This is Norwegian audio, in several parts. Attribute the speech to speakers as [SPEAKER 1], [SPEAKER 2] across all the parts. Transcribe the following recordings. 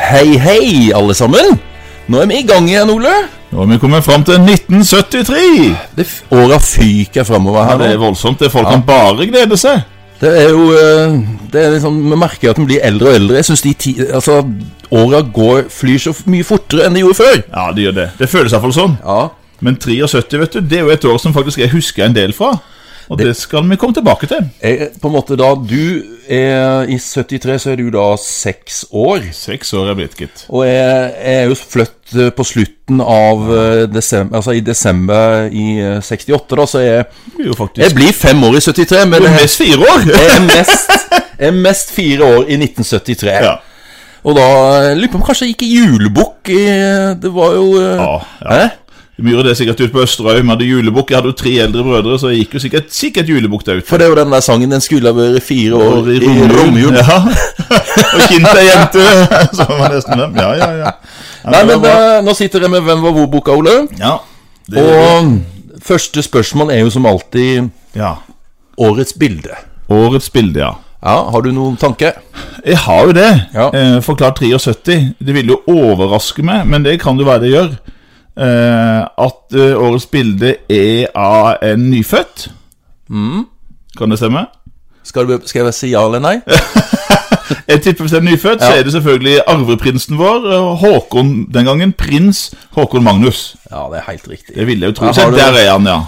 [SPEAKER 1] Hei, hei, alle sammen. Nå er vi i gang igjen, Ole.
[SPEAKER 2] Nå er vi kommet fram til 1973!
[SPEAKER 1] Det f Åra fyker framover
[SPEAKER 2] Ja,
[SPEAKER 1] her.
[SPEAKER 2] det er
[SPEAKER 1] nå.
[SPEAKER 2] voldsomt. det Folk kan bare glede seg.
[SPEAKER 1] Det er jo eh, det er liksom, Vi merker at vi blir eldre og eldre. Jeg synes de ti, altså, Åra går- flyr så f- mye fortere enn de gjorde før.
[SPEAKER 2] Ja, det gjør det. Det føles iallfall sånn.
[SPEAKER 1] Ja,
[SPEAKER 2] Men 73 vet du, det er jo et år som faktisk jeg husker en del fra. Og det, skal vi komme tilbake til.
[SPEAKER 1] jeg, på en måte da Du er i 73, så er du da seks år.
[SPEAKER 2] Seks år er blitt, gitt.
[SPEAKER 1] Og jeg, jeg er jo flytt eh, på slutten av eh, desember, altså i desember i eh, 68, da, så jeg,
[SPEAKER 2] Du er jo faktisk
[SPEAKER 1] jeg blir fem år i 73, men
[SPEAKER 2] Du er
[SPEAKER 1] jeg,
[SPEAKER 2] mest fire år!
[SPEAKER 1] jeg, er mest, jeg er mest fire år i 1973.
[SPEAKER 2] Ja.
[SPEAKER 1] Og da eh, lurer jeg på om jeg kanskje gikk i julebukk i eh, Det var jo eh,
[SPEAKER 2] Ja, ja.
[SPEAKER 1] Hæ?
[SPEAKER 2] Vi gjorde det sikkert ute på Østerøy. Vi hadde julebukk. Jeg hadde jo tre eldre brødre, så jeg gikk jo sikkert, sikkert julebukk der ute.
[SPEAKER 1] For det er jo den der sangen 'Den skulle ha vært fire år i romjul'.
[SPEAKER 2] Ja. Og kjente ei jente. Så var nesten dem. Ja, ja, ja. ja
[SPEAKER 1] Nei,
[SPEAKER 2] det
[SPEAKER 1] men
[SPEAKER 2] var bra.
[SPEAKER 1] eh, nå sitter jeg med 'Hvem var hvor?'-boka, Ole.
[SPEAKER 2] ja. Det,
[SPEAKER 1] Og første spørsmål er jo som alltid
[SPEAKER 2] ja.
[SPEAKER 1] årets bilde.
[SPEAKER 2] Årets bilde, ja.
[SPEAKER 1] Ja, Har du noen tanke?
[SPEAKER 2] Jeg har jo det.
[SPEAKER 1] Ja.
[SPEAKER 2] Eh, Forklart 73. Det ville jo overraske meg, men det kan jo være det gjør. Eh, at eh, årets bilde er av en nyfødt.
[SPEAKER 1] Mm.
[SPEAKER 2] Kan det stemme?
[SPEAKER 1] Skal, du, skal jeg si ja eller nei?
[SPEAKER 2] Jeg tipper hvis det er en nyfødt, så er det selvfølgelig arveprinsen vår. eh, Håkon den gangen. Prins Håkon Magnus.
[SPEAKER 1] Ja, det er helt riktig.
[SPEAKER 2] Det ville jeg jo
[SPEAKER 1] Ja,
[SPEAKER 2] tro.
[SPEAKER 1] har
[SPEAKER 2] Se,
[SPEAKER 1] du-
[SPEAKER 2] der er han, ja.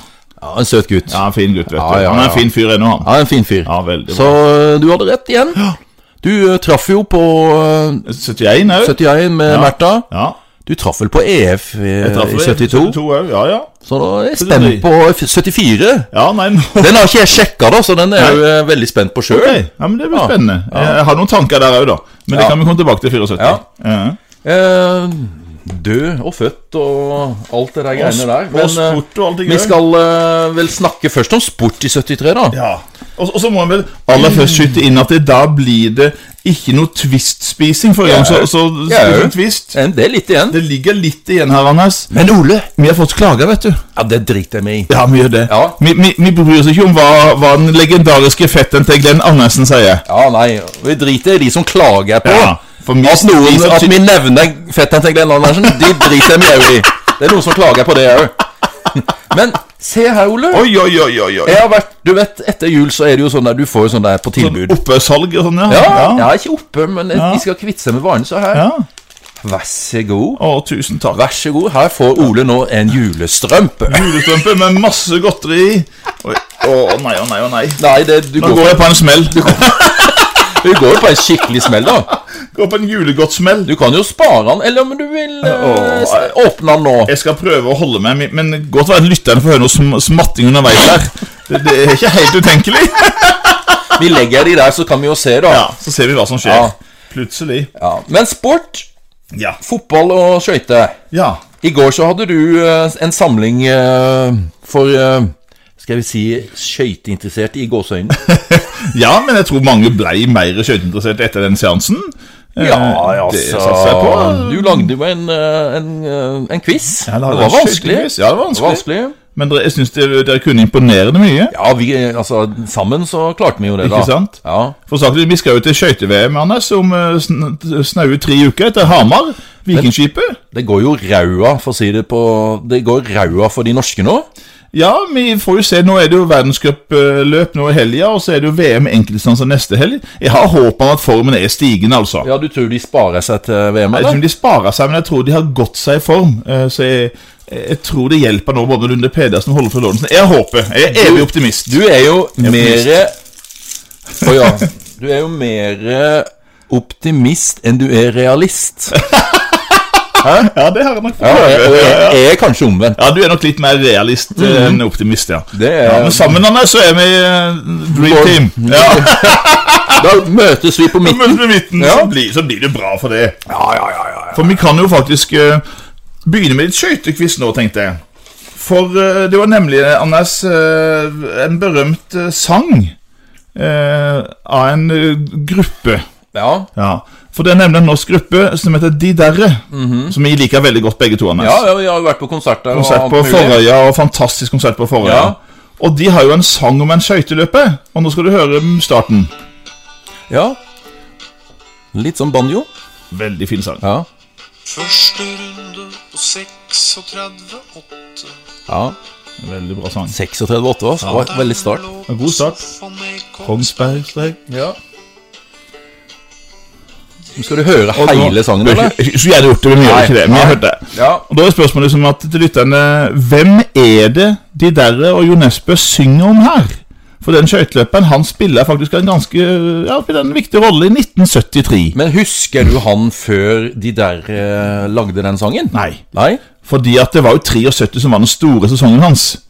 [SPEAKER 1] Ja, En søt gutt.
[SPEAKER 2] Ja,
[SPEAKER 1] Ja,
[SPEAKER 2] en Fin gutt, vet du.
[SPEAKER 1] Ja, ja,
[SPEAKER 2] Han er
[SPEAKER 1] ja.
[SPEAKER 2] en fin fyr ennå, han.
[SPEAKER 1] en fin fyr.
[SPEAKER 2] Ja, veldig
[SPEAKER 1] Så
[SPEAKER 2] bra.
[SPEAKER 1] øh, du hadde rett igjen. Du øh, traff jo på øh,
[SPEAKER 2] 71 òg.
[SPEAKER 1] 71 med Märtha.
[SPEAKER 2] Eh, Ja.
[SPEAKER 1] Du traff vel på EF i,
[SPEAKER 2] Traff
[SPEAKER 1] i
[SPEAKER 2] vel E
[SPEAKER 1] 72,
[SPEAKER 2] 72 òg. Ja, ja.
[SPEAKER 1] så da er jeg spent på 74.
[SPEAKER 2] Ja, nei, nå
[SPEAKER 1] Den har ikke jeg sjekka, da, så den er jeg jo øh, veldig spent på sjøl.
[SPEAKER 2] Ok, ja, men Det blir spennende. Jeg har noen tanker der òg, da. Men det
[SPEAKER 1] Ja.
[SPEAKER 2] kan vi komme tilbake til 74.
[SPEAKER 1] Ja.
[SPEAKER 2] Ja.
[SPEAKER 1] Eh, død og født og alt det der greiene der. eh,
[SPEAKER 2] og sport og alt det
[SPEAKER 1] vi
[SPEAKER 2] greiene.
[SPEAKER 1] skal øh, vel snakke først om sport i 73, da.
[SPEAKER 2] Ja. Og, og så må jeg vel aller først skyte inn at det, da blir det ikke noe Twist-spising forrige gang. Så, så, så,
[SPEAKER 1] Ja, jo.
[SPEAKER 2] så twist.
[SPEAKER 1] En del litt igjen.
[SPEAKER 2] Det ligger litt igjen her, Anders.
[SPEAKER 1] Men Ole,
[SPEAKER 2] Vi har fått klager, vet du.
[SPEAKER 1] ja, det driter jeg meg i.
[SPEAKER 2] Ja, vi gjør det.
[SPEAKER 1] Ja.
[SPEAKER 2] Vi, vi, vi bryr oss ikke om hva, hva den legendariske fetteren til Glenn Andersen sier.
[SPEAKER 1] Ja, nei, vi driter i de som klager på
[SPEAKER 2] Ja, for vi-
[SPEAKER 1] at noen
[SPEAKER 2] vi som
[SPEAKER 1] At
[SPEAKER 2] sy-
[SPEAKER 1] vi nevner fetteren til Glenn Andersen, de driter vi òg i. Det er noen som klager på det òg. Men se her, Ole.
[SPEAKER 2] Oi, oi, oi, oi, oi.
[SPEAKER 1] Jeg har vært, du vet, Etter jul så er det jo sånn der du får jo sånn der på tilbud.
[SPEAKER 2] Oppsalg og sånn, ja.
[SPEAKER 1] Ja,
[SPEAKER 2] ja.
[SPEAKER 1] jeg er ikke oppe, men jeg- de skal kvitte seg med varene. Så her,
[SPEAKER 2] ja.
[SPEAKER 1] vær så god.
[SPEAKER 2] Å, tusen takk.
[SPEAKER 1] Vær så god, her får Ole nå en julestrømpe.
[SPEAKER 2] Julestrømpe med masse godteri i. Oi, Å nei, å nei, å nei.
[SPEAKER 1] Nei, det, du,
[SPEAKER 2] Nå
[SPEAKER 1] går,
[SPEAKER 2] går jeg på en smell.
[SPEAKER 1] du går jo på en skikkelig smell, da.
[SPEAKER 2] Går på en julegodtsmell.
[SPEAKER 1] Du kan jo spare den, eller om du vil eh,
[SPEAKER 2] Åh, jeg-
[SPEAKER 1] åpne den nå.
[SPEAKER 2] Jeg skal prøve å holde meg, men godt være lytterne får høre noe sm smatting underveis her. Det, det er ikke helt utenkelig.
[SPEAKER 1] Vi legger de der, så kan vi jo se, da.
[SPEAKER 2] Ja, Så ser vi hva som skjer.
[SPEAKER 1] Ja.
[SPEAKER 2] Plutselig.
[SPEAKER 1] Ja, Men sport,
[SPEAKER 2] Ja.
[SPEAKER 1] fotball og skøyter.
[SPEAKER 2] ja.
[SPEAKER 1] I går så hadde du eh, en samling eh, for eh, Skal vi si skøyteinteresserte i gåseøynene?
[SPEAKER 2] Ja, men jeg tror mange blei mer skøyteinteressert etter den seansen. Eh, Det satser jeg på.
[SPEAKER 1] altså. Du lagde jo en, eh, en, eh, en quiz.
[SPEAKER 2] Ja,
[SPEAKER 1] det,
[SPEAKER 2] lagde
[SPEAKER 1] var
[SPEAKER 2] en
[SPEAKER 1] vanskelig.
[SPEAKER 2] skøytequiz. Ja, det var vanskelig.
[SPEAKER 1] vanskelig.
[SPEAKER 2] Men dere, jeg syns dere, dere kunne imponerende mye.
[SPEAKER 1] Ja, vi, eh, altså, sammen så klarte vi jo det, da.
[SPEAKER 2] Ikke sant?
[SPEAKER 1] Ja.
[SPEAKER 2] For saken, Vi skal jo til skøyte-VM Anders, om eh, sn- snaue tre uker, til Hamar. Vikingskipet.
[SPEAKER 1] Det går jo raua, for å si det på Det går raua for de norske nå.
[SPEAKER 2] Ja, vi får jo se. Nå er det jo verdenscupløp nå i helga, og så er det jo VM i enkeltdistanse neste helg. Jeg har håp om at formen er stigende, altså.
[SPEAKER 1] Ja, du tror de sparer seg til VM,
[SPEAKER 2] Jeg vet ikke
[SPEAKER 1] eller?
[SPEAKER 2] om de sparer seg, men jeg tror de har gått seg i form. Eh, Så jeg, jeg tror det hjelper nå, både Lunde Pedersen og Hollefred Lorentzen. Jeg håper. Jeg er evig optimist.
[SPEAKER 1] Du er jo mer Å
[SPEAKER 2] Optimist.
[SPEAKER 1] ja. Du er jo mer optimist enn du er realist.
[SPEAKER 2] Ja, det har jeg nok
[SPEAKER 1] Ja, og jeg, og
[SPEAKER 2] prøvd.
[SPEAKER 1] jeg er kanskje omvendt.
[SPEAKER 2] Ja, du er nok litt mer realist eh, enn optimist, ja.
[SPEAKER 1] Det er-
[SPEAKER 2] ja. Men sammen, Anders, så er vi eh, dream team. Ja,
[SPEAKER 1] Da møtes vi på midten.
[SPEAKER 2] men med midten
[SPEAKER 1] Ja.
[SPEAKER 2] så, blir, så blir det bra for det.
[SPEAKER 1] Ja, ja, ja, ja, ja.
[SPEAKER 2] For vi kan jo faktisk eh, begynne med litt skøytekviss nå, tenkte jeg. For eh, det var nemlig, eh, Anders, eh, en berømt eh, sang eh, av en eh, gruppe.
[SPEAKER 1] Ja,
[SPEAKER 2] Ja. For det er nemlig en norsk gruppe som heter De Derre, som vi liker veldig godt begge to, Anders.
[SPEAKER 1] ja, ja, vi har jo vært på konsert der. og
[SPEAKER 2] Konsert
[SPEAKER 1] alt
[SPEAKER 2] på
[SPEAKER 1] mulig.
[SPEAKER 2] Forøya, og fantastisk konsert på Forøya.
[SPEAKER 1] Ja.
[SPEAKER 2] Og de har jo en sang om en skøyteløper, og nå skal du høre mm, starten.
[SPEAKER 1] Ja. Litt som banjo.
[SPEAKER 2] Veldig fin sang.
[SPEAKER 1] Ja.
[SPEAKER 3] Første runde på 36,8.
[SPEAKER 1] ja.
[SPEAKER 2] Veldig bra sang.
[SPEAKER 1] 36-8 år, så det var et veldig start.
[SPEAKER 2] En god start. Kongsberg strek.
[SPEAKER 1] Ja. Nå skal du høre
[SPEAKER 2] Og nå-
[SPEAKER 1] hele sangen, eller?
[SPEAKER 2] Jeg Skulle gjerne gjort det, men vi gjør
[SPEAKER 1] Nei.
[SPEAKER 2] ikke det. Men jeg hørte det.
[SPEAKER 1] Ja.
[SPEAKER 2] Og Da er spørsmålet som at til lytterne Hvem er det de derre og Jo Nesbø synger om her? For den skøyteløperen han spiller faktisk en ganske Ja, spiller en viktig rolle i 1973.
[SPEAKER 1] Men husker du han før de der eh, lagde den sangen?
[SPEAKER 2] Nei.
[SPEAKER 1] Nei?
[SPEAKER 2] Fordi at det var jo 73 som var den store sesongen hans.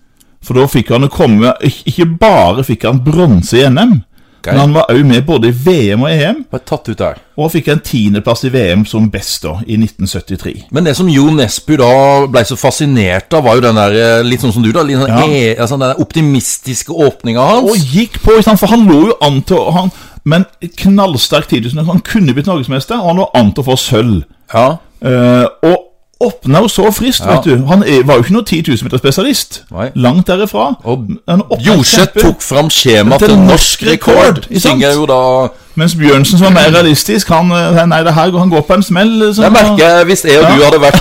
[SPEAKER 2] For da fikk han å komme ik- Ikke bare fikk han bronse i NM, men han var òg med både i VM og EM.
[SPEAKER 1] Var tatt ut der.
[SPEAKER 2] Og fikk en tiendeplass i VM som best da, i 1973.
[SPEAKER 1] Men det som Jo Nesbø da ble så fascinert av, var jo den der eh, litt sånn som du, da. Litt sånn
[SPEAKER 2] Ja.
[SPEAKER 1] e, altså den der optimistiske åpninga
[SPEAKER 2] Og
[SPEAKER 1] hans.
[SPEAKER 2] gikk på, ikke sant? for han lå jo an til å han, Men knallsterk tidlig, så han kunne blitt norgesmester, og han lå an til å få sølv.
[SPEAKER 1] Ja.
[SPEAKER 2] Eh, og åpna jo så friskt,
[SPEAKER 1] Ja.
[SPEAKER 2] vet du. Han er, var jo ikke noen 10 000 meter spesialist.
[SPEAKER 1] Nei.
[SPEAKER 2] Langt derifra.
[SPEAKER 1] Og
[SPEAKER 2] Han åpnet
[SPEAKER 1] Jorseth
[SPEAKER 2] kjempe-
[SPEAKER 1] tok fram skjema
[SPEAKER 2] Til
[SPEAKER 1] til norsk
[SPEAKER 2] norsk
[SPEAKER 1] rekord.
[SPEAKER 2] rekord, ikke sant?
[SPEAKER 1] Synger jo da
[SPEAKER 2] Mens Bjørnsen, som var mer realistisk, han, eh, nei, det her, går- han går på en smell. eh, som-
[SPEAKER 1] Jeg merker jeg, hvis jeg og du hadde vært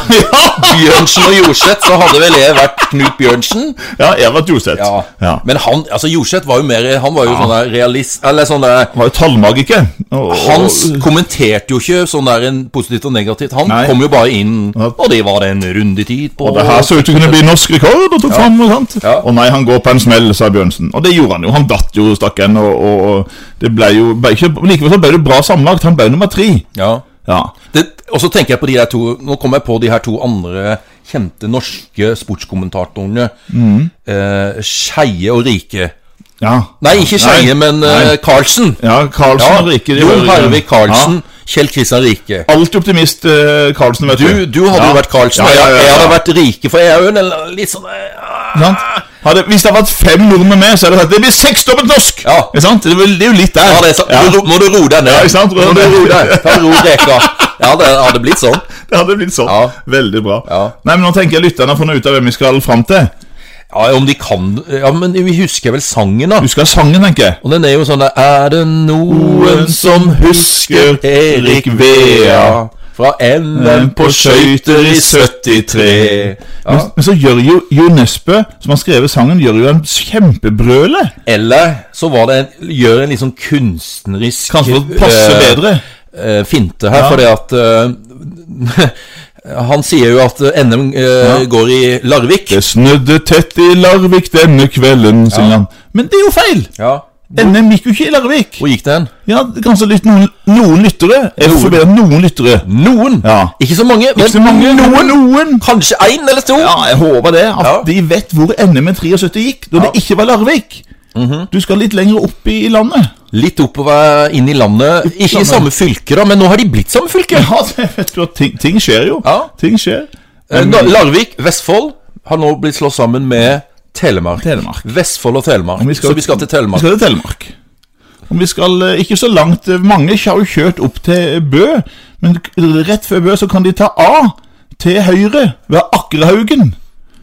[SPEAKER 1] Bjørnsen og Jorseth, så hadde vel jeg vært Knut Bjørnsen.
[SPEAKER 2] Ja, Evert Joseth.
[SPEAKER 1] Ja.
[SPEAKER 2] Ja.
[SPEAKER 1] Men han, altså Jorseth var jo mer Han var jo sånn der realist Eller sånn der
[SPEAKER 2] Han var jo tallmagiker. Og,
[SPEAKER 1] Hans
[SPEAKER 2] og-
[SPEAKER 1] kommenterte jo ikke sånn der en positivt og negativt. Han
[SPEAKER 2] Nei.
[SPEAKER 1] kom jo bare inn,
[SPEAKER 2] Ja.
[SPEAKER 1] og det var det en rundetid på
[SPEAKER 2] Og det her så ut til å kunne bli norsk rekord, og tok fram og sant.
[SPEAKER 1] Ja.
[SPEAKER 2] Og nei, han går på en smell, sa Bjørnsen. Og det gjorde han jo. Han datt jo, stakkaren, og, og, og det ble jo ble ikke, Likevel så ble det bra sammenlagt. Han ble nummer tre.
[SPEAKER 1] Ja.
[SPEAKER 2] Ja.
[SPEAKER 1] Det, og så tenker jeg på de der to Nå kom jeg på de her to andre kjente norske sportskommentatorene.
[SPEAKER 2] Mm.
[SPEAKER 1] Eh, Skeie og Rike.
[SPEAKER 2] ja.
[SPEAKER 1] Nei, ikke Skeie, men eh,
[SPEAKER 2] nei.
[SPEAKER 1] Karlsen.
[SPEAKER 2] Ja, Karlsen og Rike. de
[SPEAKER 1] Jon
[SPEAKER 2] var-
[SPEAKER 1] Harvey Karlsen. Kjell Kristian Rike.
[SPEAKER 2] Ja. Alltid optimist, eh, Karlsen, vet
[SPEAKER 1] Du, du hadde
[SPEAKER 2] Ja.
[SPEAKER 1] jo vært Karlsen,
[SPEAKER 2] Ja, ja, ja,
[SPEAKER 1] og jeg, jeg
[SPEAKER 2] ja.
[SPEAKER 1] hadde vært Rike, for jeg er jo en litt sånn eh,
[SPEAKER 2] Ikke sant? Hadde, hvis det hadde vært fem nordmenn med, så hadde det sagt det blir seksdobbelt norsk!
[SPEAKER 1] Ja.
[SPEAKER 2] Ikke sant? Det, er vel- det er jo litt der.
[SPEAKER 1] Ja, det er sant.
[SPEAKER 2] Ja.
[SPEAKER 1] Du- Må du ro deg ned.
[SPEAKER 2] Ja, ikke sant? Ro
[SPEAKER 1] Må du
[SPEAKER 2] deg.
[SPEAKER 1] ro deg. Ta ro reka. Ja, det hadde blitt sånn.
[SPEAKER 2] Det hadde blitt sånn.
[SPEAKER 1] Ja.
[SPEAKER 2] Veldig bra.
[SPEAKER 1] Ja.
[SPEAKER 2] Nei, men Nå tenker jeg lytterne har funnet ut av hvem vi skal fram til.
[SPEAKER 1] Ja, om de kan Ja, men vi husker vel sangen, da.
[SPEAKER 2] Du skal ha sangen, tenker jeg.
[SPEAKER 1] Og den er jo sånn der Er det noen som husker Erik Vea fra NM på skøyter i 73? Ja.
[SPEAKER 2] Men, men så gjør jo Jo Nesbø, som har skrevet sangen, gjør jo en kjempebrøle.
[SPEAKER 1] Eller så var det en, gjør en litt sånn kunstnerisk
[SPEAKER 2] Kanskje for å passe
[SPEAKER 1] eh,
[SPEAKER 2] bedre.
[SPEAKER 1] eh, finte her,
[SPEAKER 2] Ja.
[SPEAKER 1] fordi at eh, Han sier jo at eh, NM eh, går i Larvik.
[SPEAKER 2] Det snødde tett i Larvik denne kvelden, synger han. Men det er jo feil!
[SPEAKER 1] Ja.
[SPEAKER 2] NM gikk jo ikke i Larvik.
[SPEAKER 1] Hvor gikk den?
[SPEAKER 2] Ja, kanskje litt noen, noen lyttere. Jeg
[SPEAKER 1] Noen.
[SPEAKER 2] får be om noen lyttere.
[SPEAKER 1] Noen!
[SPEAKER 2] Ja.
[SPEAKER 1] Ikke så mange, men
[SPEAKER 2] Ikke så mange, noen, noen.
[SPEAKER 1] kanskje én eller to.
[SPEAKER 2] Ja, jeg håper det. At
[SPEAKER 1] Ja.
[SPEAKER 2] de vet hvor NM i 73 gikk, da det ikke var Larvik.
[SPEAKER 1] Mhm.
[SPEAKER 2] Du skal litt lenger opp i, i landet.
[SPEAKER 1] Litt oppover inn i landet. Ikke i samme
[SPEAKER 2] samme.
[SPEAKER 1] fylke, da, men nå har de blitt samme fylke.
[SPEAKER 2] Ja, det vet du, at ting, ting skjer jo.
[SPEAKER 1] Ja.
[SPEAKER 2] Ting skjer.
[SPEAKER 1] Eh, da- Larvik, Vestfold, har nå blitt slått sammen med Telemark.
[SPEAKER 2] Telemark.
[SPEAKER 1] Vestfold og Telemark.
[SPEAKER 2] Om
[SPEAKER 1] så vi skal til
[SPEAKER 2] Vi
[SPEAKER 1] Telemark.
[SPEAKER 2] skal til Telemark. Om vi skal eh, ikke så langt eh, Mange har jo kjørt opp til Bø, men k- rett før Bø så kan de ta A til høyre ved Akerhaugen.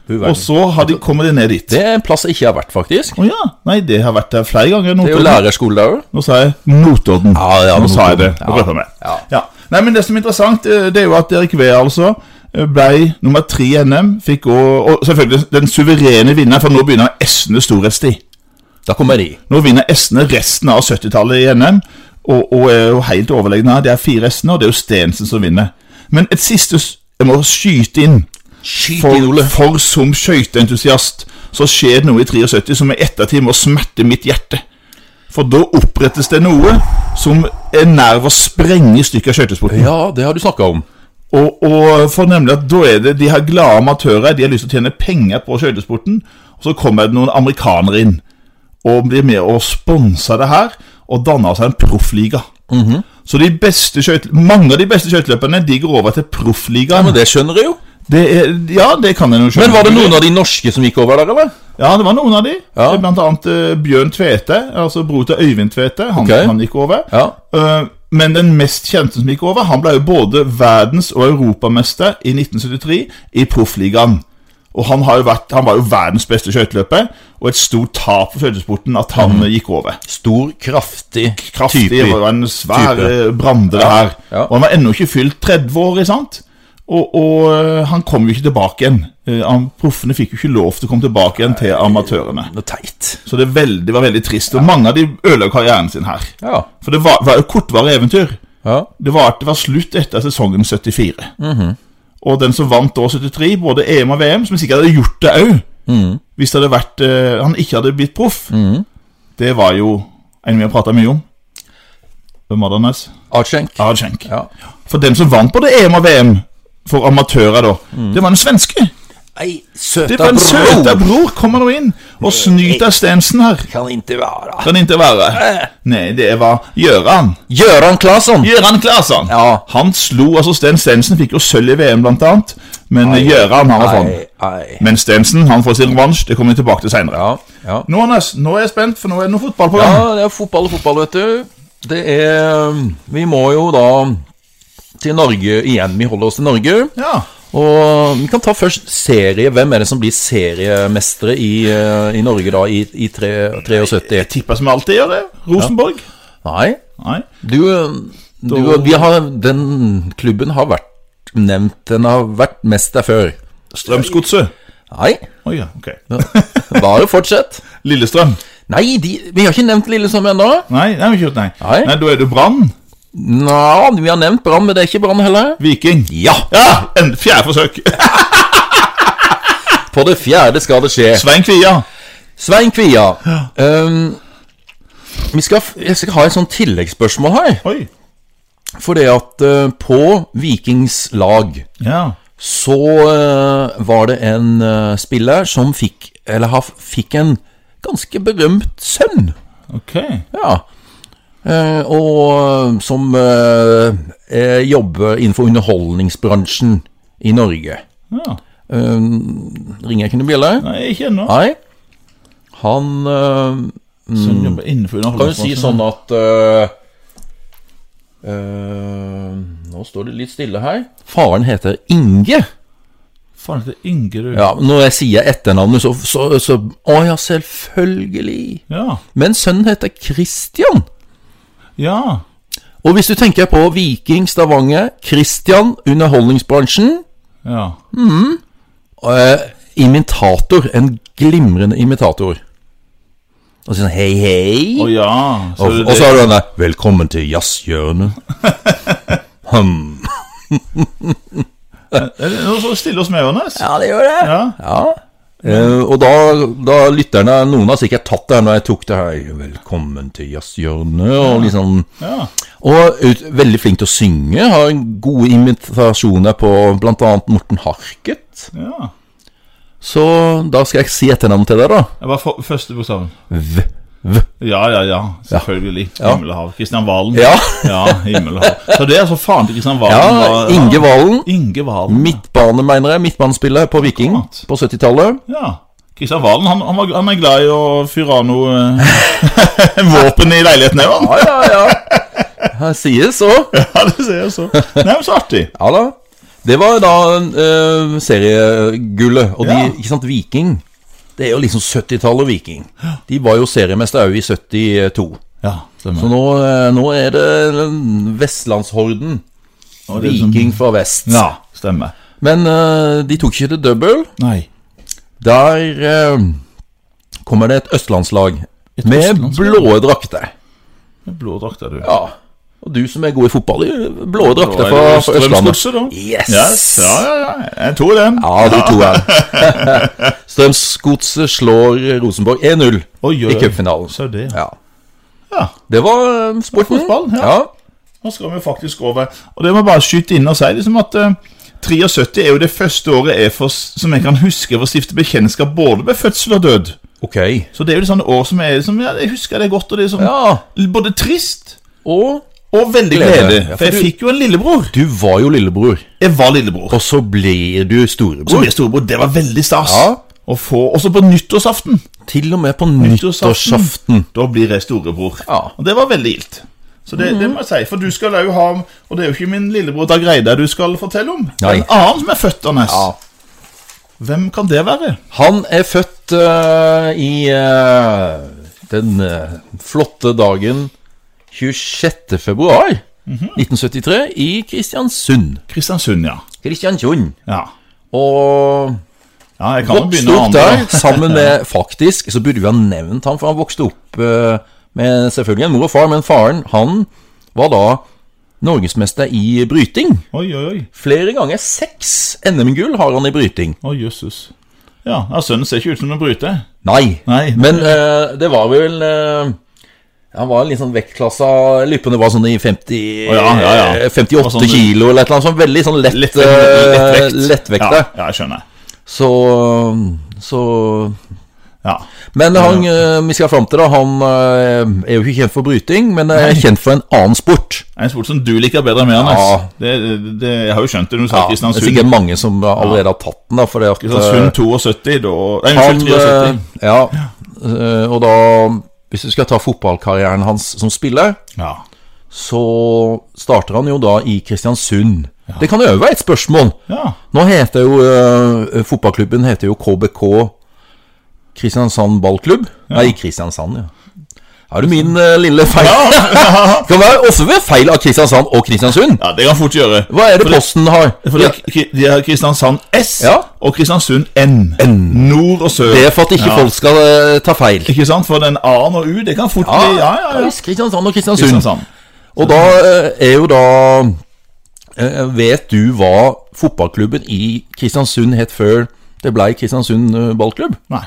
[SPEAKER 1] Du
[SPEAKER 2] Og
[SPEAKER 1] verden.
[SPEAKER 2] så har de, kommer de ned dit.
[SPEAKER 1] Det er en plass jeg ikke har vært, faktisk.
[SPEAKER 2] Å ja. Nei, det har vært der flere
[SPEAKER 1] Det
[SPEAKER 2] ganger.
[SPEAKER 1] er jo
[SPEAKER 2] Notodden.
[SPEAKER 1] lærerskole der òg.
[SPEAKER 2] Nå sa jeg Notodden.
[SPEAKER 1] Ja, ja,
[SPEAKER 2] Nå sa jeg
[SPEAKER 1] Notodden.
[SPEAKER 2] det. Nå prøver jeg meg.
[SPEAKER 1] Ja.
[SPEAKER 2] Ja. Nei, men Det som er interessant, eh, det er jo at Erik Wee altså eh, ble nummer tre i NM. Fikk også, og selvfølgelig den suverene vinneren, for nå begynner Esne storhetstid.
[SPEAKER 1] Da kommer de.
[SPEAKER 2] Nå vinner Esne resten av 70-tallet i NM, og, og er jo helt overlegne. her. Det er fire Esne, og det er jo Stensen som vinner. Men et siste s- Jeg må skyte inn.
[SPEAKER 1] Skyt inn,
[SPEAKER 2] For,
[SPEAKER 1] Ole.
[SPEAKER 2] for som skøyteentusiast så skjer det noe i 73 som i ettertid må smerte mitt hjerte. For da opprettes det noe som er nær ved å sprenge i stykker skøytesporten.
[SPEAKER 1] Ja, det har du snakka om.
[SPEAKER 2] Og, og for nemlig at da er det de her glade amatører, de har lyst til å tjene penger på skøytesporten, og så kommer det noen amerikanere inn og blir med og sponser det her, og danner seg en proffliga.
[SPEAKER 1] Mhm.
[SPEAKER 2] Så de beste skøyte- mange av de beste skøyteløperne de går over til proffligaen.
[SPEAKER 1] Men det skjønner jeg jo.
[SPEAKER 2] det er, ja, det kan en jo skjønne.
[SPEAKER 1] Men var det noen av de norske som gikk over der, eller?
[SPEAKER 2] Ja, det var noen av de.
[SPEAKER 1] Ja.
[SPEAKER 2] Blant annet eh, Bjørn Tvete, altså bror til Øyvind Tvete. Han,
[SPEAKER 1] Ok.
[SPEAKER 2] han gikk over.
[SPEAKER 1] Ja.
[SPEAKER 2] Eh, men den mest kjente som gikk over, han ble jo både verdens- og europamester i 1973 i proffligaen. Og han, har jo vært, han var jo verdens beste skøyteløper, og et stort tap for skøytesporten at han eh,
[SPEAKER 1] Mhm.
[SPEAKER 2] gikk over.
[SPEAKER 1] Stor, kraftig,
[SPEAKER 2] Kraftig,
[SPEAKER 1] type.
[SPEAKER 2] det var en svær
[SPEAKER 1] Type.
[SPEAKER 2] eh, brande, det
[SPEAKER 1] Ja,
[SPEAKER 2] her.
[SPEAKER 1] ja.
[SPEAKER 2] Og han var ennå ikke fylt 30 år, ikke sant? Og, og eh, han kom jo ikke tilbake igjen. Eh, han- Proffene fikk jo ikke lov til å komme tilbake igjen til amatørene.
[SPEAKER 1] Noe teit.
[SPEAKER 2] Så det er veldig, var veldig trist. Og mange av de ødela karrieren sin her.
[SPEAKER 1] Ja.
[SPEAKER 2] For det var, var jo kortvarige eventyr.
[SPEAKER 1] ja.
[SPEAKER 2] Det var at det var slutt etter sesongen 74.
[SPEAKER 1] Mhm.
[SPEAKER 2] Og den som vant år 73, både EM og VM, som sikkert hadde gjort det òg
[SPEAKER 1] Mhm.
[SPEAKER 2] hvis det hadde vært, eh, han ikke hadde blitt proff, det var jo en vi har prata mye om. Hvem var det, Anders?
[SPEAKER 1] Artschenk.
[SPEAKER 2] Archenk.
[SPEAKER 1] Ja.
[SPEAKER 2] For den som vant både EM og VM for amatører, da, det var en svenske.
[SPEAKER 1] Nei, søta
[SPEAKER 2] Det var en søta
[SPEAKER 1] Mhm. bror
[SPEAKER 2] bror, kommer nå inn og snyter Stensen her.
[SPEAKER 1] kan inte vara.
[SPEAKER 2] Kan ikke
[SPEAKER 1] Eh.
[SPEAKER 2] være. Nei, det var Gjøran.
[SPEAKER 1] Gøran Claesson.
[SPEAKER 2] Gøran Claesson.
[SPEAKER 1] Ja.
[SPEAKER 2] Han slo altså Sten Stensen, fikk jo sølv i VM blant annet, men Gjøran han var fond.
[SPEAKER 1] Nei, nei.
[SPEAKER 2] Men Stensen han får sin revansj, det kommer vi tilbake til seinere.
[SPEAKER 1] Ja, ja.
[SPEAKER 2] Nå Anders, nå er jeg spent, for nå er det noe fotball på
[SPEAKER 1] Ja,
[SPEAKER 2] gang.
[SPEAKER 1] det er fotball og fotball, vet du. Det er um, Vi må jo da til Norge igjen. Vi holder oss til Norge.
[SPEAKER 2] Ja.
[SPEAKER 1] Og vi kan ta først serie. Hvem er det som blir seriemestere i, eh, i Norge da i, i tre- 73?
[SPEAKER 2] Jeg tipper som jeg alltid gjør det. Rosenborg.
[SPEAKER 1] Nei,
[SPEAKER 2] Nei.
[SPEAKER 1] du, du vi har, Den klubben har vært nevnt. Den har vært mest der før.
[SPEAKER 2] Strømsgodset.
[SPEAKER 1] Nei,
[SPEAKER 2] Å ja, ok.
[SPEAKER 1] bare fortsett.
[SPEAKER 2] Lillestrøm.
[SPEAKER 1] Nei, de, vi har ikke nevnt Lillestrøm ennå.
[SPEAKER 2] Nei, nei, vi har ikke gjort nei.
[SPEAKER 1] Nei.
[SPEAKER 2] nei, da er det Brann.
[SPEAKER 1] Nå, vi har nevnt Brann, men det er ikke Brann heller.
[SPEAKER 2] Viking.
[SPEAKER 1] Ja!
[SPEAKER 2] Ja! En fjerde forsøk.
[SPEAKER 1] På det fjerde skal det skje.
[SPEAKER 2] Svein Kvia.
[SPEAKER 1] Svein Kvia. ehm, vi skal, jeg skal ha et sånt tilleggsspørsmål her.
[SPEAKER 2] Oi.
[SPEAKER 1] For det at eh, på Vikings lag
[SPEAKER 2] Ja.
[SPEAKER 1] så eh, var det en eh, spiller som fikk Eller har- fikk en ganske berømt sønn.
[SPEAKER 2] Ok.
[SPEAKER 1] Ja. Eh, og som eh, eh, jobber innenfor underholdningsbransjen i Norge.
[SPEAKER 2] Ja.
[SPEAKER 1] Eh, ringer jeg ikke noen bjelle?
[SPEAKER 2] Nei, ikke ennå.
[SPEAKER 1] Nei. Han eh,
[SPEAKER 2] Sånn jobber
[SPEAKER 1] kan
[SPEAKER 2] innenfor
[SPEAKER 1] jo si
[SPEAKER 2] underholdningsbransjen.
[SPEAKER 1] sånn at øh, øh, Nå står det litt stille her. Faren heter Inge.
[SPEAKER 2] Faen, det er Inge, du.
[SPEAKER 1] Ja, Når jeg sier etternavnet, så, så, så Å ja, selvfølgelig.
[SPEAKER 2] Ja.
[SPEAKER 1] Men sønnen heter Christian.
[SPEAKER 2] ja.
[SPEAKER 1] Og hvis du tenker på Viking, Stavanger, Christian, underholdningsbransjen
[SPEAKER 2] ja.
[SPEAKER 1] øh, Imitator. En glimrende imitator. Og så sånn hei, hei.
[SPEAKER 2] Å ja.
[SPEAKER 1] Og,
[SPEAKER 2] det-
[SPEAKER 1] og så har du den der 'Velkommen til jazzhjørnet'. Hm.
[SPEAKER 2] Er det noe så stille hos meg, Jonas?
[SPEAKER 1] Ja, det gjør det.
[SPEAKER 2] Ja.
[SPEAKER 1] Eh, og da, da lytterne Noen har sikkert tatt det her når jeg tok det her. Velkommen til jazzhjørnet. Og liksom
[SPEAKER 2] Ja.
[SPEAKER 1] Og ut, veldig flink til å synge. Har gode imitasjoner på bl.a. Morten Harket.
[SPEAKER 2] ja.
[SPEAKER 1] Så da skal jeg si etternavnet til deg, da.
[SPEAKER 2] Jeg var for, første bokstaven.
[SPEAKER 1] V. v.
[SPEAKER 2] Ja, ja, ja. Selvfølgelig. Himmel og hav. Kristian Valen.
[SPEAKER 1] Ja.
[SPEAKER 2] ja. Himmel og hav. Så det er altså faen til Kristian Valen.
[SPEAKER 1] Ja,
[SPEAKER 2] var-
[SPEAKER 1] Inge Valen.
[SPEAKER 2] Inge Valen.
[SPEAKER 1] Midtbane, mener jeg. Midtbanespiller på Viking
[SPEAKER 2] Akkurat.
[SPEAKER 1] på 70-tallet.
[SPEAKER 2] Ja. Kristian Valen han, han, var, han er glad i å fyre av noe eh, våpen i leiligheten òg, han.
[SPEAKER 1] Ja, ja, ja. Her sies så.
[SPEAKER 2] Ja, det ser jeg så. Nei, men så artig.
[SPEAKER 1] Ja da. Det var da eh, seriegullet. Og de,
[SPEAKER 2] Ja.
[SPEAKER 1] ikke sant, Viking Det er jo liksom 70-tallet og Viking. De var jo seriemester òg i 72.
[SPEAKER 2] Ja,
[SPEAKER 1] Så
[SPEAKER 2] stemmer.
[SPEAKER 1] nå, eh, nå er det den Vestlandshorden.
[SPEAKER 2] Og det er som-
[SPEAKER 1] Viking fra vest.
[SPEAKER 2] Ja, stemmer.
[SPEAKER 1] Men eh, de tok ikke det double.
[SPEAKER 2] Nei.
[SPEAKER 1] Der eh, kommer det et østlandslag med
[SPEAKER 2] østlandslag?
[SPEAKER 1] blå drakter.
[SPEAKER 2] Blå drakt er du.
[SPEAKER 1] Ja. Og du som er god i fotball, blå
[SPEAKER 2] Da
[SPEAKER 1] drakter
[SPEAKER 2] er
[SPEAKER 1] fra,
[SPEAKER 2] det
[SPEAKER 1] fra Østlandet.
[SPEAKER 2] Strømsgodset, da.
[SPEAKER 1] Yes!
[SPEAKER 2] Yes. Ja, ja, ja. Jeg tror den.
[SPEAKER 1] Ja, de to er Strømsgodset slår Rosenborg 1-0
[SPEAKER 2] Oi, oi,
[SPEAKER 1] i
[SPEAKER 2] oi.
[SPEAKER 1] cupfinalen.
[SPEAKER 2] Så det.
[SPEAKER 1] Ja.
[SPEAKER 2] Ja.
[SPEAKER 1] Det var eh, sporten.
[SPEAKER 2] Fotball, ja.
[SPEAKER 1] ja.
[SPEAKER 2] Nå skal vi faktisk over. Og det må jeg bare skyte inn og si liksom at eh, 73 er jo det første året jeg får, som jeg kan huske for å stifte bekjentskap både med fødsel og død.
[SPEAKER 1] Ok.
[SPEAKER 2] Så det er jo et sånt år som jeg, som, ja, jeg husker det godt, og det er sånn,
[SPEAKER 1] Ja.
[SPEAKER 2] både trist
[SPEAKER 1] Og
[SPEAKER 2] og veldig glede.
[SPEAKER 1] Glede. Ja, for
[SPEAKER 2] for jeg
[SPEAKER 1] du-
[SPEAKER 2] fikk jo en lillebror.
[SPEAKER 1] du var jo lillebror,
[SPEAKER 2] Jeg var lillebror.
[SPEAKER 1] og så blir du
[SPEAKER 2] Så
[SPEAKER 1] storebror.
[SPEAKER 2] ble jeg storebror. Det var veldig stas.
[SPEAKER 1] Ja.
[SPEAKER 2] Å få, også på nyttårsaften.
[SPEAKER 1] Til og med på nyttårsaften.
[SPEAKER 2] Da blir jeg storebror.
[SPEAKER 1] Ja.
[SPEAKER 2] Og det var veldig gildt. Så det, det må jeg si, for du skal jo ha Og det er jo ikke min lillebror Dag Reidar du skal fortelle om. Det er
[SPEAKER 1] Nei.
[SPEAKER 2] En annen som er født, Anders.
[SPEAKER 1] Ja.
[SPEAKER 2] Hvem kan det være?
[SPEAKER 1] Han er født eh, i eh, den eh, flotte dagen 26. februar
[SPEAKER 2] Mhm.
[SPEAKER 1] 1973 i Kristiansund.
[SPEAKER 2] Kristiansund, ja.
[SPEAKER 1] Kristiansund.
[SPEAKER 2] Ja,
[SPEAKER 1] Og
[SPEAKER 2] ja jeg kan jo
[SPEAKER 1] vokste
[SPEAKER 2] begynne å
[SPEAKER 1] opp
[SPEAKER 2] ane
[SPEAKER 1] der
[SPEAKER 2] det.
[SPEAKER 1] sammen med Faktisk så burde vi ha nevnt han, for han vokste opp eh, med selvfølgelig en mor og far, men faren, han var da norgesmester i bryting.
[SPEAKER 2] Oi, oi, oi.
[SPEAKER 1] Flere ganger seks NM-gull har han i bryting.
[SPEAKER 2] Å, jøsses. Ja, ja, sønnen ser ikke ut som en bryter.
[SPEAKER 1] Nei.
[SPEAKER 2] Nei.
[SPEAKER 1] Men eh, det var vel eh, Han var litt sånn vektklassa Lyppene var sånn i 50,
[SPEAKER 2] Å, ja, ja, ja.
[SPEAKER 1] eh, 58
[SPEAKER 2] Sånn-
[SPEAKER 1] kilo eller et eller annet sånn Veldig sånn lett,
[SPEAKER 2] Lett,
[SPEAKER 1] eh,
[SPEAKER 2] lettvekt.
[SPEAKER 1] lettvekt
[SPEAKER 2] Ja,
[SPEAKER 1] der.
[SPEAKER 2] ja, jeg skjønner.
[SPEAKER 1] Så, så
[SPEAKER 2] Ja.
[SPEAKER 1] Men han eh, vi skal fram til, da han eh, er jo ikke kjent for bryting, men er kjent for en annen sport.
[SPEAKER 2] En sport som du liker bedre enn meg, Anders. Det, det, jeg har jo skjønt det når du sa
[SPEAKER 1] Ja, det er
[SPEAKER 2] Kristiansund.
[SPEAKER 1] sikkert mange som allerede har tatt den. da Fordi at
[SPEAKER 2] Kristiansund 72, da Nei,
[SPEAKER 1] Eh, Han,
[SPEAKER 2] unnskyld, 73.
[SPEAKER 1] eh, ja, eh, og da Hvis du skal ta fotballkarrieren hans som spiller,
[SPEAKER 2] Ja.
[SPEAKER 1] så starter han jo da i Kristiansund. Det kan jo være et spørsmål.
[SPEAKER 2] ja.
[SPEAKER 1] Nå heter jo eh, fotballklubben heter jo KBK Kristiansand Ballklubb. Nei, Kristiansand, ja. Da er det min eh, lille feil. Det kan være også være feil av Kristiansand og Kristiansund.
[SPEAKER 2] ja, det kan fort gjøre.
[SPEAKER 1] Hva er det
[SPEAKER 2] For
[SPEAKER 1] Posten har?
[SPEAKER 2] For
[SPEAKER 1] Ja,
[SPEAKER 2] det, er Kri- de har Kristiansand S
[SPEAKER 1] Ja.
[SPEAKER 2] og Kristiansund N. Nord og sør.
[SPEAKER 1] det er for at ikke
[SPEAKER 2] Ja.
[SPEAKER 1] folk skal eh, ta feil.
[SPEAKER 2] Ikke sant? For den A-en og U, det kan fort bli Ja, ja, ja.
[SPEAKER 1] visst, Kristiansand og Kristiansund.
[SPEAKER 2] Kristiansand.
[SPEAKER 1] Og da eh, er jo da eh, Vet du hva fotballklubben i Kristiansund het før det ble Kristiansund eh, ballklubb?
[SPEAKER 2] Nei.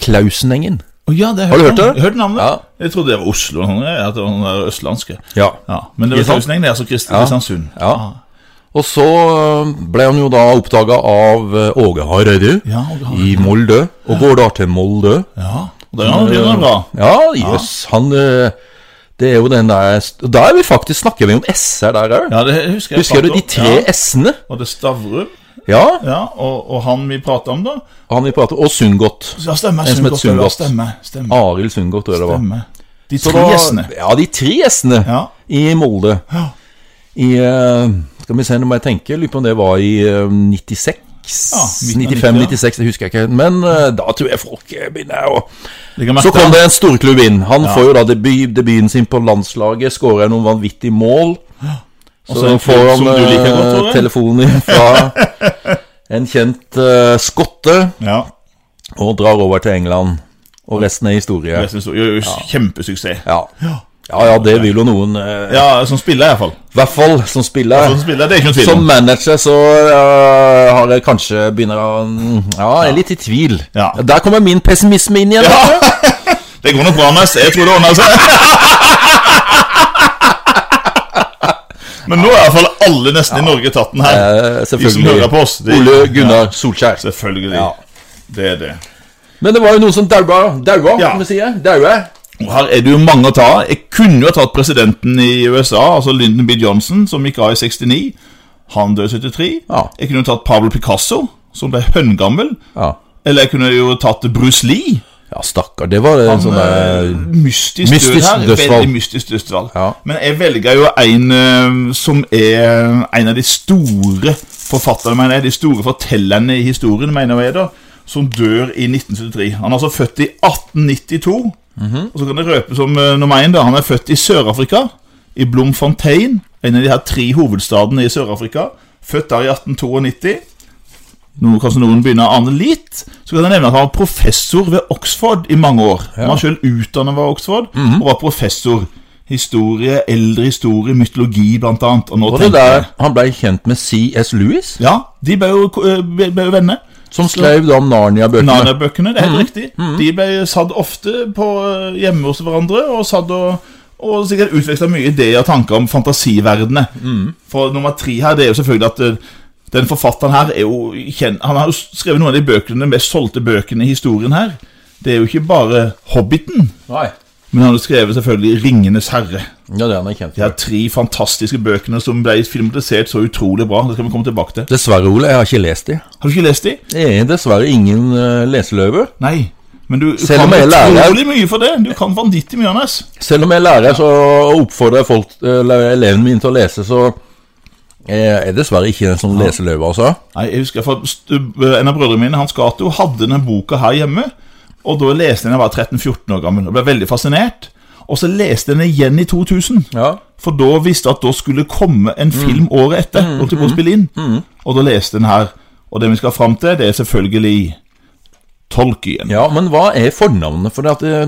[SPEAKER 1] Klausenengen.
[SPEAKER 2] Å, ja, det
[SPEAKER 1] Har du
[SPEAKER 2] jeg
[SPEAKER 1] hørt
[SPEAKER 2] om.
[SPEAKER 1] det?
[SPEAKER 2] Jeg hørte navnet.
[SPEAKER 1] Ja.
[SPEAKER 2] Jeg trodde det var Oslo, og sånn, jeg, at det var den der østlandske.
[SPEAKER 1] Ja.
[SPEAKER 2] Ja,
[SPEAKER 1] Ikke
[SPEAKER 2] men det var
[SPEAKER 1] sant?
[SPEAKER 2] Klauseneng, det er altså Krist- Kristiansund.
[SPEAKER 1] Ja. Og så eh, ble han jo da oppdaga av eh, Åge Hareide
[SPEAKER 2] Ja, Åge Hareide.
[SPEAKER 1] i Molde, og går da til Molde.
[SPEAKER 2] ja. Og der er det noe bra.
[SPEAKER 1] Ja, jøss, han eh, Det er jo den der Da er vi faktisk snakker vi om S-er der òg.
[SPEAKER 2] Ja, det husker jeg.
[SPEAKER 1] Husker du
[SPEAKER 2] pratet
[SPEAKER 1] de
[SPEAKER 2] om.
[SPEAKER 1] tre
[SPEAKER 2] Ja.
[SPEAKER 1] S-ene?
[SPEAKER 2] Og det er Stavrum,
[SPEAKER 1] Ja,
[SPEAKER 2] ja, og, og han vi prater om, da.
[SPEAKER 1] han vi prater Og Sundgodt.
[SPEAKER 2] Ja, stemmer.
[SPEAKER 1] En som heter
[SPEAKER 2] Sundgodt,
[SPEAKER 1] Sundgodt.
[SPEAKER 2] ja, Stemmer. stemmer,
[SPEAKER 1] Arild Sundgodt, tror jeg det var.
[SPEAKER 2] stemmer. De
[SPEAKER 1] Så
[SPEAKER 2] tre
[SPEAKER 1] da-
[SPEAKER 2] gjestene.
[SPEAKER 1] Ja, de tre gjestene
[SPEAKER 2] Ja.
[SPEAKER 1] i Molde.
[SPEAKER 2] Ja.
[SPEAKER 1] I eh, Skal vi se, nå må jeg tenke. Lurer på om det var i eh, 96?
[SPEAKER 2] Ja, midten av 90, ja.
[SPEAKER 1] 95-96, det husker jeg ikke. Men eh, da tror jeg folk eh, begynner å
[SPEAKER 2] Det kan
[SPEAKER 1] Så
[SPEAKER 2] merke
[SPEAKER 1] kom
[SPEAKER 2] han.
[SPEAKER 1] det en storklubb inn. Han får jo da debut, debuten sin på landslaget, skårer noen vanvittige mål.
[SPEAKER 2] Og så
[SPEAKER 1] Så
[SPEAKER 2] en
[SPEAKER 1] får
[SPEAKER 2] klubb
[SPEAKER 1] han
[SPEAKER 2] som du liker godt,
[SPEAKER 1] eh,
[SPEAKER 2] Tore.
[SPEAKER 1] telefonen fra en kjent eh, skotte
[SPEAKER 2] Ja.
[SPEAKER 1] og drar over til England. Og resten er historie.
[SPEAKER 2] Jeg synes det er jo Kjempesuksess.
[SPEAKER 1] Ja. ja ja, det vil jo noen. eh,
[SPEAKER 2] Ja, som spiller, i hvert fall.
[SPEAKER 1] I hvert fall som spiller.
[SPEAKER 2] Som spiller, det er ikke noe tvil
[SPEAKER 1] Som
[SPEAKER 2] om.
[SPEAKER 1] manager så øh, har jeg kanskje begynner å mm, Ja, jeg er litt i tvil.
[SPEAKER 2] Ja.
[SPEAKER 1] Der kommer min pessimisme inn igjen.
[SPEAKER 2] Ja. Det går nok bra, Anders. Jeg tror det ordner seg. Men nå er i hvert fall alle nesten i Norge tatt den her.
[SPEAKER 1] Eh,
[SPEAKER 2] De som hører
[SPEAKER 1] selvfølgelig.
[SPEAKER 2] på oss. De,
[SPEAKER 1] Ole Gunnar Solskjær.
[SPEAKER 2] Selvfølgelig.
[SPEAKER 1] Ja.
[SPEAKER 2] Det er det.
[SPEAKER 1] Men det var jo noen som daua. Daua,
[SPEAKER 2] Ja.
[SPEAKER 1] kan vi si. Daua.
[SPEAKER 2] Og Her er det jo mange å ta. av. Jeg kunne jo ha tatt presidenten i USA, altså Lyndon B. Johnson, som gikk av i 69. Han døde i 73.
[SPEAKER 1] Ja.
[SPEAKER 2] Jeg kunne jo tatt Pablo Picasso, som ble høngammel.
[SPEAKER 1] Ja.
[SPEAKER 2] Eller jeg kunne jo tatt Bruce Lee.
[SPEAKER 1] ja, stakkar. Det var en sånn
[SPEAKER 2] Eh,
[SPEAKER 1] eh,
[SPEAKER 2] mystisk,
[SPEAKER 1] mystisk
[SPEAKER 2] død her.
[SPEAKER 1] dødsfall.
[SPEAKER 2] Veldig mystisk dødsfall.
[SPEAKER 1] Ja.
[SPEAKER 2] Men jeg velger jo en eh, som er en av de store forfatterne, mener jeg, de store fortellerne i historien, mener jeg da, som dør i 1973. Han er altså født i 1892.
[SPEAKER 1] Mhm.
[SPEAKER 2] Og så kan det røpe som eh, nummer én, da. Han er født i Sør-Afrika, i Bloemfontein, en av de her tre hovedstadene i Sør-Afrika. Født der i 1892. Nå kanskje noen begynner å ane litt, så kan jeg nevne at han var professor ved Oxford i mange år. Han var selv utdannet ved Oxford,
[SPEAKER 1] Mhm.
[SPEAKER 2] og var professor. Historie, eldre historie, mytologi blant annet. Og nå
[SPEAKER 1] Var det
[SPEAKER 2] tenker jeg-
[SPEAKER 1] der han ble kjent med CS Lewis?
[SPEAKER 2] Ja, de ble jo, eh, ble ble jo venner.
[SPEAKER 1] Som skrev da Narnia-bøkene.
[SPEAKER 2] Narnia-bøkene, det er helt
[SPEAKER 1] Mhm.
[SPEAKER 2] riktig. De ble satt ofte på, eh, hjemme hos hverandre, og satt og, og sikkert utvekslet mye ideer og tanker om fantasiverdene.
[SPEAKER 1] Mhm.
[SPEAKER 2] For nummer tre her, det er jo selvfølgelig at eh, den forfatteren her er jo kjent, Han har jo skrevet noen av de bøkene, de mest solgte bøkene i historien her. Det er jo ikke bare Hobbiten,
[SPEAKER 1] Nei.
[SPEAKER 2] men han har jo skrevet selvfølgelig Ringenes herre.
[SPEAKER 1] Ja, det er han er kjent
[SPEAKER 2] De her
[SPEAKER 1] for.
[SPEAKER 2] tre fantastiske bøkene som ble filmatisert så utrolig bra. Det skal vi komme tilbake til.
[SPEAKER 1] Dessverre, Ole, jeg har ikke lest de.
[SPEAKER 2] Har du ikke lest de?
[SPEAKER 1] Det er dessverre ingen uh, leseløve.
[SPEAKER 2] Nei. Men du
[SPEAKER 1] Selv om
[SPEAKER 2] kan
[SPEAKER 1] jeg er lærer-
[SPEAKER 2] utrolig mye for det. Du kan vanvittig mye, Anders.
[SPEAKER 1] Selv om jeg lærer så og oppfordrer folk, eller eleven min til å lese, så Jeg er dessverre ikke en sånn leseløve, altså.
[SPEAKER 2] Nei, jeg husker for st- eh, En av brødrene mine, Hans Gato, hadde denne boka her hjemme. Og Da leste jeg den jeg var 13-14 år gammel og ble veldig fascinert. Og så leste jeg den igjen i 2000.
[SPEAKER 1] Ja.
[SPEAKER 2] For da visste jeg at da skulle komme en film året etter. holdt jeg på å spille inn. Og da leste jeg den her. Og det vi skal fram til, det er selvfølgelig Tolkien.
[SPEAKER 1] ja, men hva er fornavnet for det at eh,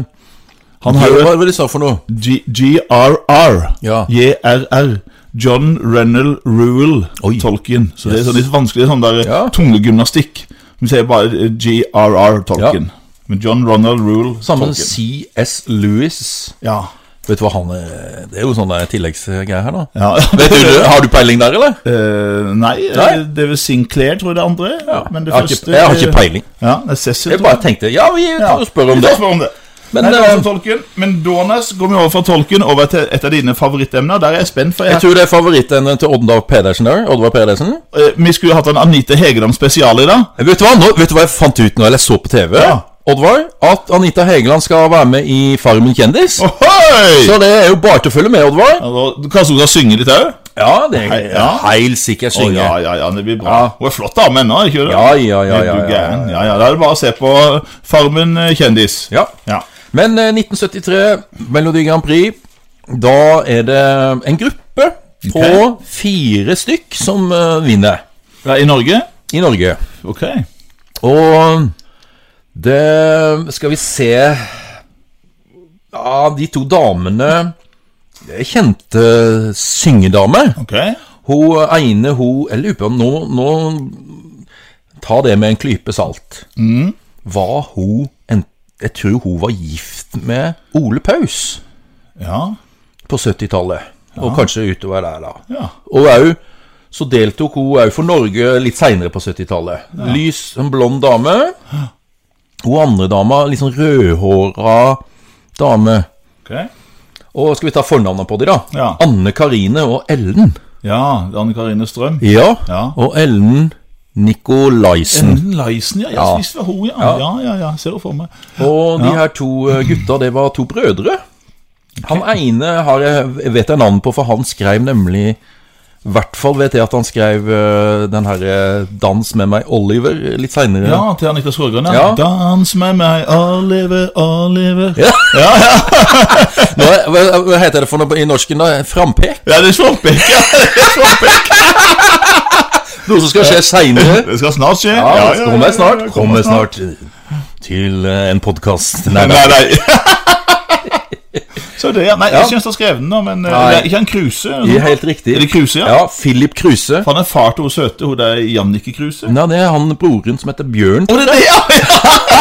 [SPEAKER 2] Han
[SPEAKER 1] Hva
[SPEAKER 2] har jo
[SPEAKER 1] hva var det de sa for noe?
[SPEAKER 2] G- GRR.
[SPEAKER 1] Ja.
[SPEAKER 2] JRR. John Rennell Rule
[SPEAKER 1] Oi.
[SPEAKER 2] Tolkien. Så det er
[SPEAKER 1] Yes.
[SPEAKER 2] sånn litt vanskelig sånn der
[SPEAKER 1] Ja.
[SPEAKER 2] tungegymnastikk. Vi sier bare eh, GRR Tolkien. Men John Ronald Rule
[SPEAKER 1] Sammen
[SPEAKER 2] Tolkien.
[SPEAKER 1] CS Lewis.
[SPEAKER 2] Ja.
[SPEAKER 1] Vet du hva han er Det er jo sånn der tilleggsgreie her, da.
[SPEAKER 2] ja.
[SPEAKER 1] Vet du, Har du peiling der, eller?
[SPEAKER 2] Eh, nei,
[SPEAKER 1] Nei.
[SPEAKER 2] eh, det er vel Sinclair, tror jeg det andre. er,
[SPEAKER 1] Ja.
[SPEAKER 2] Men det
[SPEAKER 1] Jeg har ikke-
[SPEAKER 2] første
[SPEAKER 1] jeg har ikke
[SPEAKER 2] er-
[SPEAKER 1] peiling.
[SPEAKER 2] Ja, det er Cecil.
[SPEAKER 1] Jeg bare tenkte Ja, vi kan jo spørre om det.
[SPEAKER 2] Spør om det.
[SPEAKER 1] Men,
[SPEAKER 2] Nei, det var
[SPEAKER 1] eh,
[SPEAKER 2] altså Tolkien. Men Dornes går vi over fra Tolkien over til et av dine favorittemner. Der er jeg spent, for jeg,
[SPEAKER 1] Jeg tror det er favorittene til Oddvar Pedersen der. Oddvar Pedersen.
[SPEAKER 2] Eh, vi skulle hatt en Anita Hegeland spesial i dag.
[SPEAKER 1] Vet du, hva? Nå, vet du hva jeg fant ut når jeg så på TV?
[SPEAKER 2] Ja.
[SPEAKER 1] Oddvar, At Anita Hegeland skal være med i Farmen kjendis.
[SPEAKER 2] Ohoi!
[SPEAKER 1] Så det er jo bare til å følge med, Oddvar.
[SPEAKER 2] Altså, Kanskje hun skal synge litt òg?
[SPEAKER 1] Ja, det er
[SPEAKER 2] Hei, ja.
[SPEAKER 1] heil sikkert synge.
[SPEAKER 2] ja, ja, ja, det blir bra. Hun er flott dame ennå, ikke det?
[SPEAKER 1] Ja, ja, ja,
[SPEAKER 2] Er du
[SPEAKER 1] ja, ja.
[SPEAKER 2] gæren? ja, ja. Da er det bare å se på Farmen eh, kjendis.
[SPEAKER 1] Ja.
[SPEAKER 2] ja.
[SPEAKER 1] Men eh, 1973, Melodi Grand Prix, da er det en gruppe på
[SPEAKER 2] Ok.
[SPEAKER 1] fire stykk som eh, vinner
[SPEAKER 2] Ja, I Norge?
[SPEAKER 1] i Norge.
[SPEAKER 2] Ok.
[SPEAKER 1] Og det Skal vi se Ja, de to damene det er Kjente syngedamer.
[SPEAKER 2] ok
[SPEAKER 1] Hun ene, hun Jeg lurer på om nå, nå Ta det med en klype salt. Var hun en, Jeg tror hun var gift med Ole Paus
[SPEAKER 2] Ja.
[SPEAKER 1] på 70-tallet. Og kanskje utover der, da.
[SPEAKER 2] ja.
[SPEAKER 1] Og òg så deltok hun òg for Norge litt seinere på 70-tallet. Lys, en blond dame. Hun andre dama, litt sånn rødhåra dame.
[SPEAKER 2] Ok.
[SPEAKER 1] Og skal vi ta fornavnene på de da?
[SPEAKER 2] Ja.
[SPEAKER 1] Anne Karine og Ellen.
[SPEAKER 2] Ja, det er Anne Karine Strøm.
[SPEAKER 1] Ja.
[SPEAKER 2] Ja.
[SPEAKER 1] Og Ellen Nikolaisen.
[SPEAKER 2] Ellen Leisen, ja.
[SPEAKER 1] Mm. Ja.
[SPEAKER 2] Ja, visst var hun, ja. Ja, ja, ja. Ser hun for meg.
[SPEAKER 1] Og de her to eh, gutta, det var to brødre. Han ene har jeg jeg vet jeg navnet på, for han skrev nemlig I hvert fall vet jeg at han skrev eh, den herre 'Dans med meg, Oliver' litt seinere.
[SPEAKER 2] Ja, til Anita Skorgren, ja.
[SPEAKER 1] Ja.
[SPEAKER 2] Dans med meg, Oliver, Oliver. Ja,
[SPEAKER 1] Nå er- Hva, hva heter det for noe i norsken? da? Frampek?
[SPEAKER 2] det er Svampek, ja. Det er Svampek.
[SPEAKER 1] Noe som skal skje seinere?
[SPEAKER 2] Det skal snart skje.
[SPEAKER 1] Ja,
[SPEAKER 2] ja, ja,
[SPEAKER 1] kommer
[SPEAKER 2] ja,
[SPEAKER 1] snart.
[SPEAKER 2] ja, ja,
[SPEAKER 1] Kommer snart til eh, en podkast. Nei,
[SPEAKER 2] Nei,
[SPEAKER 1] nei.
[SPEAKER 2] nei, nei. Så det, ja. Nei, jeg synes det er skrevet den, da, men eh,
[SPEAKER 1] Nei.
[SPEAKER 2] det er ikke han Kruse?
[SPEAKER 1] Det er Helt riktig.
[SPEAKER 2] Er det Kruse, ja?
[SPEAKER 1] Ja, Philip Kruse.
[SPEAKER 2] For han er far til hun søte, hun der Jannicke Kruse.
[SPEAKER 1] Nei, det er han broren som heter Bjørn.
[SPEAKER 2] Å, det er det, ja!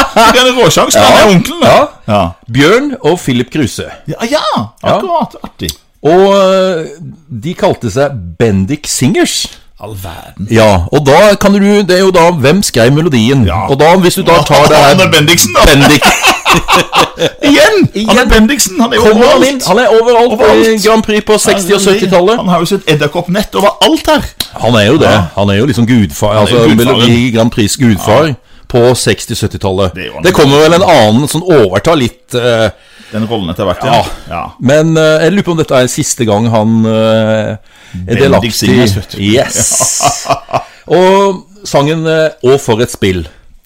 [SPEAKER 2] Det er en råsjans, han er onkelen, da.
[SPEAKER 1] Ja.
[SPEAKER 2] Ja.
[SPEAKER 1] Bjørn og Philip Kruse.
[SPEAKER 2] Ja, ja, akkurat. Artig.
[SPEAKER 1] Og eh, de kalte seg Bendik Singers.
[SPEAKER 2] All verden.
[SPEAKER 1] Ja, og da kan du Det er jo da Hvem skrev melodien?
[SPEAKER 2] Ja.
[SPEAKER 1] Og da, hvis du da tar det
[SPEAKER 2] Han
[SPEAKER 1] her
[SPEAKER 2] er Bendiksen, da.
[SPEAKER 1] Bendik
[SPEAKER 2] Igjen! Han
[SPEAKER 1] Igjen.
[SPEAKER 2] er Bendiksen, han er
[SPEAKER 1] Kommer han inn?
[SPEAKER 2] overalt.
[SPEAKER 1] Han er overalt, i
[SPEAKER 2] Overalt.
[SPEAKER 1] Grand Prix på 60- og 70-tallet.
[SPEAKER 2] Han har jo sitt edderkoppnett over alt her.
[SPEAKER 1] Han er jo det. Han er jo liksom gudfar. Altså
[SPEAKER 2] gudfaren.
[SPEAKER 1] Melodi Grand Prix' gudfar på 60-70-tallet.
[SPEAKER 2] Det er jo han.
[SPEAKER 1] Det kommer vel en annen som overtar litt eh,
[SPEAKER 2] Den rollen etter hvert,
[SPEAKER 1] Ja.
[SPEAKER 2] ja.
[SPEAKER 1] Men eh, jeg lurer på om dette er siste gang han eh, er delaktig.
[SPEAKER 2] Singers, vet du.
[SPEAKER 1] Yes. Og sangen eh, 'Å, for et spill'.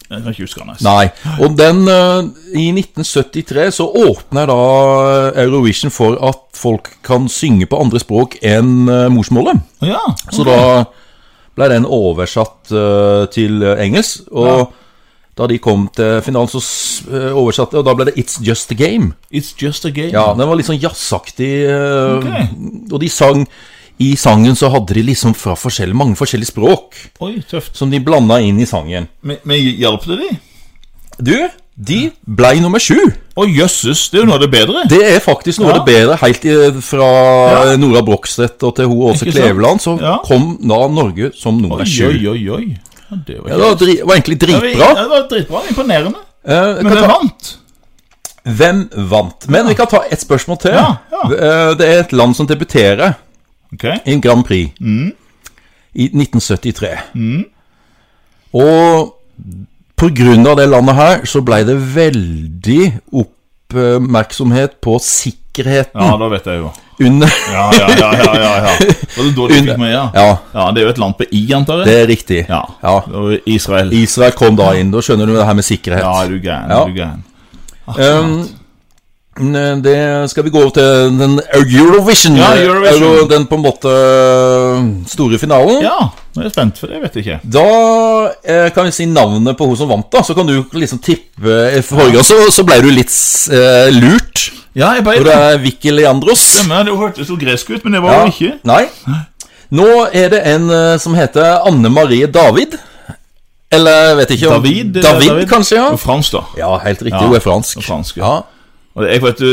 [SPEAKER 2] Jeg kan ikke huske han, altså.
[SPEAKER 1] Nei. Og den eh, I 1973 så åpner da Eurovision for at folk kan synge på andre språk enn eh, morsmålet.
[SPEAKER 2] Ja.
[SPEAKER 1] Så da ble den oversatt eh, til eh, engelsk, og da de kom til finalen, så s- eh, oversatte Og da ble det 'It's Just A Game'.
[SPEAKER 2] It's just a game.
[SPEAKER 1] Ja, Den var litt sånn jazzaktig, eh,
[SPEAKER 2] Ok.
[SPEAKER 1] og de sang I sangen så hadde de liksom fra forskjellige, mange forskjellige språk
[SPEAKER 2] Oi, tøft.
[SPEAKER 1] som de blanda inn i sangen.
[SPEAKER 2] Men, men hjalp det de?
[SPEAKER 1] Du, de blei nummer sju.
[SPEAKER 2] Å, jøsses, det er jo noe av det bedre.
[SPEAKER 1] Det er faktisk noe av det bedre. Helt i- fra eh,
[SPEAKER 2] Ja.
[SPEAKER 1] Nora Brogstvedt og til hun Åse
[SPEAKER 2] Ikke sant?
[SPEAKER 1] Kleveland, så
[SPEAKER 2] Ja.
[SPEAKER 1] kom da Norge som nummer
[SPEAKER 2] Oi,
[SPEAKER 1] sju.
[SPEAKER 2] oi, oi, oi. Ja, det var
[SPEAKER 1] Ja, det var, dri var egentlig
[SPEAKER 2] dritbra.
[SPEAKER 1] dritbra.
[SPEAKER 2] Ja, det var dritbra, imponerende.
[SPEAKER 1] Eh,
[SPEAKER 2] Men
[SPEAKER 1] kan
[SPEAKER 2] det
[SPEAKER 1] ta,
[SPEAKER 2] vant.
[SPEAKER 1] hvem vant? Men vi kan ta et spørsmål til.
[SPEAKER 2] Ja, ja.
[SPEAKER 1] Eh, Det er et land som debuterer
[SPEAKER 2] Ok.
[SPEAKER 1] i en Grand Prix
[SPEAKER 2] Mm.
[SPEAKER 1] i 1973. Og på grunn av det landet her, så ble det veldig oppmerksomhet på sikkerhet sikkerheten
[SPEAKER 2] Ja, da vet jeg jo.
[SPEAKER 1] under
[SPEAKER 2] Ja, ja, ja. ja, ja, ja. Var det da du fikk
[SPEAKER 1] Under-
[SPEAKER 2] med, ja?
[SPEAKER 1] Ja.
[SPEAKER 2] ja? Det er jo et land på I, antar
[SPEAKER 1] Det
[SPEAKER 2] jeg?
[SPEAKER 1] er riktig.
[SPEAKER 2] Ja.
[SPEAKER 1] Ja.
[SPEAKER 2] Og Israel.
[SPEAKER 1] Israel kom da inn. Da skjønner du det her med sikkerhet.
[SPEAKER 2] Ja, er du gæren.
[SPEAKER 1] Ja.
[SPEAKER 2] Er du gæren.
[SPEAKER 1] Um, ne, det skal vi gå over til den Eurovision.
[SPEAKER 2] Ja, Eurovision.
[SPEAKER 1] Euro- Den på en måte øh, store finalen.
[SPEAKER 2] Ja, nå er jeg spent, for det vet jeg ikke.
[SPEAKER 1] Da eh, kan vi si navnet på hun som vant, da. Så kan du liksom tippe eh, Forrige gang så, så ble du litt s- eh, lurt.
[SPEAKER 2] Ja, jeg
[SPEAKER 1] Og
[SPEAKER 2] bare
[SPEAKER 1] det er Vicky Leandros.
[SPEAKER 2] stemmer. Det hørtes jo gresk ut, men det var jo ikke.
[SPEAKER 1] Nei. Nå er det en eh, som heter Anne Marie David. Eller jeg vet ikke om
[SPEAKER 2] David, eh,
[SPEAKER 1] David, kanskje, ja.
[SPEAKER 2] Og fransk, da.
[SPEAKER 1] Ja, helt riktig.
[SPEAKER 2] Ja,
[SPEAKER 1] hun er fransk.
[SPEAKER 2] hun er fransk, ja.
[SPEAKER 1] ja.
[SPEAKER 2] Og jeg vet, du,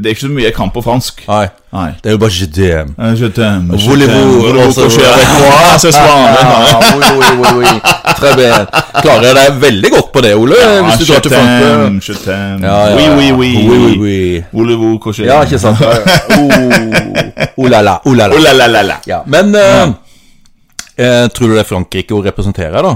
[SPEAKER 2] det er ikke så mye jeg kan på fransk.
[SPEAKER 1] Nei.
[SPEAKER 2] Nei.
[SPEAKER 1] Det er jo bare GDM.
[SPEAKER 2] Eh, Je t'aime, je
[SPEAKER 1] Voulez-vous
[SPEAKER 2] t'aime, voulez-vous
[SPEAKER 1] også-
[SPEAKER 2] coucher avec moi Ah, ce soir?
[SPEAKER 1] Ja, oui, oui, oui, oui. Très bien. Klarer jeg deg veldig godt på det, Ole?
[SPEAKER 2] Ja,
[SPEAKER 1] hvis du
[SPEAKER 2] ah, je
[SPEAKER 1] drar til Frankrike.
[SPEAKER 2] t'aime, je t'aime.
[SPEAKER 1] Ja, ja,
[SPEAKER 2] Oui,
[SPEAKER 1] ja.
[SPEAKER 2] oui, oui.
[SPEAKER 1] Ah, Oui, oui, oui.
[SPEAKER 2] Voulez-vous coucher?
[SPEAKER 1] Ja, ikke sant? Oh, oh la la, oh la
[SPEAKER 2] Oh
[SPEAKER 1] la.
[SPEAKER 2] la la la la.
[SPEAKER 1] Ja, men eh, eh, tror du det er Frankrike hun representerer, da?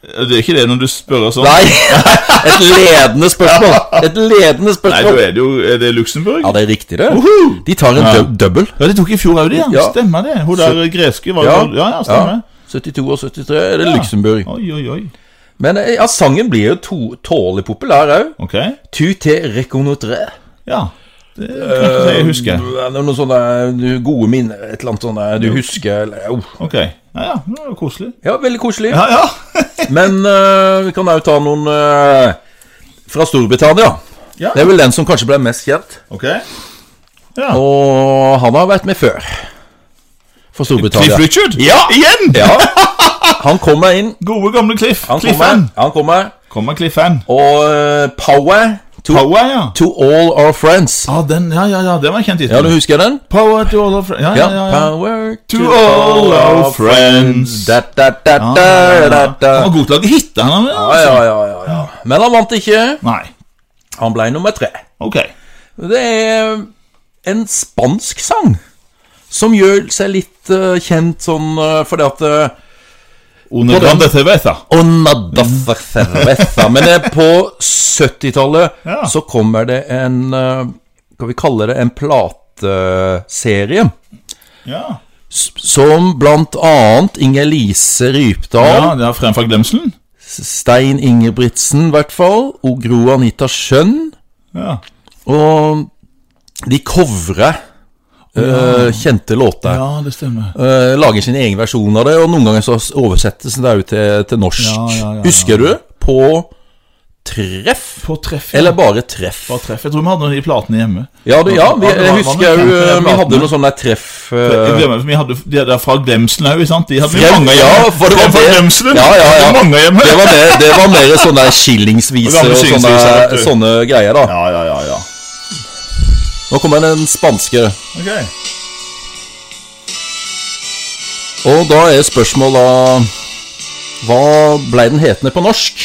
[SPEAKER 2] Det er ikke det når du spør sånn.
[SPEAKER 1] Nei! Et ledende spørsmål! Et ledende
[SPEAKER 2] Nei, da
[SPEAKER 1] spørsmål.
[SPEAKER 2] er det jo Er det Luxembourg?
[SPEAKER 1] Ja, det er riktig, det.
[SPEAKER 2] Uhu!
[SPEAKER 1] De tar en dub double.
[SPEAKER 2] Ja, de tok i fjor òg, de. Ja.
[SPEAKER 1] Ja.
[SPEAKER 2] Stemmer det. Hun der greske var jo
[SPEAKER 1] Ja.
[SPEAKER 2] Ja, ja, stemmer.
[SPEAKER 1] 72 og 73 er det Luxembourg.
[SPEAKER 2] Oi, oi, oi.
[SPEAKER 1] Men eh, ja, sangen blir jo to tålelig populær òg.
[SPEAKER 2] Ok.
[SPEAKER 1] Tu te reconnotre.
[SPEAKER 2] Ja. Det kan
[SPEAKER 1] Eh,
[SPEAKER 2] ikke si jeg husker.
[SPEAKER 1] Noen sånne du, gode minner, et eller annet sånt der, du husker eller, oh.
[SPEAKER 2] Ok. Ja, ja. Det var jo koselig.
[SPEAKER 1] Ja, veldig koselig.
[SPEAKER 2] Ja, ja.
[SPEAKER 1] Men eh, vi kan òg ta noen eh, fra Storbritannia.
[SPEAKER 2] Ja.
[SPEAKER 1] Det er vel den som kanskje ble mest kjent.
[SPEAKER 2] Ok. Ja.
[SPEAKER 1] Og han har vært med før. For
[SPEAKER 2] Cliff
[SPEAKER 1] Storbritannia.
[SPEAKER 2] Richard? Ja! Igjen!
[SPEAKER 1] Ja, han kommer inn.
[SPEAKER 2] Gode, gamle Cliff.
[SPEAKER 1] Han
[SPEAKER 2] Cliff-fan.
[SPEAKER 1] kommer. Han kommer.
[SPEAKER 2] Kommer Cliff-fan.
[SPEAKER 1] Og eh, Power to,
[SPEAKER 2] Power, ja.
[SPEAKER 1] to all our friends.
[SPEAKER 2] Ja, den, ja, ja, ja, det var en kjent
[SPEAKER 1] Ja, du
[SPEAKER 2] tittel.
[SPEAKER 1] husker den?
[SPEAKER 2] Power to all our friends. Ja, ja, ja. ja.
[SPEAKER 1] Power
[SPEAKER 2] To all our friends.
[SPEAKER 1] Da, da, da,
[SPEAKER 2] Ja,
[SPEAKER 1] da, da,
[SPEAKER 2] ja, ja, ja.
[SPEAKER 1] da.
[SPEAKER 2] Han var god til å lage hit, han. han,
[SPEAKER 1] Ja, ja, ja, ja, ja. Men han vant ikke.
[SPEAKER 2] Nei.
[SPEAKER 1] Han ble nummer tre.
[SPEAKER 2] Ok.
[SPEAKER 1] Det er eh, en spansk sang som gjør seg litt eh, kjent sånn eh, fordi at eh, Mm.
[SPEAKER 2] Under
[SPEAKER 1] På den.
[SPEAKER 2] Grande Cerveza.
[SPEAKER 1] Og nada for cerveza. Men eh, på 70-tallet
[SPEAKER 2] Ja.
[SPEAKER 1] så kommer det en eh, Skal vi kalle det en plateserie?
[SPEAKER 2] Ja.
[SPEAKER 1] s- Som blant annet Inger-Lise Rypdal,
[SPEAKER 2] ja, det er fremfor glemselen.
[SPEAKER 1] Stein Ingebrigtsen i hvert fall, og Gro Anita Schjønn.
[SPEAKER 2] Ja.
[SPEAKER 1] Og de covrer eh, kjente låter.
[SPEAKER 2] ja, det stemmer.
[SPEAKER 1] Eh, lager sin egen versjon av det, og noen ganger så oversettes det jo til, til norsk.
[SPEAKER 2] Ja, ja, ja, ja.
[SPEAKER 1] Husker du? På treff.
[SPEAKER 2] På treff.
[SPEAKER 1] Eller bare treff.
[SPEAKER 2] Bare treff. Jeg tror vi hadde noen av de platene hjemme.
[SPEAKER 1] Ja, du, ja vi,
[SPEAKER 2] Ja, det var-
[SPEAKER 1] jeg
[SPEAKER 2] var
[SPEAKER 1] husker
[SPEAKER 2] noen
[SPEAKER 1] jo eh,
[SPEAKER 2] kjente
[SPEAKER 1] vi
[SPEAKER 2] platene.
[SPEAKER 1] hadde noe sånn der treff
[SPEAKER 2] Jeg
[SPEAKER 1] eh,
[SPEAKER 2] glemmer, for vi hadde de der fra Glemselen òg, sant? De hadde vi
[SPEAKER 1] Frem-
[SPEAKER 2] mange
[SPEAKER 1] ja,
[SPEAKER 2] hjemme.
[SPEAKER 1] for det var
[SPEAKER 2] Frem fra
[SPEAKER 1] det-
[SPEAKER 2] Glemselen.
[SPEAKER 1] Ja, ja, ja.
[SPEAKER 2] Det var mange hjemme.
[SPEAKER 1] Det var mer, det var mer sånne der skillingsviser
[SPEAKER 2] Gamle
[SPEAKER 1] og sånne,
[SPEAKER 2] skillingsviser, vet du.
[SPEAKER 1] sånne greier, da.
[SPEAKER 2] Ja, ja, ja, ja.
[SPEAKER 1] Nå kommer den spanske.
[SPEAKER 2] Ok.
[SPEAKER 1] Og da er spørsmålet da Hva ble den hetende på norsk?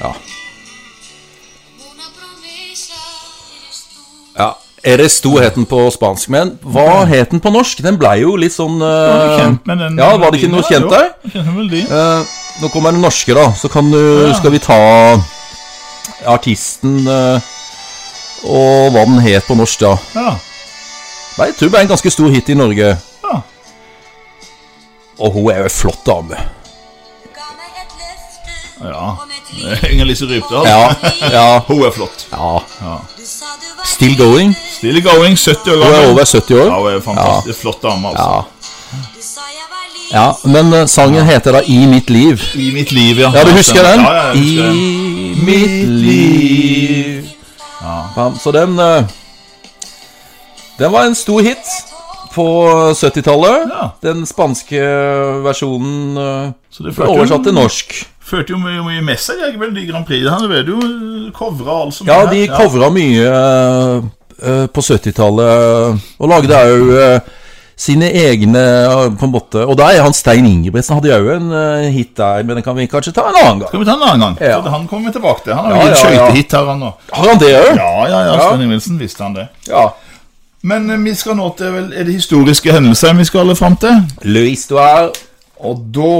[SPEAKER 1] Ja.
[SPEAKER 4] Una promesa eres tú.
[SPEAKER 1] ja. Eres sto het den på spansk, men hva het den på norsk? Den blei jo litt sånn
[SPEAKER 2] Var du
[SPEAKER 1] eh,
[SPEAKER 2] kjent med den
[SPEAKER 1] Ja, var det ikke noe kjent der?
[SPEAKER 2] der?
[SPEAKER 1] Eh, nå kommer den norske, da. Så kan du,
[SPEAKER 2] Ja.
[SPEAKER 1] skal vi ta artisten eh, og hva den het på norsk, da.
[SPEAKER 2] Ja.
[SPEAKER 1] Nei, jeg tror det er en ganske stor hit i Norge.
[SPEAKER 2] ja.
[SPEAKER 1] Og hun er jo en flott dame.
[SPEAKER 4] Ga meg et løfte
[SPEAKER 2] Ja.
[SPEAKER 4] om et liv.
[SPEAKER 2] Inger-Lise Rypdal.
[SPEAKER 1] Ja, ja,
[SPEAKER 2] Hun er flott.
[SPEAKER 1] ja.
[SPEAKER 4] Du sa du var
[SPEAKER 1] Still going.
[SPEAKER 2] Still going, 70 år
[SPEAKER 1] Hun er
[SPEAKER 2] gammel.
[SPEAKER 1] over 70
[SPEAKER 2] Ja,
[SPEAKER 1] år.
[SPEAKER 2] hun er fantastisk flott dame, altså.
[SPEAKER 1] Ja,
[SPEAKER 4] Du sa jeg var liv.
[SPEAKER 1] ja. Men eh, sangen heter da I mitt liv.
[SPEAKER 2] I mitt liv, ja.
[SPEAKER 1] Ja, du husker den?
[SPEAKER 2] Ja, ja, jeg husker den.
[SPEAKER 1] I mitt liv. Ja, så den eh, Den var en stor hit på 70-tallet.
[SPEAKER 2] Ja.
[SPEAKER 1] Den spanske versjonen eh,
[SPEAKER 2] Så det
[SPEAKER 1] ble oversatt til norsk.
[SPEAKER 2] Førte jo mye, mye med seg, jeg, vel, de Grand Prix. Han ble jo covra alt som
[SPEAKER 1] Ja,
[SPEAKER 2] er.
[SPEAKER 1] de covra mye eh, eh, på 70-tallet, og lagde òg sine egne eh, på en måte Og der er han Stein Ingebrigtsen hadde òg en eh, hit der, men den kan vi kanskje ta en annen gang.
[SPEAKER 2] Skal vi ta en annen gang?
[SPEAKER 1] Ja.
[SPEAKER 2] For Han kommer vi tilbake til. Han har
[SPEAKER 1] Ja,
[SPEAKER 2] jo ja,
[SPEAKER 1] ja, ja.
[SPEAKER 2] skøytehit her, han nå.
[SPEAKER 1] Har han det òg?
[SPEAKER 2] Ja, ja, ja.
[SPEAKER 1] Ja.
[SPEAKER 2] Sven Ingvildsen visste han det.
[SPEAKER 1] Ja.
[SPEAKER 2] Men eh, vi skal nå til vel, er det historiske hendelser vi skal alle fram til.
[SPEAKER 1] Le Histoire.
[SPEAKER 2] Og da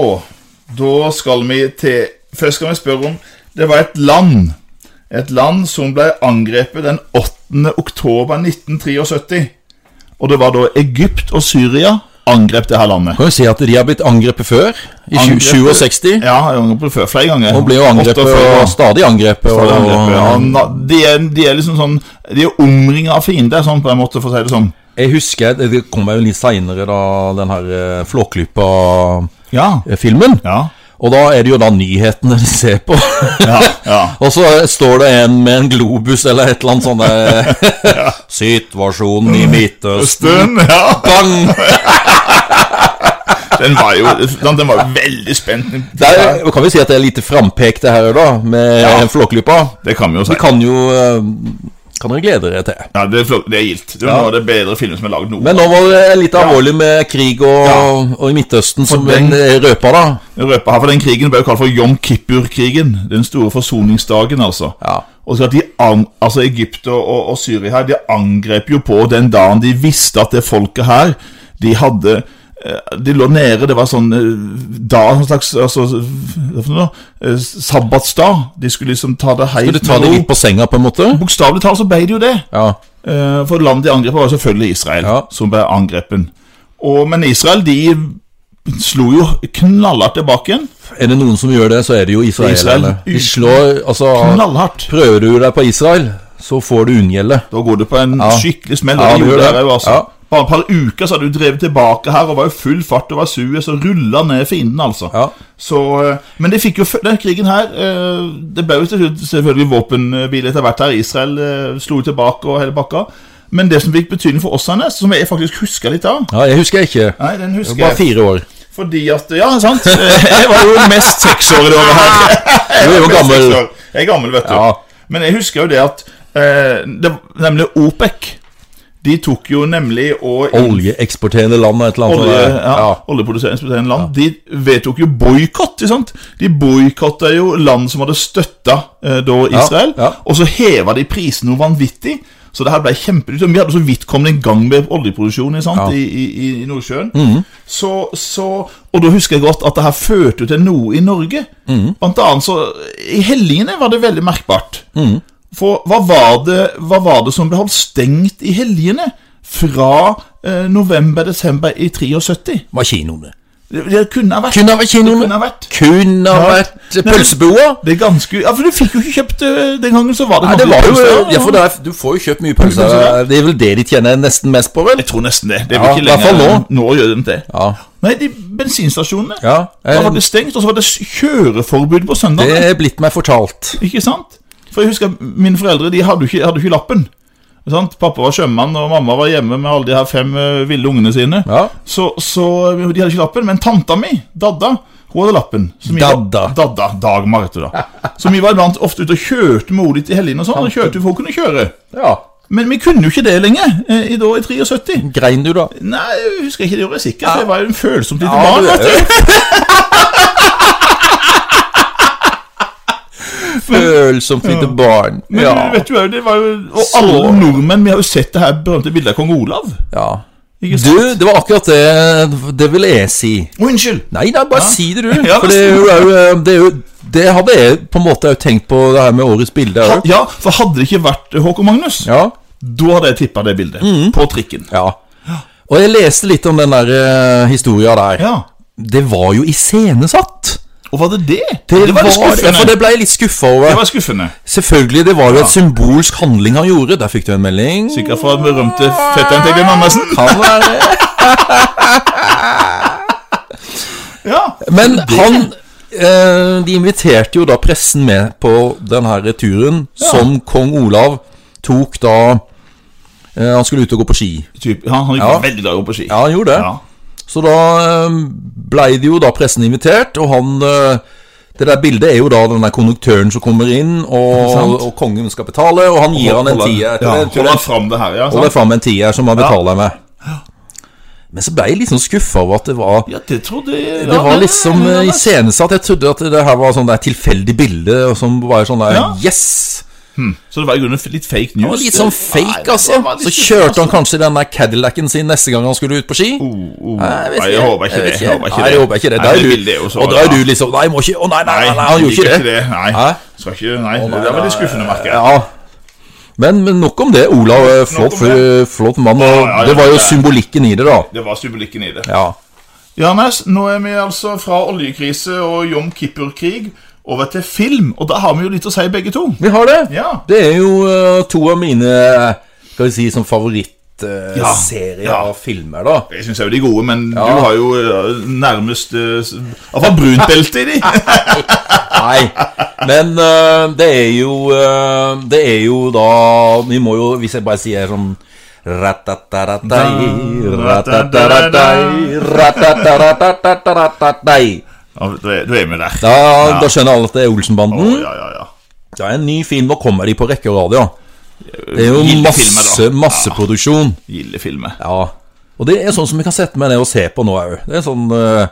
[SPEAKER 2] Da skal vi til Først skal vi spørre om Det var et land. Et land som ble angrepet den 8. oktober 1973. Og det var da Egypt og Syria angrep det her landet.
[SPEAKER 1] Kan jo si at de har blitt angrepet før, i tju-
[SPEAKER 2] Angrepet-
[SPEAKER 1] 67.
[SPEAKER 2] Ja, jeg har angrepet før flere ganger.
[SPEAKER 1] Og ble jo angrepet,
[SPEAKER 2] 48
[SPEAKER 1] og stadig angrepet.
[SPEAKER 2] for det angrepet. Ja,
[SPEAKER 1] Og,
[SPEAKER 2] na- de, er, de er liksom sånn De er omringa av fiender, sånn på en måte, for å si det sånn.
[SPEAKER 1] jeg husker, det det kom jo litt seinere, da, den her eh, Flåklypa-filmen.
[SPEAKER 2] Ja. Ja.
[SPEAKER 1] Og da er det jo da nyhetene de ser på.
[SPEAKER 2] Ja. ja.
[SPEAKER 1] Og så står det en med en globus eller et eller annet sånt der. Situasjonen i Midtøsten.
[SPEAKER 2] Stund, ja.
[SPEAKER 1] Bang!
[SPEAKER 2] Den var jo den, den var jo veldig spent.
[SPEAKER 1] Det er, kan vi si at det er lite frampek det her òg, da, med
[SPEAKER 2] Ja.
[SPEAKER 1] Flåklypa.
[SPEAKER 2] Det kan vi jo si.
[SPEAKER 1] Det kan jo eh, Kan dere glede dere til.
[SPEAKER 2] Ja, det, er flott. det er gildt. Det er noe av det bedre filmen som er lagd nå.
[SPEAKER 1] Men nå var det litt alvorlig med krig og, og i Midtøsten, som
[SPEAKER 2] den-
[SPEAKER 1] den røpa, da.
[SPEAKER 2] Røpa her, for Den krigen ble jo kalt for Jom Kippur-krigen. Den store forsoningsdagen, altså.
[SPEAKER 1] Ja.
[SPEAKER 2] Og så at de an, altså Egypt og, og, og Syria her, de angrep jo på den dagen de visste at det folket her De hadde eh, De lå nede, det var sånn eh, da, en slags altså, hva for noe, da? Eh, Sabbatsdag. De skulle liksom ta det helt
[SPEAKER 1] Vil du ta det litt på senga, på en måte?
[SPEAKER 2] Bokstavelig talt så ble det jo det.
[SPEAKER 1] Ja.
[SPEAKER 2] Eh, For landet de angrep, var jo selvfølgelig Israel,
[SPEAKER 1] Ja.
[SPEAKER 2] som ble angrepen. Og, men Israel de slo jo knallhardt tilbake igjen.
[SPEAKER 1] Er det noen som gjør det, så er det jo israelerne.
[SPEAKER 2] Israel-
[SPEAKER 1] De slår Altså,
[SPEAKER 2] Knallhardt.
[SPEAKER 1] prøver du deg på Israel, så får du unngjelde.
[SPEAKER 2] Da går du på en
[SPEAKER 1] Ja.
[SPEAKER 2] skikkelig smell.
[SPEAKER 1] Ja,
[SPEAKER 2] og det
[SPEAKER 1] du gjør
[SPEAKER 2] gjorde
[SPEAKER 1] det.
[SPEAKER 2] jeg jo, altså.
[SPEAKER 1] Ja.
[SPEAKER 2] Bare et par uker så hadde du drevet tilbake her og var i full fart over Suez og rulla ned fienden, altså.
[SPEAKER 1] Ja.
[SPEAKER 2] Så, eh, men de fikk jo fø- den krigen her eh, Det ble jo til slutt selvfølgelig våpenhvile etter hvert her. Israel eh, slo tilbake og hele bakka. Men det som fikk betydning for oss, Anders, som jeg faktisk husker litt av
[SPEAKER 1] Ja, jeg husker ikke. Jeg
[SPEAKER 2] Nei, den husker
[SPEAKER 1] var bare
[SPEAKER 2] jeg.
[SPEAKER 1] fire år.
[SPEAKER 2] Fordi at Ja, sant. Jeg var jo mest seksårig det året her.
[SPEAKER 1] Du er jo
[SPEAKER 2] Mest
[SPEAKER 1] gammel.
[SPEAKER 2] seksårig. Jeg er gammel, vet du.
[SPEAKER 1] Ja.
[SPEAKER 2] Men jeg husker jo det at eh, det, Nemlig OPEC. De tok jo nemlig og
[SPEAKER 1] Oljeeksporterende land og et eller annet.
[SPEAKER 2] Olje,
[SPEAKER 1] sånt der.
[SPEAKER 2] ja, oljeproduserende land. De vedtok jo boikott. ikke sant? De boikotta jo land som hadde støtta eh, da Israel.
[SPEAKER 1] ja.
[SPEAKER 2] Og så heva de prisen noe vanvittig. Så det her ble kjempedyrt. Vi hadde så vidt kommet i gang med oljeproduksjon ikke sant?
[SPEAKER 1] Ja. Mhm.
[SPEAKER 2] I, i, i- i Nordsjøen. Så, så, og da husker jeg godt at det her førte jo til noe i Norge.
[SPEAKER 1] Mhm.
[SPEAKER 2] Blant annet så I helgene var det veldig merkbart.
[SPEAKER 1] Mhm.
[SPEAKER 2] For hva var, det, hva var det som ble holdt stengt i helgene fra eh, november-desember i 73?
[SPEAKER 1] Var kinoene.
[SPEAKER 2] Det, det kunne ha vært.
[SPEAKER 1] Kunne ha vært
[SPEAKER 2] Det
[SPEAKER 1] kinoene.
[SPEAKER 2] kunne ha vært.
[SPEAKER 1] Kunne ha vært pølseboa.
[SPEAKER 2] Det er ganske Ja, for du fikk jo ikke kjøpt eh, Den gangen så var det
[SPEAKER 1] Nei, det var jo
[SPEAKER 2] pølser,
[SPEAKER 1] ja, for det er, Du får jo kjøpt mye pølser.
[SPEAKER 2] Pølser,
[SPEAKER 1] Det er vel det de tjener nesten mest på, vel?
[SPEAKER 2] Jeg tror nesten det. Det er
[SPEAKER 1] Ja,
[SPEAKER 2] ikke
[SPEAKER 1] i hvert
[SPEAKER 2] lenger
[SPEAKER 1] fall nå.
[SPEAKER 2] Nå gjør de det.
[SPEAKER 1] Ja.
[SPEAKER 2] Nei, de bensinstasjonene
[SPEAKER 1] Ja,
[SPEAKER 2] Da
[SPEAKER 1] eh,
[SPEAKER 2] var det stengt, og så var det kjøreforbud på
[SPEAKER 1] Det
[SPEAKER 2] søndag.
[SPEAKER 1] er blitt meg fortalt.
[SPEAKER 2] Ikke sant? For jeg husker mine foreldre de hadde jo ikke, hadde jo ikke lappen. Ikke Sant? Pappa var sjømann, og mamma var hjemme med alle de her fem eh, ville ungene sine.
[SPEAKER 1] Ja.
[SPEAKER 2] Så, så de hadde ikke lappen, men tanta mi, Dadda, hun hadde lappen. Så vi var-
[SPEAKER 1] Dadda.
[SPEAKER 2] Dadda, Dagmar, heter hun da. Så vi var iblant ofte ute og kjørte med henne litt i helgene og sånn, og kjørte for hun kunne kjøre.
[SPEAKER 1] Ja.
[SPEAKER 2] Men vi kunne jo ikke det lenger, eh, i, da, i 73.
[SPEAKER 1] Grein du, da?
[SPEAKER 2] Nei, jeg husker ikke det gjorde jeg sikkert. for Jeg var jo en følsom liten
[SPEAKER 1] Ja,
[SPEAKER 2] barn.
[SPEAKER 1] du er
[SPEAKER 2] vet du.
[SPEAKER 1] Følsomt lite barn.
[SPEAKER 2] Men
[SPEAKER 1] Ja.
[SPEAKER 2] du vet jo, det var jo, Og alle nordmenn, vi har jo sett det her berømte bildet av kong Olav.
[SPEAKER 1] ja.
[SPEAKER 2] Ikke
[SPEAKER 1] Du,
[SPEAKER 2] sant?
[SPEAKER 1] det var akkurat det Det ville jeg si.
[SPEAKER 2] Å, unnskyld!
[SPEAKER 1] Nei, nei, bare si det, du.
[SPEAKER 2] Ja,
[SPEAKER 1] For det, er jo- er jo- det, er jo- det hadde jeg på en måte jeg tenkt på, det her med årets bilde. er
[SPEAKER 2] Ha,
[SPEAKER 1] jo.
[SPEAKER 2] ja, for hadde det ikke vært eh, Håkon Magnus,
[SPEAKER 1] Ja. Mm.
[SPEAKER 2] da hadde jeg tippa det bildet. På trikken.
[SPEAKER 1] ja. Og jeg leste litt om den der eh, historia der.
[SPEAKER 2] Ja.
[SPEAKER 1] Det var jo iscenesatt!
[SPEAKER 2] Og var det det?
[SPEAKER 1] Det, var,
[SPEAKER 2] litt skuffende.
[SPEAKER 1] ja, for det ble jeg litt skuffa
[SPEAKER 2] Det
[SPEAKER 1] over.
[SPEAKER 2] var skuffende.
[SPEAKER 1] Selvfølgelig, det var jo et symbolsk handling han gjorde. Der fikk du en melding.
[SPEAKER 2] Sikkert fra den berømte fetteren til Bjørn Andersen.
[SPEAKER 1] Kan være.
[SPEAKER 2] Ja.
[SPEAKER 1] Men han eh, De inviterte jo da pressen med på den her turen som kong Olav tok da eh, Han skulle ut og gå på ski.
[SPEAKER 2] Typ, han, han gikk
[SPEAKER 1] Ja.
[SPEAKER 2] veldig glad i å gå på ski.
[SPEAKER 1] Ja, han gjorde det.
[SPEAKER 2] Ja.
[SPEAKER 1] Så da eh, blei det jo da pressen invitert, og han eh, Det der bildet er jo da den der konduktøren som kommer inn, og,
[SPEAKER 2] sant?
[SPEAKER 1] og kongen skal betale, og han gir han en
[SPEAKER 2] Holder-
[SPEAKER 1] tier.
[SPEAKER 2] Ja,
[SPEAKER 1] Jeg tror
[SPEAKER 2] holder
[SPEAKER 1] det-
[SPEAKER 2] han fram det her, ja.
[SPEAKER 1] Hold deg
[SPEAKER 2] Sant?
[SPEAKER 1] fram en tier som han betaler med. Men så ble jeg litt sånn skuffa over at det var
[SPEAKER 2] Ja, det trodde jeg
[SPEAKER 1] Det var liksom
[SPEAKER 2] ja,
[SPEAKER 1] eh,
[SPEAKER 2] ja, ja.
[SPEAKER 1] iscenesatt. Jeg trodde at det her var sånn der tilfeldig bilde og som bare sånn der
[SPEAKER 2] Ja.
[SPEAKER 1] Yes!
[SPEAKER 2] Så det var i grunnen litt fake news.
[SPEAKER 1] Det var litt sånn
[SPEAKER 2] Nei,
[SPEAKER 1] fake,
[SPEAKER 2] det
[SPEAKER 1] altså.
[SPEAKER 2] var litt
[SPEAKER 1] Så
[SPEAKER 2] litt-
[SPEAKER 1] kjørte han kanskje den der Cadillacen sin neste gang han skulle ut på ski.
[SPEAKER 2] oh.
[SPEAKER 1] Nei, vet
[SPEAKER 2] Nei, jeg håper ikke
[SPEAKER 1] vet
[SPEAKER 2] det, jeg håper ikke
[SPEAKER 1] Nei,
[SPEAKER 2] det.
[SPEAKER 1] jeg håper ikke det.
[SPEAKER 2] Nei,
[SPEAKER 1] Da
[SPEAKER 2] det
[SPEAKER 1] er
[SPEAKER 2] vil det jo
[SPEAKER 1] du,
[SPEAKER 2] så,
[SPEAKER 1] og da er
[SPEAKER 2] ja.
[SPEAKER 1] du liksom Nei, må ikke Å, nei, nei,
[SPEAKER 2] Nei,
[SPEAKER 1] nei, nei han gjorde
[SPEAKER 2] liker
[SPEAKER 1] ikke det.
[SPEAKER 2] Nei,
[SPEAKER 1] Hæ?
[SPEAKER 2] skal ikke Nei,
[SPEAKER 1] nei,
[SPEAKER 2] det var
[SPEAKER 1] nei,
[SPEAKER 2] litt skuffende, merker jeg.
[SPEAKER 1] Ja. Men, men nok om det. Olav, eh, flott,
[SPEAKER 2] Nok om det.
[SPEAKER 1] flott mann. Og
[SPEAKER 2] ja, ja,
[SPEAKER 1] det var jo
[SPEAKER 2] det er-
[SPEAKER 1] symbolikken i det, da.
[SPEAKER 2] Det var symbolikken i det.
[SPEAKER 1] Ja.
[SPEAKER 2] Jarnes, nå er vi altså fra oljekrise og Jom Kippur-krig over til film, og da har vi jo litt å si begge to.
[SPEAKER 1] Vi har det.
[SPEAKER 2] Ja.
[SPEAKER 1] Det er jo eh, to av mine Skal vi si sånn som
[SPEAKER 2] Ja.
[SPEAKER 1] favorittserier
[SPEAKER 2] Ja.
[SPEAKER 1] av filmer, da.
[SPEAKER 2] Jeg syns jeg er de gode, men du har jo eh, nærmest eh, s- Iallfall brunt belte i de.
[SPEAKER 1] Nei, men øh, det er jo øh, Det er jo da Vi må jo, hvis jeg bare sier sånn Ratataratai, ratataratai, ratataratataratai.
[SPEAKER 2] Ja, du er- du er med der.
[SPEAKER 1] Da, da skjønner alle at det er
[SPEAKER 2] Å,
[SPEAKER 1] Olsenbanden.
[SPEAKER 2] ja, ja, ja.
[SPEAKER 1] Det er en ny film, og kommer de på rekke og radio? Det er jo
[SPEAKER 2] Gilde filmer,
[SPEAKER 1] masse,
[SPEAKER 2] da.
[SPEAKER 1] masseproduksjon.
[SPEAKER 2] Gilde filmer.
[SPEAKER 1] Ja. Og det er sånn som vi kan sette meg ned og se på nå òg. Det er sånn øh,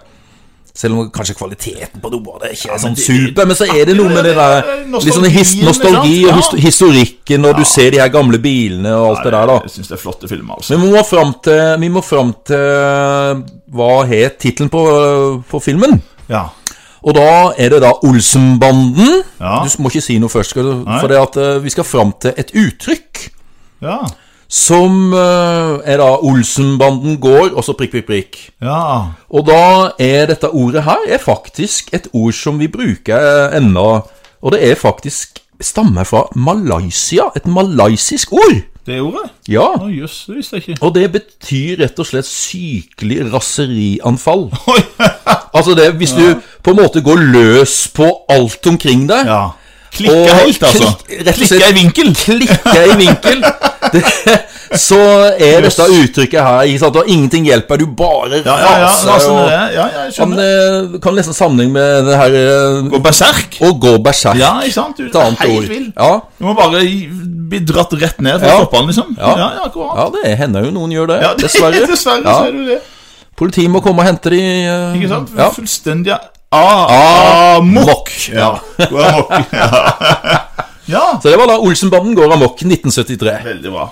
[SPEAKER 1] Selv om kanskje kvaliteten på noe av det ikke er sånn
[SPEAKER 2] det-
[SPEAKER 1] super, men så er det noe med det der
[SPEAKER 2] Nostalgien,
[SPEAKER 1] litt sånn his
[SPEAKER 2] ikke sant?
[SPEAKER 1] nostalgi og his
[SPEAKER 2] Ja.
[SPEAKER 1] historikken, og du ser de her gamle bilene og alt det der, da.
[SPEAKER 2] Jeg syns det er flotte filmer, altså.
[SPEAKER 1] Men vi må fram til, vi må fram til Hva het tittelen på, eh, på filmen?
[SPEAKER 2] Ja.
[SPEAKER 1] Og da er det da Olsenbanden.
[SPEAKER 2] Ja.
[SPEAKER 1] Du må ikke si noe først, skal du,
[SPEAKER 2] Nei.
[SPEAKER 1] for det at eh, vi skal fram til et uttrykk.
[SPEAKER 2] Ja.
[SPEAKER 1] Som eh, er da Olsenbanden går, og så prikk, prikk, prikk.
[SPEAKER 2] ja.
[SPEAKER 1] Og da er dette ordet her er faktisk et ord som vi bruker eh, ennå. Og det er faktisk stammer fra Malaysia. Et malaysisk ord.
[SPEAKER 2] Det er ordet?
[SPEAKER 1] Ja.
[SPEAKER 2] Å, jøss, det visste jeg ikke.
[SPEAKER 1] Og det betyr rett og slett sykelig raserianfall.
[SPEAKER 2] Oi.
[SPEAKER 1] Altså det hvis du på en måte går løs på alt omkring deg.
[SPEAKER 2] Ja. Klikke helt, altså.
[SPEAKER 1] klikk- rett og slett-
[SPEAKER 2] i vinkel.
[SPEAKER 1] Klikke i vinkel. Det, så er dette uttrykket her ikke sant? Og ingenting hjelper, du bare
[SPEAKER 2] Ja, ja, ja.
[SPEAKER 1] raser.
[SPEAKER 2] Rasen
[SPEAKER 1] og-
[SPEAKER 2] er det. Ja, ja, jeg
[SPEAKER 1] altså, Han
[SPEAKER 2] skjønner.
[SPEAKER 1] eh, kan nesten sammenligne med det her eh,
[SPEAKER 2] Gå berserk.
[SPEAKER 1] Å gå berserk.
[SPEAKER 2] Ja, ikke sant? Du
[SPEAKER 1] Et annet
[SPEAKER 2] er helt
[SPEAKER 1] ord.
[SPEAKER 2] vill.
[SPEAKER 1] Ja,
[SPEAKER 2] Du må bare i- bli dratt rett ned fra
[SPEAKER 1] Ja.
[SPEAKER 2] toppene, liksom.
[SPEAKER 1] Ja.
[SPEAKER 2] ja, ja akkurat.
[SPEAKER 1] ja, det hender jo noen gjør det.
[SPEAKER 2] Ja, det-
[SPEAKER 1] dessverre.
[SPEAKER 2] dessverre
[SPEAKER 1] Ja.
[SPEAKER 2] så er du det.
[SPEAKER 1] Politiet må komme og hente de eh,
[SPEAKER 2] Ikke sant?
[SPEAKER 1] Ja.
[SPEAKER 2] Fullstendig amok. Ja.
[SPEAKER 1] Ja.
[SPEAKER 2] Gå amok. Ja. ja.
[SPEAKER 1] Så det var da Olsenbanden går amok 1973.
[SPEAKER 2] Veldig bra.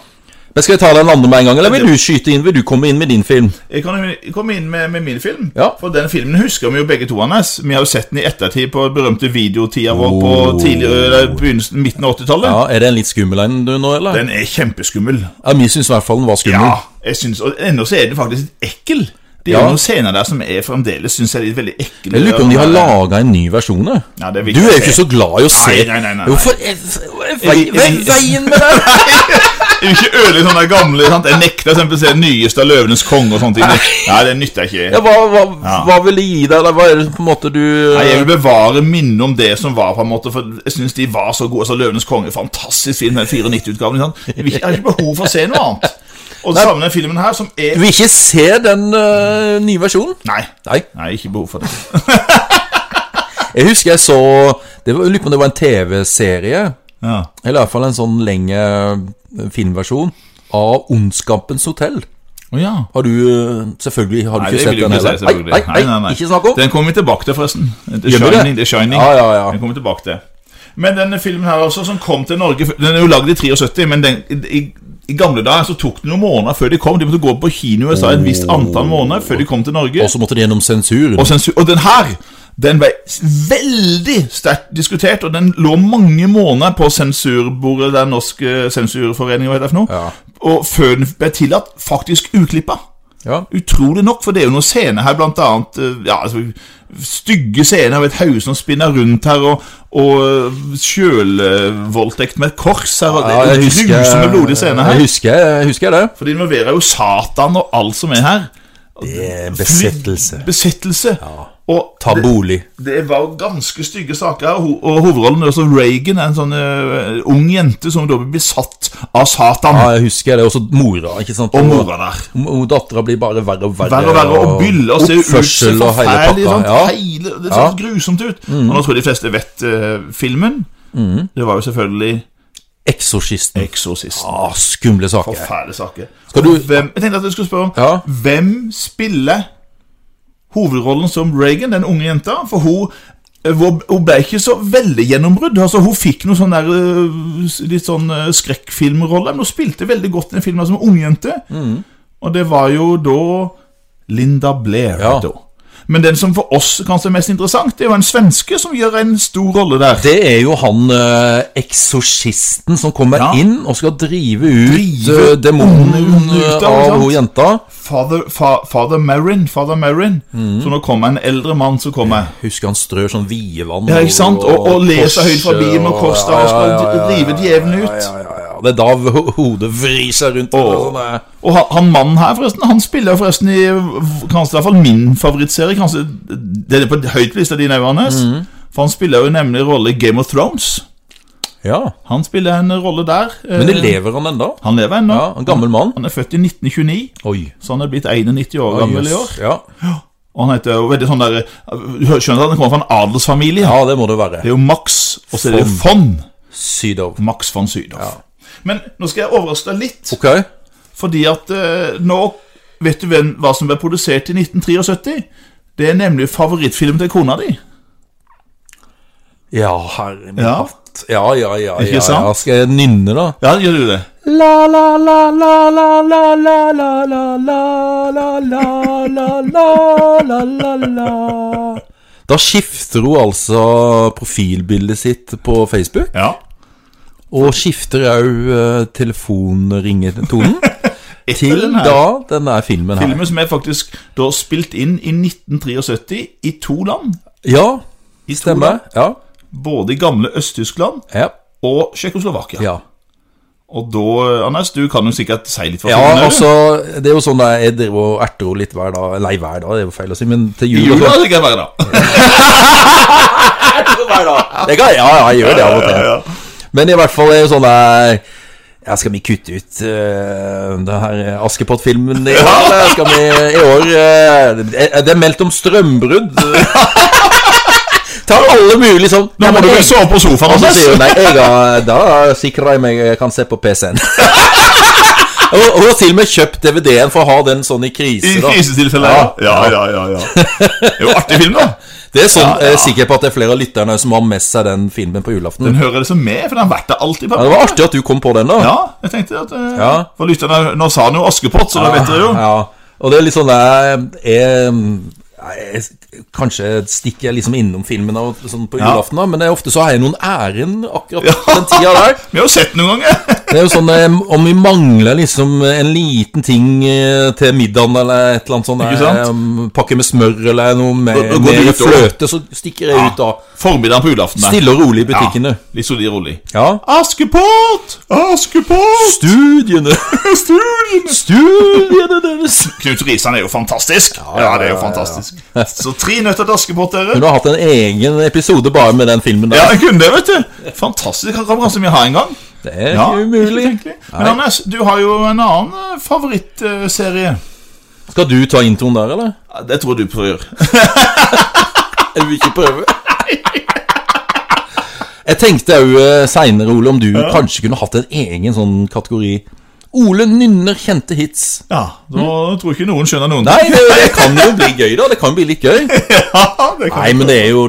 [SPEAKER 1] Men Skal jeg ta den andre med en gang, eller vil du skyte inn? Vil du komme inn med din film?
[SPEAKER 2] Jeg kan jo komme inn med, med min film.
[SPEAKER 1] Ja.
[SPEAKER 2] For den filmen husker vi jo begge to. Anders. Vi har jo sett den i ettertid på berømte videotida vår på
[SPEAKER 1] Oh.
[SPEAKER 2] tidligere, eller begynnelsen, midten av 80-tallet.
[SPEAKER 1] Ja, Er det en litt skummel en du nå, eller?
[SPEAKER 2] Den er kjempeskummel.
[SPEAKER 1] Ja, Vi syns i hvert fall den var
[SPEAKER 2] Ja,
[SPEAKER 1] skummel.
[SPEAKER 2] jeg synes, og Ennå så er den faktisk litt ekkel. Det er
[SPEAKER 1] Ja.
[SPEAKER 2] jo noen scener der som er fremdeles synes jeg er litt veldig ekle.
[SPEAKER 1] Jeg lurer på om de har laga en ny versjon. jeg.
[SPEAKER 2] Ja, det vil
[SPEAKER 1] du
[SPEAKER 2] jeg
[SPEAKER 1] er jo
[SPEAKER 2] se.
[SPEAKER 1] ikke så glad i å se
[SPEAKER 2] Nei, nei, nei, nei.
[SPEAKER 1] Hvorfor er, er,
[SPEAKER 2] Jeg-
[SPEAKER 1] er,
[SPEAKER 2] jeg-
[SPEAKER 1] veien med den?
[SPEAKER 2] Jeg vil ikke ødelegge sånne gamle sant? Jeg nekter for eksempel å se den nyeste av 'Løvenes konge' og sånne ting. Nei, det nytter jeg
[SPEAKER 1] Ja,
[SPEAKER 2] ikke.
[SPEAKER 1] hva, hva,
[SPEAKER 2] Ja.
[SPEAKER 1] hva vil det gi deg? Eller hva er det på en måte du
[SPEAKER 2] Nei, jeg
[SPEAKER 1] Eh,
[SPEAKER 2] vil bevare minnet om det som var, på en måte for jeg syns de var så gode. Så 'Løvenes konge' fantastisk film, den 94-utgaven. ikke sant? Jeg, vil ikke- jeg har ikke behov for å se noe annet. Og det samme med den filmen her, som er
[SPEAKER 1] Du eh, vil ikke se den øh, nye versjonen?
[SPEAKER 2] Nei.
[SPEAKER 1] Nei.
[SPEAKER 2] Nei, ikke behov for det.
[SPEAKER 1] Jeg husker jeg så det var, Jeg lurer på om det var en TV-serie,
[SPEAKER 2] Ja.
[SPEAKER 1] eller i hvert fall en sånn lenge filmversjon, av Ondskapens hotell.
[SPEAKER 2] Å ja.
[SPEAKER 1] Har du øh, Selvfølgelig har du
[SPEAKER 2] Nei,
[SPEAKER 1] ikke
[SPEAKER 2] det
[SPEAKER 1] sett
[SPEAKER 2] vil
[SPEAKER 1] den
[SPEAKER 2] du ikke si,
[SPEAKER 1] heller.
[SPEAKER 2] selvfølgelig.
[SPEAKER 1] nei, nei, nei, ikke snakk om!
[SPEAKER 2] Den kommer vi tilbake til, forresten. The
[SPEAKER 1] Gjør vi det?
[SPEAKER 2] Shining. The Shining.
[SPEAKER 1] Ja, ja, ja.
[SPEAKER 2] Den kommer vi tilbake til. Men denne filmen her også, som kom til Norge Den er jo lagd i 73, men den, i, i gamle dager så tok det noen måneder før de kom. De måtte gå på kino i USA et visst
[SPEAKER 1] Oh.
[SPEAKER 2] antall måneder før de kom til Norge.
[SPEAKER 1] Og så måtte de gjennom sensur.
[SPEAKER 2] Og, sensu- og den her den ble s- veldig sterkt diskutert, og den lå mange måneder på sensurbordet der Norsk eh, Sensurforening hva heter det for noe,
[SPEAKER 1] Ja.
[SPEAKER 2] og før den ble tillatt, faktisk uklippa.
[SPEAKER 1] Ja.
[SPEAKER 2] Utrolig nok, for det er jo noen scener her, blant annet eh, ja, altså, stygge scener av et hode som spinner rundt her, og, og kjølvoldtekt med et kors her, og det
[SPEAKER 1] Ja,
[SPEAKER 2] er
[SPEAKER 1] jeg
[SPEAKER 2] jo
[SPEAKER 1] husker,
[SPEAKER 2] grusomme blodige scener her.
[SPEAKER 1] jeg husker, jeg husker det.
[SPEAKER 2] For det involverer jo Satan og alt som er her.
[SPEAKER 1] er
[SPEAKER 2] Fly- Besettelse. Og
[SPEAKER 1] Ta
[SPEAKER 2] det-
[SPEAKER 1] bolig.
[SPEAKER 2] det var jo ganske stygge saker, og ho- og hovedrollen er også Reagan, en sånn eh, ung jente som da blir besatt av Satan
[SPEAKER 1] Ja, jeg husker det. Og så mora, ikke sant?
[SPEAKER 2] og mora der.
[SPEAKER 1] Dattera blir bare verre og verre.
[SPEAKER 2] verre og verre, og byller og ser ut så
[SPEAKER 1] oppførsel og hele
[SPEAKER 2] forferdelig
[SPEAKER 1] pakka.
[SPEAKER 2] sånn,
[SPEAKER 1] Ja.
[SPEAKER 2] hele, Det ser
[SPEAKER 1] Ja. Mm.
[SPEAKER 2] så grusomt ut. Og nå tror jeg de fleste vet eh, filmen. Det var jo selvfølgelig
[SPEAKER 1] Eksorsisten.
[SPEAKER 2] 'Eksorsisten'.
[SPEAKER 1] Ah, skumle saker.
[SPEAKER 2] Forferdelige saker.
[SPEAKER 1] Skal du-
[SPEAKER 2] Og hvem, jeg tenkte at jeg skulle spørre om
[SPEAKER 1] Ja.
[SPEAKER 2] Hvem spiller hovedrollen som Reagan, den unge jenta? For hun Eh, Hun hun ble ikke så veldig gjennombrudd. Altså, hun fikk noe sånn der eh, s- litt sånn eh, skrekkfilmrolle, men hun spilte veldig godt i den filmen som ungjente.
[SPEAKER 1] Mm.
[SPEAKER 2] Og det var jo da Linda Blair.
[SPEAKER 1] Ja.
[SPEAKER 2] het hun. Men den som for oss kanskje er mest interessant, det er jo en svenske som gjør en stor rolle der.
[SPEAKER 1] Det er jo han eh, eksorsisten som kommer
[SPEAKER 2] Ja.
[SPEAKER 1] inn og skal drive ut
[SPEAKER 2] Drive
[SPEAKER 1] eh, demonen
[SPEAKER 2] ånden ut
[SPEAKER 1] eh,
[SPEAKER 2] av, sant?
[SPEAKER 1] av hun jenta.
[SPEAKER 2] Father, fa, father Marin. Father Marin.
[SPEAKER 1] Mm.
[SPEAKER 2] Så nå kommer en eldre mann som kommer.
[SPEAKER 1] Husker han strør sånn vievann
[SPEAKER 2] Ja, ikke sant? Og, og leser
[SPEAKER 1] korset
[SPEAKER 2] høyt fra Bibelen og korset og skal drive djevelen ut.
[SPEAKER 1] Ja, ja, ja. Det er da ho- hodet vrir seg rundt.
[SPEAKER 2] Åh.
[SPEAKER 1] og sånn, eh.
[SPEAKER 2] Og han, han mannen her, forresten, han spiller forresten i v- kanskje i hvert fall min favorittserie. Kanskje det er på høyt på lista di, Nauanes.
[SPEAKER 1] Mhm.
[SPEAKER 2] For han spiller jo nemlig rolle i Game of Thrones.
[SPEAKER 1] Ja,
[SPEAKER 2] Han spiller en rolle der.
[SPEAKER 1] Men det
[SPEAKER 2] Eh,
[SPEAKER 1] lever han ennå?
[SPEAKER 2] Han lever ennå.
[SPEAKER 1] Ja, en gammel mann.
[SPEAKER 2] Han er født i 1929,
[SPEAKER 1] Oi.
[SPEAKER 2] så han er blitt 91 år gammel i år.
[SPEAKER 1] Ja.
[SPEAKER 2] Og han heter jo veldig sånn der Du skjønner at han kommer fra en adelsfamilie?
[SPEAKER 1] ja, det må det være.
[SPEAKER 2] Det er jo Max, og så er det Von.
[SPEAKER 1] Sydow.
[SPEAKER 2] Max von Sydow. Men nå skal jeg overraske deg litt,
[SPEAKER 1] Ok.
[SPEAKER 2] fordi at eh, nå Vet du hvem, hva som ble produsert i 1973? Det er nemlig favorittfilmen til kona di.
[SPEAKER 1] Ja, herre min
[SPEAKER 2] Ja.
[SPEAKER 1] hatt. Ja, ja, ja.
[SPEAKER 2] Ikke
[SPEAKER 1] ja, ja.
[SPEAKER 2] sant?
[SPEAKER 1] Skal jeg nynne, da?
[SPEAKER 2] Ja, gjør du det?
[SPEAKER 1] La la la la la la la la la la la la la la la la la Da skifter hun altså profilbildet sitt på Facebook,
[SPEAKER 2] Ja.
[SPEAKER 1] og skifter òg telefonringetonen til
[SPEAKER 2] den her.
[SPEAKER 1] da denne filmen her.
[SPEAKER 2] Filmen som er faktisk da spilt inn i 1973 i to land.
[SPEAKER 1] Ja,
[SPEAKER 2] I to
[SPEAKER 1] stemmer.
[SPEAKER 2] land,
[SPEAKER 1] Ja.
[SPEAKER 2] Både i gamle Øst-Tyskland
[SPEAKER 1] Ja.
[SPEAKER 2] og Tsjekkoslovakia.
[SPEAKER 1] ja.
[SPEAKER 2] Og da, eh, Anders, du kan jo sikkert si litt hva
[SPEAKER 1] Ja,
[SPEAKER 2] filmen er, du.
[SPEAKER 1] altså, det er jo sånn der, jeg driver og erter henne litt hver dag, nei hver dag, det er jo feil å si, men til
[SPEAKER 2] I
[SPEAKER 1] jul. og
[SPEAKER 2] jula
[SPEAKER 1] sånn.
[SPEAKER 2] skal jeg være da.
[SPEAKER 1] Det kan, ja, ja, jeg gjør det av og til. Men i hvert fall er det sånn der ja, Skal vi kutte ut uh, den her Askepott-filmen i år? eller Skal vi i år eh, er Det er meldt om strømbrudd. Tar alle mulig sånn
[SPEAKER 2] Nå
[SPEAKER 1] ja,
[SPEAKER 2] må
[SPEAKER 1] men
[SPEAKER 2] du vel
[SPEAKER 1] jeg-
[SPEAKER 2] sove på sofaen,
[SPEAKER 1] Og så
[SPEAKER 2] Anders.
[SPEAKER 1] sier hun nei, jeg har, da sikrer jeg meg jeg kan se på PC-en. Og og hun har til og med kjøpt DVD-en for å ha den sånn i
[SPEAKER 2] I
[SPEAKER 1] krise. da.
[SPEAKER 2] krisetilfeller. Ja, ja, ja. ja, ja. Det er jo artig film, da.
[SPEAKER 1] Det er sånn,
[SPEAKER 2] Ja, ja.
[SPEAKER 1] Jeg er sikker på at det er flere av lytterne som har med seg den filmen på julaften.
[SPEAKER 2] Den hører liksom med, for den har vært der alltid.
[SPEAKER 1] Ja, det var artig at du kom på den, da.
[SPEAKER 2] Ja, jeg tenkte at eh,
[SPEAKER 1] Ja.
[SPEAKER 2] For lytterne, Nå sa han jo Askepott, så da vet dere jo.
[SPEAKER 1] Ja, og det er litt sånn der jeg, jeg, Kanskje stikker jeg liksom innom filmen av, sånn på
[SPEAKER 2] Ja.
[SPEAKER 1] julaften, da, men det er ofte så har jeg noen ærend akkurat
[SPEAKER 2] Ja.
[SPEAKER 1] den tida der.
[SPEAKER 2] Vi har jo sett den noen ganger.
[SPEAKER 1] Det er jo sånn eh, om vi mangler liksom en liten ting eh, til middagen eller et eller annet sånt,
[SPEAKER 2] Ikke
[SPEAKER 1] der,
[SPEAKER 2] sant?
[SPEAKER 1] eh, pakke med smør eller noe med,
[SPEAKER 2] Da- da går
[SPEAKER 1] med
[SPEAKER 2] du ut, da.
[SPEAKER 1] fløte, så stikker jeg ut da.
[SPEAKER 2] Formiddagen på julaften. der.
[SPEAKER 1] Stille og rolig i butikkene.
[SPEAKER 2] Ja, litt solid og rolig.
[SPEAKER 1] Ja.
[SPEAKER 2] Askepott! Askepott!
[SPEAKER 1] Studiene
[SPEAKER 2] Studiene!
[SPEAKER 1] Studiene deres!
[SPEAKER 2] Knut Risan er jo fantastisk. Ja, det er jo fantastisk. Så tre nøtter til Askepott, dere.
[SPEAKER 1] Hun har hatt en egen episode bare med den filmen
[SPEAKER 2] Ja,
[SPEAKER 1] der.
[SPEAKER 2] jeg kunne det, vet du. Fantastisk rammer som vi har en gang.
[SPEAKER 1] Det er
[SPEAKER 2] Ja,
[SPEAKER 1] ikke umulig.
[SPEAKER 2] ikke tenkelig. Men Anders, du har jo en annen eh, favorittserie.
[SPEAKER 1] Skal du ta introen der, eller?
[SPEAKER 2] Ja, Det tror jeg du prøver.
[SPEAKER 1] Jeg vil ikke prøve. Jeg tenkte òg seinere, Ole, om du kanskje kunne hatt en egen sånn kategori. Ole nynner kjente hits.
[SPEAKER 2] Ja, da tror jeg ikke noen skjønner noen
[SPEAKER 1] Nei, det, det kan jo bli gøy, da. Det kan bli litt gøy.
[SPEAKER 2] Ja, det kan
[SPEAKER 1] Nei, men det er jo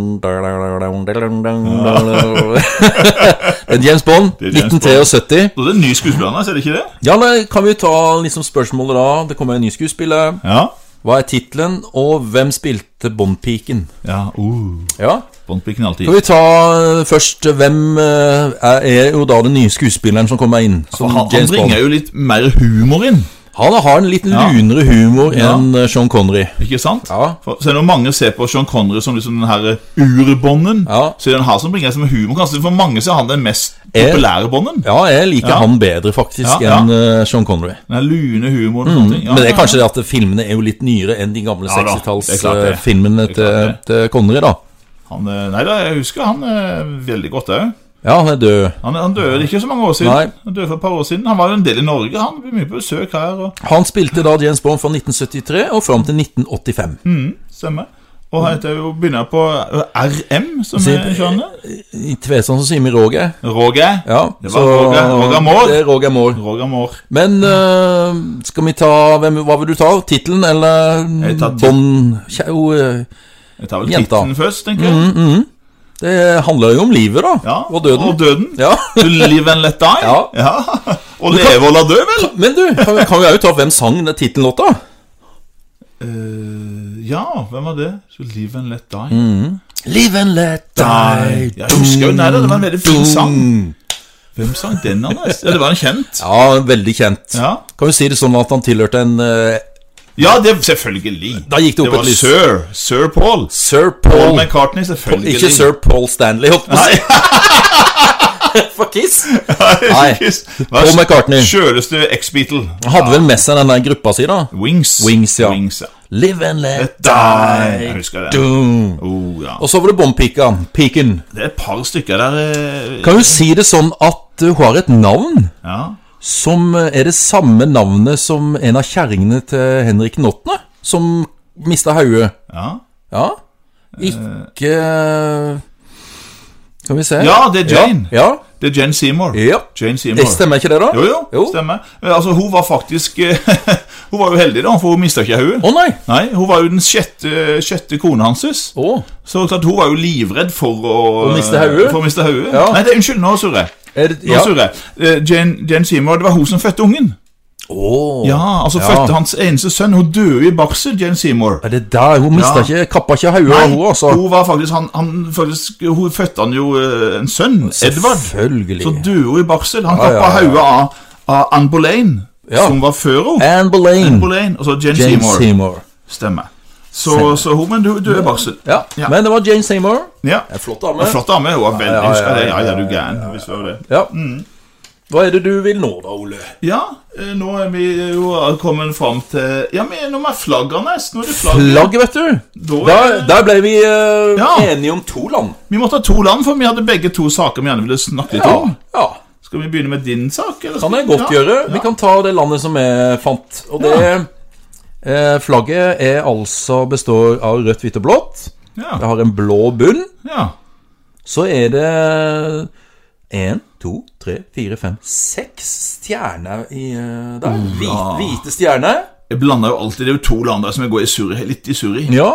[SPEAKER 1] Den James Bond,
[SPEAKER 2] er James
[SPEAKER 1] 1973.
[SPEAKER 2] Så det er en ny skuespiller, Anders, er det ikke det?
[SPEAKER 1] Ja, da kan vi ta liksom spørsmålet da. Det kommer en ny skuespiller.
[SPEAKER 2] Ja.
[SPEAKER 1] Hva er tittelen, og hvem spilte Bond-piken?
[SPEAKER 2] ja. Uh,
[SPEAKER 1] Ja,
[SPEAKER 2] Bondpiken er alltid
[SPEAKER 1] Skal vi ta eh, først hvem eh, er er jo da den nye skuespilleren som kommer inn? Som
[SPEAKER 2] han, han
[SPEAKER 1] James Bond.
[SPEAKER 2] bringer jo litt mer humor inn,
[SPEAKER 1] Han har en litt lunere humor
[SPEAKER 2] Ja.
[SPEAKER 1] enn eh, Sean Connery.
[SPEAKER 2] ikke sant?
[SPEAKER 1] Ja.
[SPEAKER 2] For, så er det jo mange ser på Sean Connery som liksom den her urbånden.
[SPEAKER 1] Ja.
[SPEAKER 2] Så er det han her som bringer liksom humor. Kanskje for mange så er han den mest
[SPEAKER 1] Er-
[SPEAKER 2] populære bånden.
[SPEAKER 1] Ja, jeg liker
[SPEAKER 2] Ja.
[SPEAKER 1] han bedre faktisk
[SPEAKER 2] Ja, ja.
[SPEAKER 1] enn eh, Sean Connery.
[SPEAKER 2] Den her lune humoren. og sånne ting. Ja,
[SPEAKER 1] Mm. Men det er
[SPEAKER 2] ja,
[SPEAKER 1] kanskje det at filmene er jo litt nyere enn de gamle
[SPEAKER 2] Ja da, det er klart det.
[SPEAKER 1] 60-tallsfilmene
[SPEAKER 2] Det er
[SPEAKER 1] til,
[SPEAKER 2] klart
[SPEAKER 1] til Connery, da.
[SPEAKER 2] Han, eh, nei da, jeg husker han eh, veldig godt òg.
[SPEAKER 1] Ja, han er død.
[SPEAKER 2] Han, han døde ikke så mange år siden.
[SPEAKER 1] Nei.
[SPEAKER 2] Han døde for et par år siden. Han var jo en del i Norge. Han ble mye på besøk her. og
[SPEAKER 1] Han spilte da James Bond fra 1973 og fram til 1985.
[SPEAKER 2] Mm. Stemmer. Og her heter jo begynner på RM, som
[SPEAKER 1] Se-
[SPEAKER 2] er kjønnet.
[SPEAKER 1] I Tveson så sier vi Roger.
[SPEAKER 2] Roger.
[SPEAKER 1] Ja,
[SPEAKER 2] Det var Roger- Roger Moore.
[SPEAKER 1] Det er Roger Moore.
[SPEAKER 2] Roger Moore.
[SPEAKER 1] Men eh, skal vi ta hvem, Hva vil du ta? Tittelen eller
[SPEAKER 2] Jeg tar
[SPEAKER 1] Bond Kjæ- jo, eh,
[SPEAKER 2] Jeg tar vel
[SPEAKER 1] Jenta.
[SPEAKER 2] titten først, tenker jeg.
[SPEAKER 1] Det handler jo om livet, da.
[SPEAKER 2] Ja,
[SPEAKER 1] Og døden.
[SPEAKER 2] Og døden.
[SPEAKER 1] Ja.
[SPEAKER 2] To live and let die.
[SPEAKER 1] Ja.
[SPEAKER 2] Og leve og la dø, vel?
[SPEAKER 1] Men du, kan vi- kan vi òg ta hvem sang den tittellåta?
[SPEAKER 2] Eh, ja, hvem var det? To live and let die.
[SPEAKER 1] Mm. Live and let die.
[SPEAKER 2] Jeg husker jo, nei, da, det var en veldig fin sang. Hvem sang den, Anders? Ja, det var en kjent.
[SPEAKER 1] Ja, veldig kjent.
[SPEAKER 2] Ja,
[SPEAKER 1] Kan jo si det sånn at han tilhørte en eh,
[SPEAKER 2] ja det selvfølgelig.
[SPEAKER 1] Da gikk det opp
[SPEAKER 2] Det
[SPEAKER 1] et
[SPEAKER 2] var
[SPEAKER 1] lys.
[SPEAKER 2] Sir. Sir Paul.
[SPEAKER 1] Sir
[SPEAKER 2] Paul
[SPEAKER 1] Paul
[SPEAKER 2] McCartney, selvfølgelig.
[SPEAKER 1] Ikke Sir Paul Stanley, holdt på å si. For Kiss. Nei. Paul McCartney.
[SPEAKER 2] Skjøreste X-Beatle.
[SPEAKER 1] Han hadde vel med seg den der gruppa si, da.
[SPEAKER 2] Wings.
[SPEAKER 1] Wings, ja. Live and let
[SPEAKER 2] Die. Jeg husker det.
[SPEAKER 1] Doom.
[SPEAKER 2] Oh, ja.
[SPEAKER 1] Og så var det bompika. Piken.
[SPEAKER 2] Det er et par stykker der eh,
[SPEAKER 1] Kan jo si det sånn at eh, hun har et navn
[SPEAKER 2] Ja.
[SPEAKER 1] som eh, er det samme navnet som en av kjerringene til Henrik den 8., som mista hodet.
[SPEAKER 2] Ja.
[SPEAKER 1] Ja. Ikke eh, Skal vi se
[SPEAKER 2] ja, det er Jane.
[SPEAKER 1] Ja.
[SPEAKER 2] Det er Jane Seymour.
[SPEAKER 1] ja.
[SPEAKER 2] Jane
[SPEAKER 1] Det
[SPEAKER 2] Seymour.
[SPEAKER 1] stemmer ikke det, da?
[SPEAKER 2] Jo, jo, stemmer. Eh, Altså, hun var faktisk Hun var jo heldig, da, for hun mista ikke hodet.
[SPEAKER 1] Å nei!
[SPEAKER 2] Nei, hun var jo den sjette, sjette kona hans.
[SPEAKER 1] Å.
[SPEAKER 2] Så klart, hun var jo livredd for å eh,
[SPEAKER 1] Å miste hodet?
[SPEAKER 2] For å miste hodet.
[SPEAKER 1] Ja.
[SPEAKER 2] Nei, det, unnskyld, nå surrer jeg.
[SPEAKER 1] Er det
[SPEAKER 2] Nå
[SPEAKER 1] ja.
[SPEAKER 2] surrer jeg. Eh, Jane, Jane Seymour, det var hun som fødte ungen.
[SPEAKER 1] Å.
[SPEAKER 2] Ja, altså fødte hans eneste sønn. Hun døde i barsel, Jane Seymour.
[SPEAKER 1] Er det der? Hun mista
[SPEAKER 2] Ja.
[SPEAKER 1] ikke Kappa ikke hodet av henne, altså?
[SPEAKER 2] hun var faktisk, han, han, faktisk Hun fødte han jo eh, en sønn, Edvard.
[SPEAKER 1] Selvfølgelig.
[SPEAKER 2] Så døde hun i barsel. Han
[SPEAKER 1] Ja, ja,
[SPEAKER 2] kappa
[SPEAKER 1] ja.
[SPEAKER 2] hodet av, av Anne Boleyn,
[SPEAKER 1] Ja.
[SPEAKER 2] som var før henne.
[SPEAKER 1] Anne Boleyn.
[SPEAKER 2] Anne Boleyn, og så Jane,
[SPEAKER 1] Jane
[SPEAKER 2] Seymour.
[SPEAKER 1] Seymour.
[SPEAKER 2] Stemmer. Så, så hun, men du, du er barsel.
[SPEAKER 1] Ja.
[SPEAKER 2] Ja.
[SPEAKER 1] Men det var Jane Seymour.
[SPEAKER 2] ja.
[SPEAKER 1] En flott dame.
[SPEAKER 2] En Flott dame. Hun var veldig
[SPEAKER 1] Ja, ja,
[SPEAKER 2] Jeg husker
[SPEAKER 1] ja,
[SPEAKER 2] det.
[SPEAKER 1] ja,
[SPEAKER 2] Ja, ja, du er gæren. Hvis det var det.
[SPEAKER 1] Ja.
[SPEAKER 2] Mm.
[SPEAKER 1] Hva er det du vil nå, da, Ole?
[SPEAKER 2] Ja, eh, nå er vi jo kommet fram til Ja, men nå er flagg, Anders. Nå er det flagg.
[SPEAKER 1] Flagg, vet du.
[SPEAKER 2] Da
[SPEAKER 1] Der,
[SPEAKER 2] er det-
[SPEAKER 1] der ble vi eh,
[SPEAKER 2] Ja.
[SPEAKER 1] enige om to land.
[SPEAKER 2] Vi måtte ha to land, for vi hadde begge to saker vi gjerne ville snakke litt om.
[SPEAKER 1] ja.
[SPEAKER 2] Skal vi begynne med din sak? Eller?
[SPEAKER 1] Kan
[SPEAKER 2] skal
[SPEAKER 1] jeg
[SPEAKER 2] vi-
[SPEAKER 1] godt gjøre.
[SPEAKER 2] Ja.
[SPEAKER 1] Vi kan ta det landet som jeg fant. Og det eh, Flagget er altså består av rødt, hvitt og blått. Det
[SPEAKER 2] Ja.
[SPEAKER 1] har en blå bunn.
[SPEAKER 2] ja.
[SPEAKER 1] Så er det én, to, tre, fire, fem, seks stjerner i, eh, der. Hvit, hvite stjerner.
[SPEAKER 2] Jeg blander jo alltid Det er jo to land der som jeg går i surr i, litt i surr i.
[SPEAKER 1] Ja.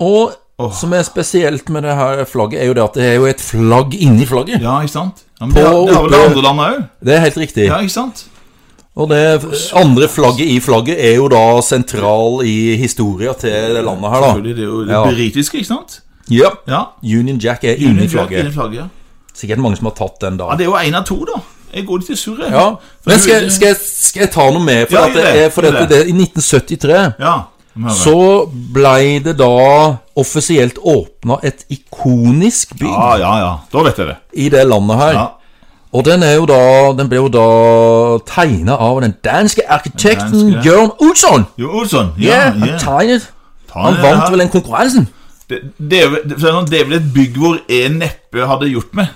[SPEAKER 1] Og som er spesielt med det her flagget, er jo det at det er jo et flagg inni flagget.
[SPEAKER 2] Ja, ikke sant? Ja, men det, har-
[SPEAKER 1] På
[SPEAKER 2] det har vel det
[SPEAKER 1] oppe-
[SPEAKER 2] andre landet òg.
[SPEAKER 1] Det er helt riktig.
[SPEAKER 2] Ja, ikke sant?
[SPEAKER 1] Og det andre flagget i flagget er jo da sentral i historia til det landet her, da.
[SPEAKER 2] Selvfølgelig, Det er jo det
[SPEAKER 1] Ja.
[SPEAKER 2] britiske, ikke sant?
[SPEAKER 1] Ja.
[SPEAKER 2] Ja.
[SPEAKER 1] Union Jack er inni
[SPEAKER 2] Inni
[SPEAKER 1] flagget.
[SPEAKER 2] flagget ja.
[SPEAKER 1] Sikkert mange som har tatt den
[SPEAKER 2] Ja,
[SPEAKER 1] da.
[SPEAKER 2] det er jo en av to, da. Jeg går litt i surr. jeg.
[SPEAKER 1] Ja.
[SPEAKER 2] For
[SPEAKER 1] Men
[SPEAKER 2] du-
[SPEAKER 1] skal, skal, jeg, skal jeg ta noe med? For,
[SPEAKER 2] Ja,
[SPEAKER 1] at det,
[SPEAKER 2] gjør det,
[SPEAKER 1] er- for
[SPEAKER 2] gjør
[SPEAKER 1] dette, det, i 1973
[SPEAKER 2] Ja. må jeg høre.
[SPEAKER 1] så blei det da offisielt åpna et ikonisk bygg
[SPEAKER 2] Ja, ja, ja. Da vet jeg det.
[SPEAKER 1] i det landet her.
[SPEAKER 2] Ja.
[SPEAKER 1] Og den, er jo da, den ble jo da tegna av den danske arkitekten
[SPEAKER 2] Den danske-
[SPEAKER 1] Jørn Olsson.
[SPEAKER 2] Jo, Olsson. Ja,
[SPEAKER 1] Ja,
[SPEAKER 2] ja.
[SPEAKER 1] han tegnet.
[SPEAKER 2] Ta
[SPEAKER 1] Han
[SPEAKER 2] det,
[SPEAKER 1] vant
[SPEAKER 2] ja.
[SPEAKER 1] vel den konkurransen.
[SPEAKER 2] det, det, er vel- det, er sånn- det er vel et bygg hvor jeg neppe hadde gjort med.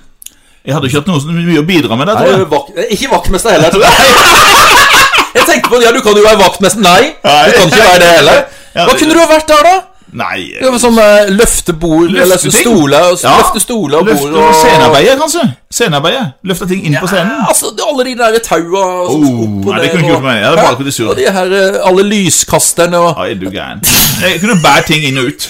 [SPEAKER 2] Jeg hadde ikke hatt noe så mye å bidra med der,
[SPEAKER 1] Nei,
[SPEAKER 2] tror jeg.
[SPEAKER 1] vak ikke vaktmester heller, tror jeg. Jeg tenkte på det, ja, du kan jo være vaktmester. Nei,
[SPEAKER 2] Nei.
[SPEAKER 1] du kan ikke være det heller.
[SPEAKER 2] Ja,
[SPEAKER 1] Hva
[SPEAKER 2] det-
[SPEAKER 1] kunne du ha vært der, da?
[SPEAKER 2] Nei.
[SPEAKER 1] Det var sånn eh, løftebord eller
[SPEAKER 2] Løfteting.
[SPEAKER 1] stoler og-
[SPEAKER 2] Ja.
[SPEAKER 1] Løfte stoler og
[SPEAKER 2] Løfte
[SPEAKER 1] bord og
[SPEAKER 2] scenearbeidet, kanskje. Scenearbeidet. Løfte ting inn på scenen.
[SPEAKER 1] Altså, det- alle de der taua som
[SPEAKER 2] Oh, nei, det kunne ikke gjort meg. Jeg hadde bare kunnet surre.
[SPEAKER 1] Og de her eh, alle lyskasterne og
[SPEAKER 2] Ja, er du gæren. Jeg kunne bære ting inn og ut.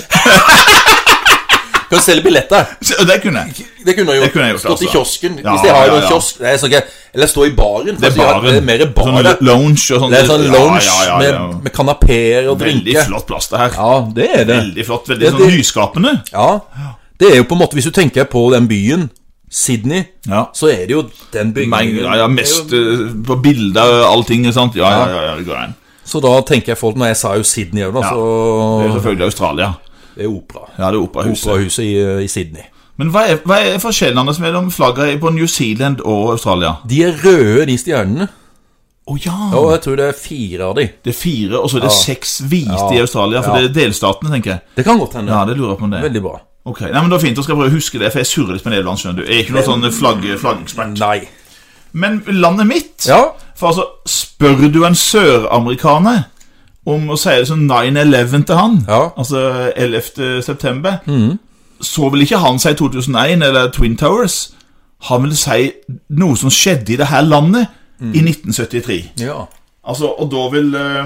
[SPEAKER 1] Kan selge billetter.
[SPEAKER 2] Så Det kunne jeg.
[SPEAKER 1] Det kunne jeg gjort.
[SPEAKER 2] Det kunne jeg gjort,
[SPEAKER 1] Stått i
[SPEAKER 2] altså.
[SPEAKER 1] kiosken.
[SPEAKER 2] Ja,
[SPEAKER 1] hvis de har
[SPEAKER 2] ja,
[SPEAKER 1] noen
[SPEAKER 2] ja.
[SPEAKER 1] kiosk det er så gøy. Eller stå i baren.
[SPEAKER 2] Det er
[SPEAKER 1] for de har-
[SPEAKER 2] baren.
[SPEAKER 1] Altså, Det er mer bar.
[SPEAKER 2] Sånn
[SPEAKER 1] det.
[SPEAKER 2] lounge og sånn.
[SPEAKER 1] det er sånn lounge
[SPEAKER 2] Ja, ja, ja, ja.
[SPEAKER 1] med, med kanapeer og
[SPEAKER 2] Veldig
[SPEAKER 1] drinker.
[SPEAKER 2] flott plass, det her.
[SPEAKER 1] Ja, det er det.
[SPEAKER 2] Veldig flott. Veldig
[SPEAKER 1] Det-
[SPEAKER 2] sånn
[SPEAKER 1] det-
[SPEAKER 2] nyskapende.
[SPEAKER 1] Ja. Det er jo på en måte, hvis du tenker på den byen, Sydney,
[SPEAKER 2] Ja.
[SPEAKER 1] så er det jo den
[SPEAKER 2] Meg-
[SPEAKER 1] bygningen.
[SPEAKER 2] ja, ja, mest eh, på bilder og allting. Sant? Ja, ja, ja, ja, det går an.
[SPEAKER 1] Så da tenker jeg folk Når jeg sa jo Sydney òg, da,
[SPEAKER 2] Ja. Det er jo
[SPEAKER 1] så
[SPEAKER 2] selvfølgelig Australia.
[SPEAKER 1] Det er opera.
[SPEAKER 2] Ja, det er operahuset.
[SPEAKER 1] Operahuset i, i Sydney.
[SPEAKER 2] Men hva er, hva er forskjellen Anders, mellom flagget på New Zealand og Australia?
[SPEAKER 1] De er røde, de stjernene.
[SPEAKER 2] Å ja!
[SPEAKER 1] Og jeg tror det er fire av de.
[SPEAKER 2] Det er fire, og så er det seks hvite i
[SPEAKER 1] Ja.
[SPEAKER 2] Australia. For
[SPEAKER 1] Ja.
[SPEAKER 2] det er delstatene, tenker jeg.
[SPEAKER 1] Det kan godt hende.
[SPEAKER 2] Ja, det lurer jeg på om det er.
[SPEAKER 1] Veldig bra.
[SPEAKER 2] Ok, Nei, men det var fint, da skal jeg prøve å huske det, for jeg surrer litt med Nederland. skjønner du Jeg er ikke noen sånn flagg, flaggekspert.
[SPEAKER 1] Nei.
[SPEAKER 2] Men landet mitt
[SPEAKER 1] Ja.
[SPEAKER 2] For altså, spør du en søramerikaner om å si det som 9-11 til han,
[SPEAKER 1] Ja. Mm.
[SPEAKER 2] altså 11. september, så vil ikke han si 2001 eller Twin Towers. Han vil si noe som
[SPEAKER 1] Mm.
[SPEAKER 2] skjedde i det her landet i 1973.
[SPEAKER 1] ja.
[SPEAKER 2] Altså, og da vil eh,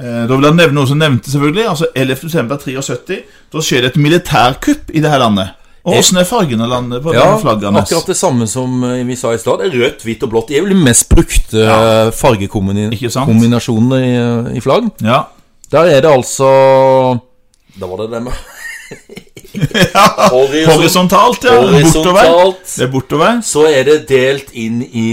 [SPEAKER 2] Eh, Da vil jeg nevne noe som nevnte selvfølgelig, altså 11. september 73, da skjer det et militærkupp i det her landet. Og hvordan er fargene i landet på
[SPEAKER 1] Ja,
[SPEAKER 2] denne flaggene?
[SPEAKER 1] akkurat det samme som eh, vi sa i stad. Det er Rødt, hvitt og blått. Det er vel de mest brukte eh,
[SPEAKER 2] Ikke sant?
[SPEAKER 1] fargekombinasjonene i, eh, i flagg.
[SPEAKER 2] Ja.
[SPEAKER 1] Der er det altså Da var det det med Horisont.
[SPEAKER 2] Horisontalt, ja. Bortover.
[SPEAKER 1] Horisontalt.
[SPEAKER 2] Det er bortover.
[SPEAKER 1] Så er det delt inn i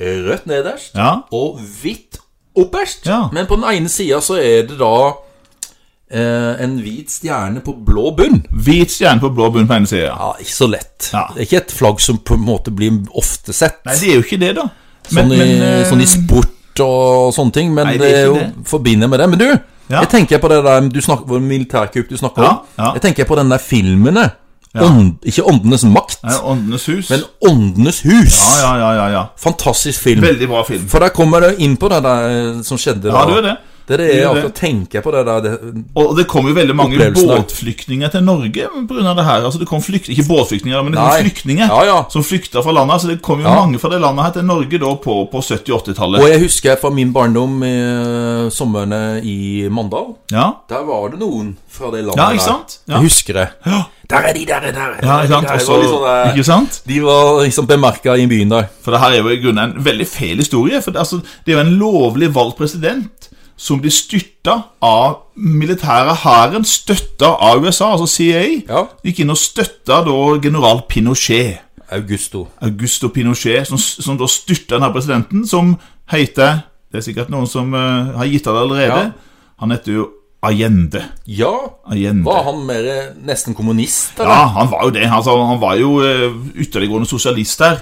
[SPEAKER 1] eh, rødt nederst
[SPEAKER 2] Ja.
[SPEAKER 1] og hvitt opperst.
[SPEAKER 2] Ja.
[SPEAKER 1] Men på den ene sida så er det da eh, en hvit stjerne på blå bunn.
[SPEAKER 2] Hvit stjerne på blå bunn på ene siden.
[SPEAKER 1] Ja, ikke så lett.
[SPEAKER 2] Ja.
[SPEAKER 1] Det er ikke et flagg som på en måte blir ofte sett.
[SPEAKER 2] Nei, det er jo ikke det, da.
[SPEAKER 1] sånn, i,
[SPEAKER 2] eh,
[SPEAKER 1] sånn i sport og sånne ting, men
[SPEAKER 2] Nei,
[SPEAKER 1] det
[SPEAKER 2] det er
[SPEAKER 1] er jo
[SPEAKER 2] ikke det.
[SPEAKER 1] forbinder med det. Men du,
[SPEAKER 2] Ja.
[SPEAKER 1] jeg tenker på det der du snakker, hvor militærkupp du snakker
[SPEAKER 2] Ja,
[SPEAKER 1] om.
[SPEAKER 2] ja.
[SPEAKER 1] Jeg tenker på den der filmene. Ånd, ikke Åndenes makt,
[SPEAKER 2] Nei, Åndenes hus.
[SPEAKER 1] men Åndenes hus.
[SPEAKER 2] Ja, ja, ja, ja, ja.
[SPEAKER 1] Fantastisk film.
[SPEAKER 2] Veldig bra film.
[SPEAKER 1] For der kommer du inn på det der eh, som skjedde da.
[SPEAKER 2] Ja, det er det.
[SPEAKER 1] Det er det
[SPEAKER 2] Det
[SPEAKER 1] jeg
[SPEAKER 2] er det.
[SPEAKER 1] akkurat tenker på det der. Det,
[SPEAKER 2] Og det kom jo veldig mange
[SPEAKER 1] Opplevelsene.
[SPEAKER 2] båtflyktninger til Norge pga. det her. Altså det kom flykt, Ikke båtflyktninger, men det kom
[SPEAKER 1] Nei.
[SPEAKER 2] flyktninger
[SPEAKER 1] Ja, ja.
[SPEAKER 2] som flykta fra landet. Altså det kom jo
[SPEAKER 1] Ja.
[SPEAKER 2] mange fra det landet her til Norge da på, på 70- og
[SPEAKER 1] og
[SPEAKER 2] 80-tallet.
[SPEAKER 1] jeg husker fra min barndom eh, somrene i Mandal.
[SPEAKER 2] Ja.
[SPEAKER 1] Der var det noen fra det landet
[SPEAKER 2] ja, ikke sant?
[SPEAKER 1] der.
[SPEAKER 2] Ja,
[SPEAKER 1] Jeg husker det.
[SPEAKER 2] ja.
[SPEAKER 1] Der er de, der er der. er de,
[SPEAKER 2] ja ikke sant?
[SPEAKER 1] der er de. Det var
[SPEAKER 2] Også,
[SPEAKER 1] litt sånn, eh,
[SPEAKER 2] ikke sant?
[SPEAKER 1] De var liksom bemerka i byen der.
[SPEAKER 2] For det her er jo i grunnen en veldig feil historie. For det, altså, det er jo en lovlig valgt president som blir styrta av militære hæren, støtta av USA, altså CIA.
[SPEAKER 1] Ja.
[SPEAKER 2] Gikk inn og støtta da general Pinochet.
[SPEAKER 1] Augusto.
[SPEAKER 2] Augusto Pinochet, som, som da styrta denne presidenten, som heter Det er sikkert noen som eh, har gitt av det allerede. Han heter jo Allende.
[SPEAKER 1] Ja,
[SPEAKER 2] Allende.
[SPEAKER 1] var han mer eh, nesten kommunist,
[SPEAKER 2] Ja,
[SPEAKER 1] eller?
[SPEAKER 2] han var jo det. Altså, han var jo eh, ytterliggående sosialist her.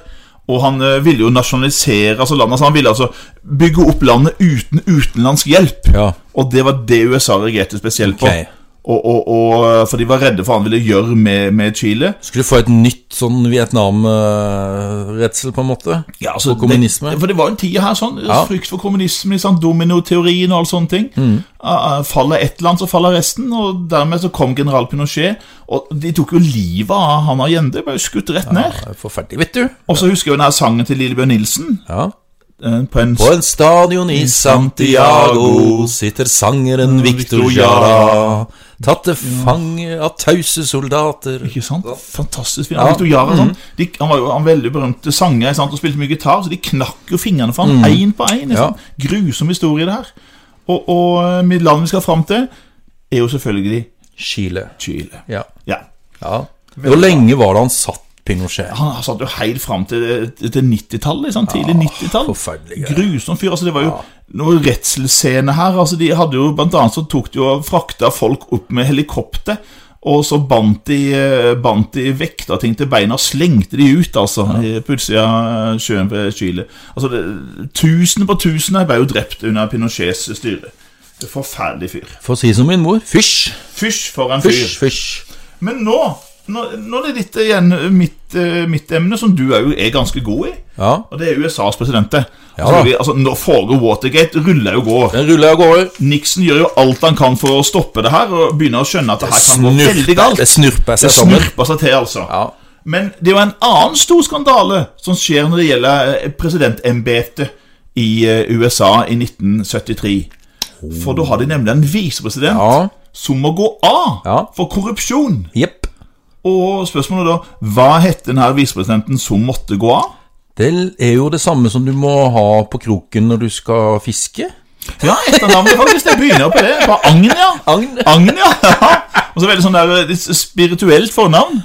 [SPEAKER 2] Og han eh, ville jo nasjonalisere altså landet, så han ville altså bygge opp landet uten utenlandsk hjelp.
[SPEAKER 1] Ja.
[SPEAKER 2] Og det var det USA reagerte spesielt på.
[SPEAKER 1] Ok.
[SPEAKER 2] Og, og, og, eh, for de var redde for hva han ville gjøre med, med Chile.
[SPEAKER 1] Skulle få et nytt sånn Vietnam-redsel, på en måte?
[SPEAKER 2] Ja, altså,
[SPEAKER 1] Og kommunisme.
[SPEAKER 2] Det, for det var en tid her sånn,
[SPEAKER 1] Ja.
[SPEAKER 2] frykt for kommunisme, liksom, dominoteorien og alle sånne ting. Ah, ah, faller ett land, så faller resten, og dermed så kom general Pinochet, og de tok jo livet av han Allende, ble jo skutt rett ned.
[SPEAKER 1] Det er Forferdelig, vet du.
[SPEAKER 2] Og så husker jeg jo den her sangen til Lillebjørn Nilsen,
[SPEAKER 1] Ja.
[SPEAKER 2] eh, på en
[SPEAKER 1] På en stadion i Santiago sitter sangeren Victor Jara. Tatt til fange av tause soldater.
[SPEAKER 2] Ikke sant? Fantastisk fin.
[SPEAKER 1] Ja. Mm.
[SPEAKER 2] Victor Jara, sånn. de, han var jo en veldig berømt sanger ikke sant? og spilte mye gitar, så de knakk jo fingrene for han, én på én.
[SPEAKER 1] Mm. Ja.
[SPEAKER 2] Ja. Grusom historie, det her. Og, og eh, landet vi skal fram til, er jo selvfølgelig
[SPEAKER 1] Chile.
[SPEAKER 2] Chile.
[SPEAKER 1] Ja.
[SPEAKER 2] Ja.
[SPEAKER 1] ja. Hvor lenge var det han satt, Pinochet?
[SPEAKER 2] Han satt jo helt fram til, til 90-tallet. ikke sant? Tidlig 90-tall.
[SPEAKER 1] Ah, forferdelig greier.
[SPEAKER 2] Grusom fyr. altså Det var jo noe redselsscene her. altså De hadde jo blant annet så tok de og frakta folk opp med helikopter. Og så bandt de, eh, bandt de vekta ting til beina og slengte de ut, altså. i- På utsida av sjøen ved Chile. Altså, det, tusen på tusen her ble jo drept under Pinochets styre. Forferdelig fyr.
[SPEAKER 1] For å si som min mor fysj,
[SPEAKER 2] Fysj for en fyr.
[SPEAKER 1] fysj, fysj.
[SPEAKER 2] Men nå, nå, nå er det litt igjen mitt, eh, mitt emne, som du òg er ganske god i.
[SPEAKER 1] Ja.
[SPEAKER 2] Og det er USAs president. det.
[SPEAKER 1] Ja
[SPEAKER 2] altså,
[SPEAKER 1] da.
[SPEAKER 2] vi- altså, nå foregår Watergate, ruller jo går.
[SPEAKER 1] Den ruller av gårde.
[SPEAKER 2] Nixon gjør jo alt han kan for å stoppe det her, og begynner å skjønne at det her kan gå veldig
[SPEAKER 1] Snurper,
[SPEAKER 2] galt.
[SPEAKER 1] det snurper
[SPEAKER 2] Det
[SPEAKER 1] seg sammen.
[SPEAKER 2] snurper seg til, altså.
[SPEAKER 1] Ja.
[SPEAKER 2] Men det er jo en annen stor skandale som skjer når det gjelder eh, presidentembetet i eh, USA i 1973. For da har de nemlig en visepresident
[SPEAKER 1] Ja.
[SPEAKER 2] som må gå av
[SPEAKER 1] Ja.
[SPEAKER 2] for korrupsjon.
[SPEAKER 1] Jepp.
[SPEAKER 2] Og spørsmålet da, hva het denne visepresidenten som måtte gå av?
[SPEAKER 1] Det er jo det samme som du må ha på kroken når du skal fiske.
[SPEAKER 2] Ja, etternavnet faktisk, det begynner på det. På Agn, ja.
[SPEAKER 1] Agn.
[SPEAKER 2] Agn, ja. Og så veldig sånn der eh, litt spirituelt fornavn.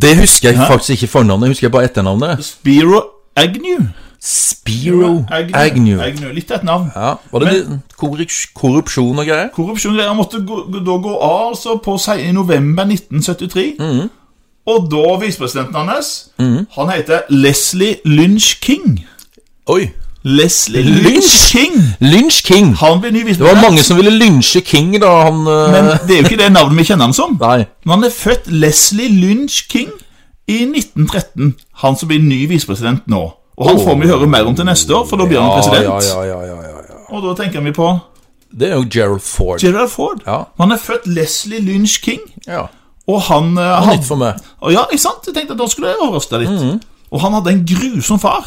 [SPEAKER 1] Det husker jeg faktisk ikke fornavnet, jeg husker bare etternavnet.
[SPEAKER 2] Spiro Agnew.
[SPEAKER 1] Spiro Agnew.
[SPEAKER 2] Litt av et navn.
[SPEAKER 1] Ja, var det det- korrups- korrupsjon og greier?
[SPEAKER 2] Korrupsjon greier måtte gå, da gå av altså på se- i november 1973.
[SPEAKER 1] Mm.
[SPEAKER 2] Og da visepresidenten hans, han heter Leslie Lynch King.
[SPEAKER 1] Oi.
[SPEAKER 2] Leslie
[SPEAKER 1] Lynch?
[SPEAKER 2] Lynch King.
[SPEAKER 1] Lynch King. Det
[SPEAKER 2] Han blir ny visepresident.
[SPEAKER 1] var mange som ville lynsje King da han eh,
[SPEAKER 2] Men det er jo ikke det navnet vi kjenner han som.
[SPEAKER 1] Nei.
[SPEAKER 2] Men han er født Leslie Lynch King i 1913. Han som blir ny visepresident nå. Og han får vi høre mer om til neste år, for da blir han president.
[SPEAKER 1] Ja, ja, ja, ja, ja, ja.
[SPEAKER 2] Og da tenker vi på
[SPEAKER 1] Det er jo Gerald Ford.
[SPEAKER 2] Gerald Ford.
[SPEAKER 1] Ja.
[SPEAKER 2] Han er født Leslie Lynch King,
[SPEAKER 1] Ja.
[SPEAKER 2] og han eh,
[SPEAKER 1] Nytt for Mhm. meg.
[SPEAKER 2] og ja, ikke sant? Jeg tenkte at da skulle jeg overraske deg litt. Og han hadde en grusom far.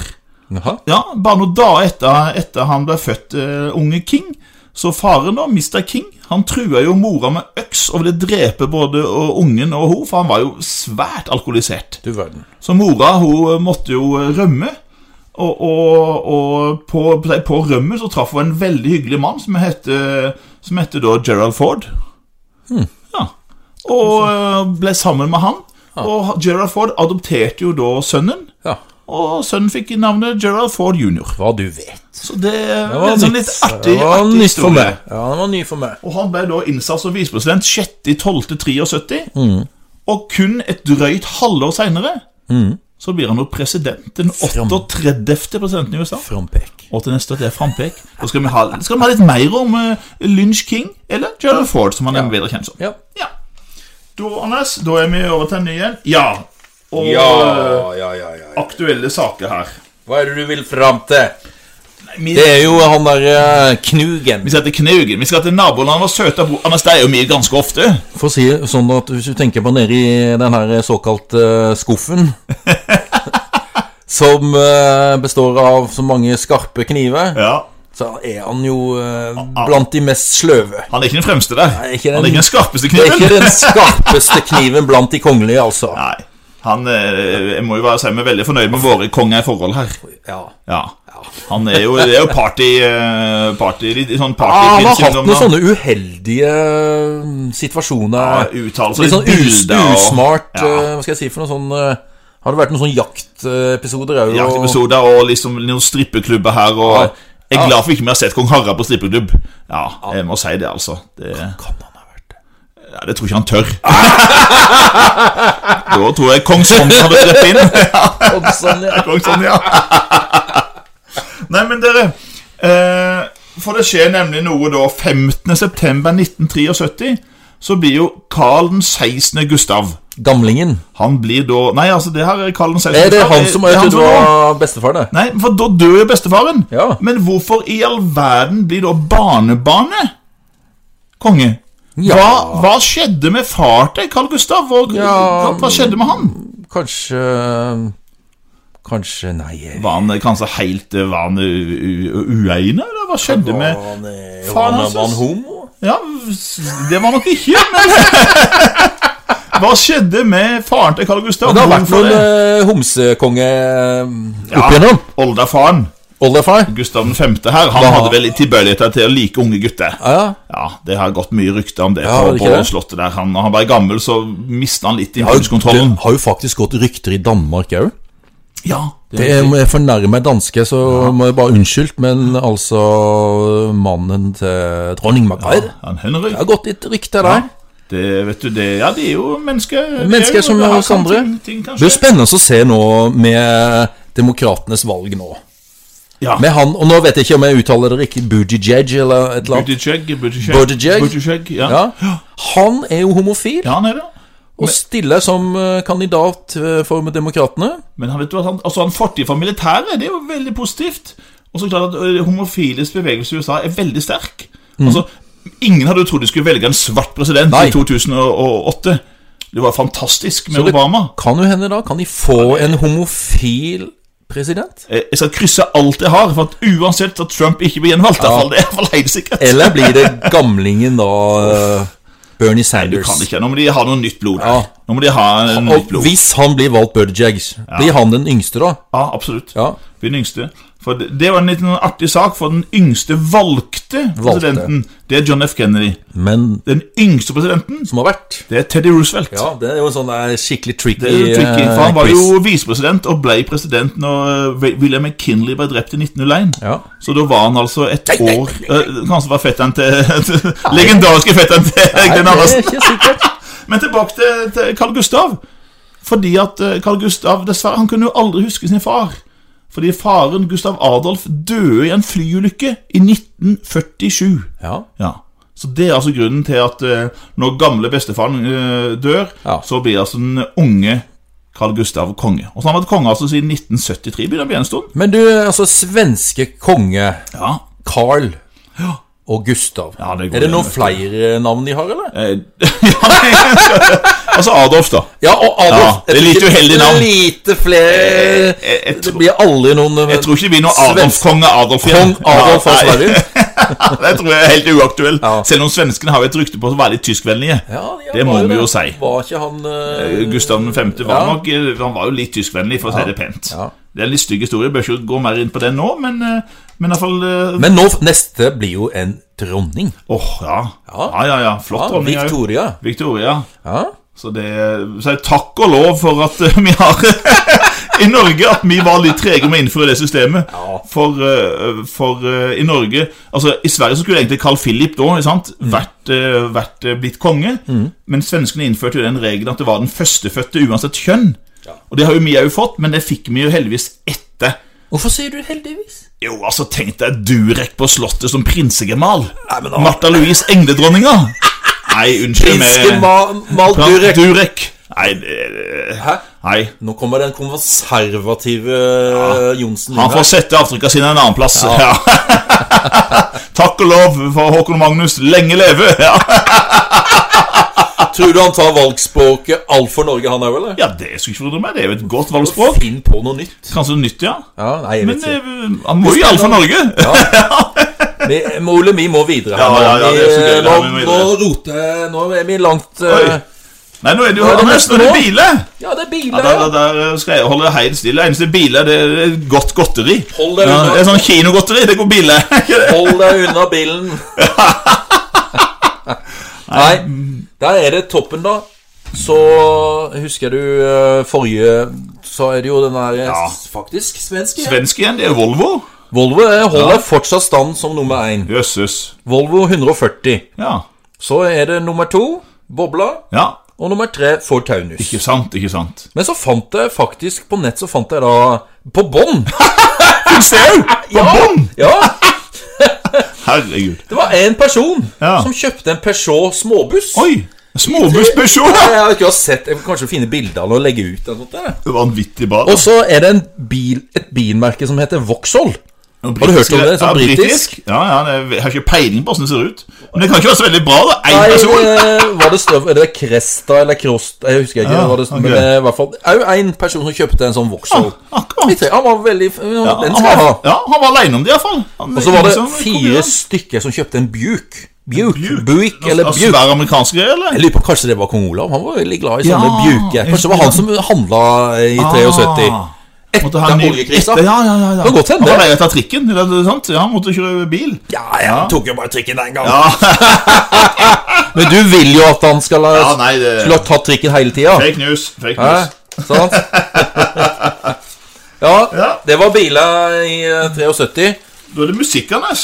[SPEAKER 1] Jaha.
[SPEAKER 2] Ja, Bare noen dager etter, etter han ble født eh, unge King, Så faren, da, Mr. King, han trua jo mora med øks og ville drepe både og ungen og hun, for han var jo svært alkoholisert.
[SPEAKER 1] Du verden.
[SPEAKER 2] Så mora hun eh, måtte jo rømme, og, og, og på, på- på rømmet så traff hun en veldig hyggelig mann som hette, som hette da Gerald Ford.
[SPEAKER 1] Hmm.
[SPEAKER 2] Ja. Og eh, ble sammen med han, og Gerald Ford adopterte jo da sønnen,
[SPEAKER 1] Ja.
[SPEAKER 2] og sønnen fikk navnet Gerald Ford jr.
[SPEAKER 1] Hva du vet.
[SPEAKER 2] Så det,
[SPEAKER 1] Det
[SPEAKER 2] var
[SPEAKER 1] var
[SPEAKER 2] en
[SPEAKER 1] nytt.
[SPEAKER 2] sånn litt artig,
[SPEAKER 1] det var
[SPEAKER 2] artig
[SPEAKER 1] nytt for
[SPEAKER 2] historie.
[SPEAKER 1] meg. Ja, det var ny for meg.
[SPEAKER 2] Og han ble da innsatt som visepresident 6.12.73.
[SPEAKER 1] Mm.
[SPEAKER 2] Og kun et drøyt halvår seinere
[SPEAKER 1] Mm.
[SPEAKER 2] så blir han jo president. Den 38. presidenten i USA.
[SPEAKER 1] Frampek.
[SPEAKER 2] Og til neste at det er frampek. Da skal vi ha, skal vi ha litt mer om eh, Lynch King, eller Gerald Ford, som han er bedre kjent som.
[SPEAKER 1] Ja.
[SPEAKER 2] Ja. Da, Anders, da er vi over til en ny en. Ja. Og eh,
[SPEAKER 1] ja, ja, ja, ja.
[SPEAKER 2] aktuelle saker her.
[SPEAKER 1] Hva er det du vil fram til?
[SPEAKER 2] Vi,
[SPEAKER 1] Det er jo han der eh, Knugen.
[SPEAKER 2] vi skal til Knaugen, vi skal til nabolandet og søte bo... Anders, det er jo vi ganske ofte.
[SPEAKER 1] For å si det sånn at hvis du tenker på nede i den her såkalt eh, skuffen Som eh, består av så mange skarpe kniver,
[SPEAKER 2] Ja.
[SPEAKER 1] så er han jo eh, blant de mest sløve.
[SPEAKER 2] Han er ikke den fremste der.
[SPEAKER 1] ikke den-
[SPEAKER 2] han er ikke den skarpeste
[SPEAKER 1] Det er
[SPEAKER 2] kniven.
[SPEAKER 1] ikke den skarpeste kniven blant de kongelige, altså.
[SPEAKER 2] Nei. Han eh, jeg må jo bare si meg veldig fornøyd med våre konger i forhold her.
[SPEAKER 1] Ja.
[SPEAKER 2] Ja. Han er jo, det er jo party, eh, party litt sånn
[SPEAKER 1] Ah, han har
[SPEAKER 2] partyprins
[SPEAKER 1] hatt noen sånne uheldige eh, situasjoner.
[SPEAKER 2] uttalelser.
[SPEAKER 1] Litt sånn us
[SPEAKER 2] bilder og-
[SPEAKER 1] usmart
[SPEAKER 2] Ja.
[SPEAKER 1] eh, Hva skal jeg si for noe sånn eh, Har det vært noen sånne jaktepisoder òg?
[SPEAKER 2] jaktepisoder og liksom noen strippeklubber her. Og
[SPEAKER 1] Ja.
[SPEAKER 2] Jeg er glad for ikke vi har sett kong Harald på strippeklubb. Ja, jeg må si det, altså. Det,
[SPEAKER 1] Kan han ha vært det?
[SPEAKER 2] ja, det tror jeg ikke han tør. da tror jeg kong Sonja hadde drept inn.
[SPEAKER 1] Og Sånn, ja.
[SPEAKER 2] Kong Sonja. Nei, men dere eh, For det skjer nemlig noe da 15.9.1973. Så blir jo Karl den 16. Gustav
[SPEAKER 1] Gamlingen.
[SPEAKER 2] Han blir da Nei, altså, det her er Karl den 16.
[SPEAKER 1] Er det
[SPEAKER 2] Gustav,
[SPEAKER 1] han som
[SPEAKER 2] det
[SPEAKER 1] jeg
[SPEAKER 2] er han
[SPEAKER 1] trodde
[SPEAKER 2] som dør.
[SPEAKER 1] var bestefar, det?
[SPEAKER 2] Nei, for da dør jo bestefaren.
[SPEAKER 1] Ja.
[SPEAKER 2] Men hvorfor i all verden blir da barnebarnet konge?
[SPEAKER 1] Ja.
[SPEAKER 2] Hva, hva skjedde med far til Carl Gustav? Hva,
[SPEAKER 1] Ja,
[SPEAKER 2] hva, hva skjedde med han?
[SPEAKER 1] Kanskje Kanskje Nei. jeg-
[SPEAKER 2] Var han eh, kanskje helt eh, Var han eh, u- u- uegnet, eller hva skjedde med
[SPEAKER 1] han, eh,
[SPEAKER 2] Faen,
[SPEAKER 1] han,
[SPEAKER 2] han
[SPEAKER 1] var han
[SPEAKER 2] synes-
[SPEAKER 1] homo?
[SPEAKER 2] Ja, det var nok ikke, men Hva skjedde med faren til Carl Gustav?
[SPEAKER 1] Men det har vært
[SPEAKER 2] Hvorfor
[SPEAKER 1] noen
[SPEAKER 2] det?
[SPEAKER 1] eh, homsekonge eh, opp
[SPEAKER 2] Ja.
[SPEAKER 1] igjennom.
[SPEAKER 2] Oldefaren,
[SPEAKER 1] Oldefar.
[SPEAKER 2] Gustav 5. her, han
[SPEAKER 1] Da-
[SPEAKER 2] hadde vel litt tilbøyeligheter til å like unge gutter.
[SPEAKER 1] Ja, ja.
[SPEAKER 2] Ja, det har gått mye rykter om det
[SPEAKER 1] Ja,
[SPEAKER 2] på,
[SPEAKER 1] det
[SPEAKER 2] på
[SPEAKER 1] ikke det?
[SPEAKER 2] slottet der. Han, når han ble gammel, så mista han litt
[SPEAKER 1] Det
[SPEAKER 2] impulskontrollen.
[SPEAKER 1] har jo faktisk gått rykter i Danmark òg.
[SPEAKER 2] Ja,
[SPEAKER 1] Det er- må jeg fornærme danske, så må jeg bare unnskyldt, men altså Mannen til dronning Margaret
[SPEAKER 2] han Henry.
[SPEAKER 1] Det har gått litt rykte der.
[SPEAKER 2] Det vet du, det Ja, de er jo mennesker. de er
[SPEAKER 1] Mennesker
[SPEAKER 2] jo-
[SPEAKER 1] som
[SPEAKER 2] det her
[SPEAKER 1] oss
[SPEAKER 2] kan
[SPEAKER 1] andre.
[SPEAKER 2] ting- ting kan
[SPEAKER 1] Det blir
[SPEAKER 2] skje.
[SPEAKER 1] spennende å se nå med demokratenes valg nå.
[SPEAKER 2] Ja.
[SPEAKER 1] Med han, og nå vet jeg ikke om jeg uttaler det riktig, Buttigieg eller et eller annet.
[SPEAKER 2] Buttigieg, Buttigieg,
[SPEAKER 1] Buttigieg?
[SPEAKER 2] Buttigieg, ja.
[SPEAKER 1] Ja. Han er jo homofil
[SPEAKER 2] Ja, han er det.
[SPEAKER 1] og stiller som eh, kandidat eh, for demokratene.
[SPEAKER 2] Men han vet du at han, altså han fortid fra militæret, det er jo veldig positivt. Og så klart at ø, homofiles bevegelse i USA er veldig sterk. Altså, Ingen hadde jo trodd de skulle velge en svart president
[SPEAKER 1] Mm. Nei.
[SPEAKER 2] i 2008. Det var fantastisk med
[SPEAKER 1] Så det-
[SPEAKER 2] Obama.
[SPEAKER 1] Kan jo hende da, kan de få en homofil president?
[SPEAKER 2] Eh, Jeg skal krysse alt jeg har, for at uansett at Trump ikke blir gjenvalgt. i hvert fall, Det er i hvert fall helt sikkert.
[SPEAKER 1] Eller blir det gamlingen da, eh, Bernie
[SPEAKER 2] Du
[SPEAKER 1] Sanders?
[SPEAKER 2] kan ikke, Nå må de ha noe nytt blod. der.
[SPEAKER 1] Ja.
[SPEAKER 2] Nå må de ha eh, nytt
[SPEAKER 1] Og
[SPEAKER 2] blod.
[SPEAKER 1] hvis han blir valgt Buttigieg, blir han den yngste da?
[SPEAKER 2] Ja, absolutt.
[SPEAKER 1] Ja.
[SPEAKER 2] Vi er den yngste. For det, det var en litt artig sak, for den yngste valgte presidenten, det er John F. Kennedy.
[SPEAKER 1] Men
[SPEAKER 2] Den yngste presidenten,
[SPEAKER 1] som har vært
[SPEAKER 2] det er Teddy Roosevelt.
[SPEAKER 1] Ja, det er jo en sånn der skikkelig tricky,
[SPEAKER 2] Det er jo eh, tricky, for Han
[SPEAKER 1] eh,
[SPEAKER 2] var
[SPEAKER 1] quiz.
[SPEAKER 2] jo visepresident og ble president når eh, William McKinley ble drept i 1901.
[SPEAKER 1] Ja.
[SPEAKER 2] Så da var han altså et år eh, Kanskje var fetteren til Legendariske fetteren til
[SPEAKER 1] Nei,
[SPEAKER 2] Glenn
[SPEAKER 1] det
[SPEAKER 2] Andersen.
[SPEAKER 1] er ikke sikkert.
[SPEAKER 2] Men tilbake til, til Carl Gustav. Fordi at eh, Carl Gustav dessverre, han kunne jo aldri huske sin far. Fordi faren, Gustav Adolf, døde i en flyulykke i 1947.
[SPEAKER 1] Ja.
[SPEAKER 2] Ja. Så det er altså grunnen til at eh, når gamle bestefaren eh, dør,
[SPEAKER 1] Ja.
[SPEAKER 2] så blir altså den unge Carl Gustav konge. Og så har han vært konge altså siden 1973, begynner vi en stund.
[SPEAKER 1] Men du, altså, svenske konge
[SPEAKER 2] Ja.
[SPEAKER 1] Carl og Gustav.
[SPEAKER 2] Ja, det går
[SPEAKER 1] er det
[SPEAKER 2] igjen,
[SPEAKER 1] noen
[SPEAKER 2] vet du.
[SPEAKER 1] flere navn de har, eller?
[SPEAKER 2] Eh, ja. altså Adolf, da.
[SPEAKER 1] Ja, og Adolf.
[SPEAKER 2] Ja, det er litt uheldig navn. Eh,
[SPEAKER 1] Lite flere
[SPEAKER 2] Jeg, jeg,
[SPEAKER 1] Det
[SPEAKER 2] tror,
[SPEAKER 1] blir aldri noen eh,
[SPEAKER 2] jeg tror ikke vi er noen Adolf-konge Adolf
[SPEAKER 1] Kong Adolf av
[SPEAKER 2] Nei.
[SPEAKER 1] Sverige.
[SPEAKER 2] det tror jeg er helt uaktuell.
[SPEAKER 1] Ja.
[SPEAKER 2] Selv om svenskene har jo et rykte på å være litt tyskvennlige.
[SPEAKER 1] Ja, ja,
[SPEAKER 2] Det må
[SPEAKER 1] var
[SPEAKER 2] vi jo
[SPEAKER 1] det.
[SPEAKER 2] si.
[SPEAKER 1] Var ikke han eh,
[SPEAKER 2] Eh, Gustav 5. var
[SPEAKER 1] Ja.
[SPEAKER 2] nok eh, Han var jo litt tyskvennlig, for å si det pent.
[SPEAKER 1] Ja.
[SPEAKER 2] Det er en litt stygg historie, bør ikke gå mer inn på den nå, men, eh, men iallfall Åh,
[SPEAKER 1] Men nå, neste blir jo en dronning.
[SPEAKER 2] ja.
[SPEAKER 1] Ja.
[SPEAKER 2] ja, ja, ja. Flott
[SPEAKER 1] Ja,
[SPEAKER 2] dronning. ja.
[SPEAKER 1] Victoria.
[SPEAKER 2] Victoria.
[SPEAKER 1] Ja.
[SPEAKER 2] Så det så er det takk og lov for at eh, vi har I Norge at vi var litt trege med å innføre det systemet.
[SPEAKER 1] Ja.
[SPEAKER 2] For, eh, for eh, i Norge Altså, i Sverige så skulle egentlig Carl Philip da ikke sant,
[SPEAKER 1] Mm.
[SPEAKER 2] vært, eh, vært eh, blitt konge. Men svenskene innførte jo den regelen at det var den førstefødte uansett kjønn. Og det har jo vi òg fått, men det fikk vi jo heldigvis etter.
[SPEAKER 1] Hvorfor sier du heldigvis?
[SPEAKER 2] Jo, altså, tenk deg Durek på Slottet som prinsegemal.
[SPEAKER 1] Nei, men da-
[SPEAKER 2] Martha Louise, engledronninga. Nei, unnskyld meg.
[SPEAKER 1] Prinske Ma Mal
[SPEAKER 2] Frank
[SPEAKER 1] Durek.
[SPEAKER 2] Durek. Nei, det-
[SPEAKER 1] Hæ?
[SPEAKER 2] nei.
[SPEAKER 1] Nå kommer den konservative eh, Johnsen
[SPEAKER 2] Han
[SPEAKER 1] inn
[SPEAKER 2] får
[SPEAKER 1] her.
[SPEAKER 2] sette avtrykka sine en annen plass. Ja. Takk og lov for Håkon Magnus. Lenge leve! Ja,
[SPEAKER 1] Tror du han tar valgspråket alt for Norge, han òg, eller?
[SPEAKER 2] ja det skulle ikke forundre meg. Det er jo et godt valgspråk.
[SPEAKER 1] Finn på noe nytt.
[SPEAKER 2] Kanskje nytt, ja.
[SPEAKER 1] Ja, nei, jeg
[SPEAKER 2] Men
[SPEAKER 1] vet ikke.
[SPEAKER 2] eh, han må jo iallfall Norge.
[SPEAKER 1] Vi, Ole, vi må videre. her
[SPEAKER 2] eh, Ja,
[SPEAKER 1] nå.
[SPEAKER 2] ja, ja, det er så gøy,
[SPEAKER 1] Vi-
[SPEAKER 2] det
[SPEAKER 1] nå,
[SPEAKER 2] her, vi må
[SPEAKER 1] nå
[SPEAKER 2] videre.
[SPEAKER 1] roter jeg Nå er vi langt eh,
[SPEAKER 2] Oi. Nei, nå er det jo
[SPEAKER 1] Hva er det
[SPEAKER 2] Anders,
[SPEAKER 1] neste
[SPEAKER 2] nå er det
[SPEAKER 1] nå?
[SPEAKER 2] Bile.
[SPEAKER 1] Ja, det er
[SPEAKER 2] Ja,
[SPEAKER 1] biler,
[SPEAKER 2] der,
[SPEAKER 1] ja.
[SPEAKER 2] der der skal jeg holde helt stille. Eneste Bile, det er godt godteri.
[SPEAKER 1] Hold
[SPEAKER 2] Ja,
[SPEAKER 1] deg
[SPEAKER 2] det er
[SPEAKER 1] unna,
[SPEAKER 2] sånn kinogodteri. Det går Bile.
[SPEAKER 1] hold deg unna bilen. Nei, der er det toppen, da. Så husker du eh, forrige Så er det jo den der eh,
[SPEAKER 2] Ja.
[SPEAKER 1] s- faktisk svenske. ja.
[SPEAKER 2] Svensk igjen, det er Volvo.
[SPEAKER 1] Volvo eh, holder fortsatt stand som nummer én.
[SPEAKER 2] Jøsses.
[SPEAKER 1] Volvo 140.
[SPEAKER 2] Ja.
[SPEAKER 1] Så er det nummer to, Bobla.
[SPEAKER 2] ja.
[SPEAKER 1] Og nummer tre, Ford Taunus.
[SPEAKER 2] Ikke sant, ikke sant.
[SPEAKER 1] Men så fant jeg faktisk på nett så fant jeg da På bånn!
[SPEAKER 2] Ser du? På bånn!
[SPEAKER 1] Ja,
[SPEAKER 2] Herregud.
[SPEAKER 1] det var en person
[SPEAKER 2] Ja.
[SPEAKER 1] som kjøpte en Peugeot småbuss.
[SPEAKER 2] Oi! Småbuss Peugeot!
[SPEAKER 1] Jeg har ikke sett, jeg vil kanskje finne bilder av det og legge ut eller noe sånt der.
[SPEAKER 2] Vanvittig bra.
[SPEAKER 1] Og så er det en bil, et bilmerke som heter Vauxhall.
[SPEAKER 2] Har
[SPEAKER 1] du hørt om det? Sånn britisk?
[SPEAKER 2] Ja, ja, det er, jeg har ikke peiling på hvordan det ser ut. Men det kan ikke være så veldig bra, da. Én
[SPEAKER 1] Nei,
[SPEAKER 2] person.
[SPEAKER 1] eh, var det støv, er det Cresta eller Crost? Jeg husker ikke.
[SPEAKER 2] Ja,
[SPEAKER 1] hva det stod, Men
[SPEAKER 2] ok. Ah,
[SPEAKER 1] eh, i hvert fall Au, en person som kjøpte en sånn Vauxhall. Vi
[SPEAKER 2] Akkurat.
[SPEAKER 1] tre- Han var veldig
[SPEAKER 2] Ja,
[SPEAKER 1] Den
[SPEAKER 2] han
[SPEAKER 1] skal jeg ha.
[SPEAKER 2] var, Liksom, ja, han var aleine om det, iallfall.
[SPEAKER 1] Og så var det fire stykker som kjøpte en Buick. Buick, Buick eller Buick.
[SPEAKER 2] Svære amerikanske greier, eller?
[SPEAKER 1] Jeg lurer på, Kanskje det var kong Olav? Han var veldig glad i sånne
[SPEAKER 2] Ja,
[SPEAKER 1] Buicker. Kanskje det var han som handla i 73?
[SPEAKER 2] Ah. Måtte
[SPEAKER 1] Etter
[SPEAKER 2] ha en ny-
[SPEAKER 1] oljekrisa?
[SPEAKER 2] Etter- Ja, ja, ja. ja.
[SPEAKER 1] Kan godt hende.
[SPEAKER 2] Han var leid etter trikken, er det sant? Ja, han måtte kjøre bil.
[SPEAKER 1] Ja, ja, han tok jo bare trikken den gangen.
[SPEAKER 2] Ja.
[SPEAKER 1] Men du vil jo at han skal ha,
[SPEAKER 2] Ja, nei, det-
[SPEAKER 1] skulle ha tatt trikken hele tida.
[SPEAKER 2] Fake news. Fake
[SPEAKER 1] Hæ?
[SPEAKER 2] news.
[SPEAKER 1] Sant? ja,
[SPEAKER 2] Ja.
[SPEAKER 1] det var biler i eh, 73.
[SPEAKER 2] Da er det musikk, Anders.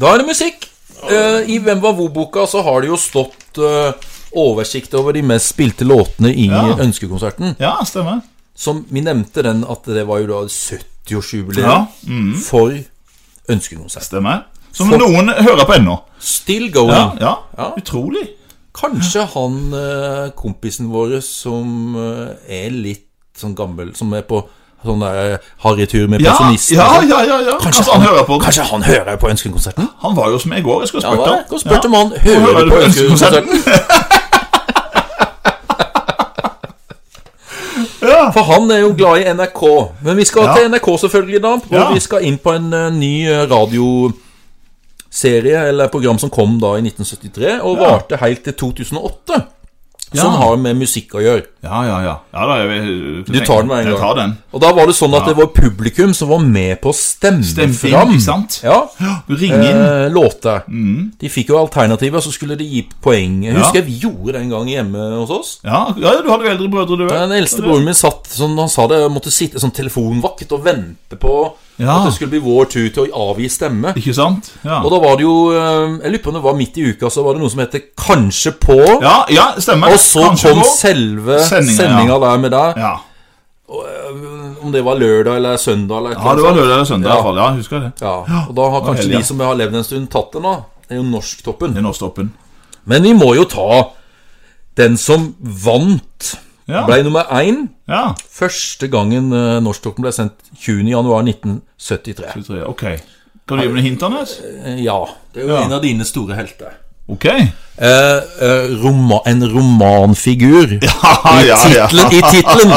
[SPEAKER 1] Da er det musikk. Eh, I Hvem var hvor-boka så har det jo stått eh, oversikt over de mest spilte låtene i
[SPEAKER 2] Ja.
[SPEAKER 1] Ønskekonserten.
[SPEAKER 2] Ja, stemmer.
[SPEAKER 1] Som vi nevnte den at det var jo da 70-årsjubileet
[SPEAKER 2] Ja, Mm.
[SPEAKER 1] for Ønskekonserten.
[SPEAKER 2] Stemmer. Som noen hører på ennå.
[SPEAKER 1] Still going.
[SPEAKER 2] Ja, ja.
[SPEAKER 1] Ja.
[SPEAKER 2] Utrolig.
[SPEAKER 1] Kanskje han eh, kompisen vår som eh, er litt sånn gammel, som er på sånn der harrytur med
[SPEAKER 2] Ja,
[SPEAKER 1] pensjonisten
[SPEAKER 2] ja,
[SPEAKER 1] og sånn.
[SPEAKER 2] ja, ja, ja. Kanskje, han, hører på.
[SPEAKER 1] Kanskje han hører på Ønskekonserten?
[SPEAKER 2] Han var jo som jeg i går. Jeg skulle
[SPEAKER 1] Ja,
[SPEAKER 2] spurt
[SPEAKER 1] hva?
[SPEAKER 2] ham.
[SPEAKER 1] Gå og spør om han hører du på Ønskekonserten.
[SPEAKER 2] ja.
[SPEAKER 1] For han er jo glad i NRK. Men vi skal
[SPEAKER 2] Ja.
[SPEAKER 1] til NRK selvfølgelig, da. Og
[SPEAKER 2] Ja.
[SPEAKER 1] vi skal inn på en eh, ny eh, radioserie eller program som kom da i 1973, og
[SPEAKER 2] Ja.
[SPEAKER 1] varte helt til 2008.
[SPEAKER 2] Ja.
[SPEAKER 1] Som har med musikk å gjøre.
[SPEAKER 2] ja, ja, ja. ja da, jeg, jeg,
[SPEAKER 1] Du tar den med en gang.
[SPEAKER 2] Jeg tar den.
[SPEAKER 1] Og da var det sånn at
[SPEAKER 2] Ja.
[SPEAKER 1] det var publikum som var med på å stemme
[SPEAKER 2] Stemte inn,
[SPEAKER 1] fram
[SPEAKER 2] ikke sant?
[SPEAKER 1] Ja,
[SPEAKER 2] Du ringer inn.
[SPEAKER 1] eh, låter. De fikk jo alternativer, så skulle de gi poeng. Jeg
[SPEAKER 2] Ja.
[SPEAKER 1] husker jeg vi gjorde det en gang hjemme hos oss.
[SPEAKER 2] Ja, ja, du hadde jo eldre brødre, du
[SPEAKER 1] Den eldste broren min satt sånn, han sa det, måtte sitte sånn telefonvakt og vente på
[SPEAKER 2] Ja.
[SPEAKER 1] at det skulle bli vår tur til å avgi stemme.
[SPEAKER 2] Ikke sant? Ja.
[SPEAKER 1] Og da var det jo eh, Jeg lurer på om det var midt i uka, så var det noe som heter Kanskje på.
[SPEAKER 2] ja, ja, stemmer.
[SPEAKER 1] Og så
[SPEAKER 2] Kanskje
[SPEAKER 1] kom
[SPEAKER 2] går.
[SPEAKER 1] selve
[SPEAKER 2] Sendinga, ja.
[SPEAKER 1] sendinga der med deg. Eh,
[SPEAKER 2] Ja.
[SPEAKER 1] Om det var lørdag eller søndag eller et
[SPEAKER 2] ja, det
[SPEAKER 1] eller
[SPEAKER 2] var
[SPEAKER 1] annet
[SPEAKER 2] lørdag eller søndag i
[SPEAKER 1] Ja.
[SPEAKER 2] hvert fall. Ja, husker jeg det.
[SPEAKER 1] Ja, og da har kanskje
[SPEAKER 2] helga.
[SPEAKER 1] de som har levd en stund, tatt den, da. Det er jo norsktoppen.
[SPEAKER 2] Det er Nåstoppen.
[SPEAKER 1] Men vi må jo ta den som vant.
[SPEAKER 2] Ja.
[SPEAKER 1] Ble nummer én
[SPEAKER 2] Ja.
[SPEAKER 1] første gangen eh, norsktoppen ble sendt 20.1.1973.
[SPEAKER 2] du tror jeg. Ok. Kan du gi meg noen hint, Anders?
[SPEAKER 1] Eh, Ja. Det er jo
[SPEAKER 2] Ja.
[SPEAKER 1] en av dine store helter.
[SPEAKER 2] Ok. Ja,
[SPEAKER 1] eh, eh, roma, en romanfigur
[SPEAKER 2] Ja,
[SPEAKER 1] i
[SPEAKER 2] ja, ja.
[SPEAKER 1] titlen, i titlen.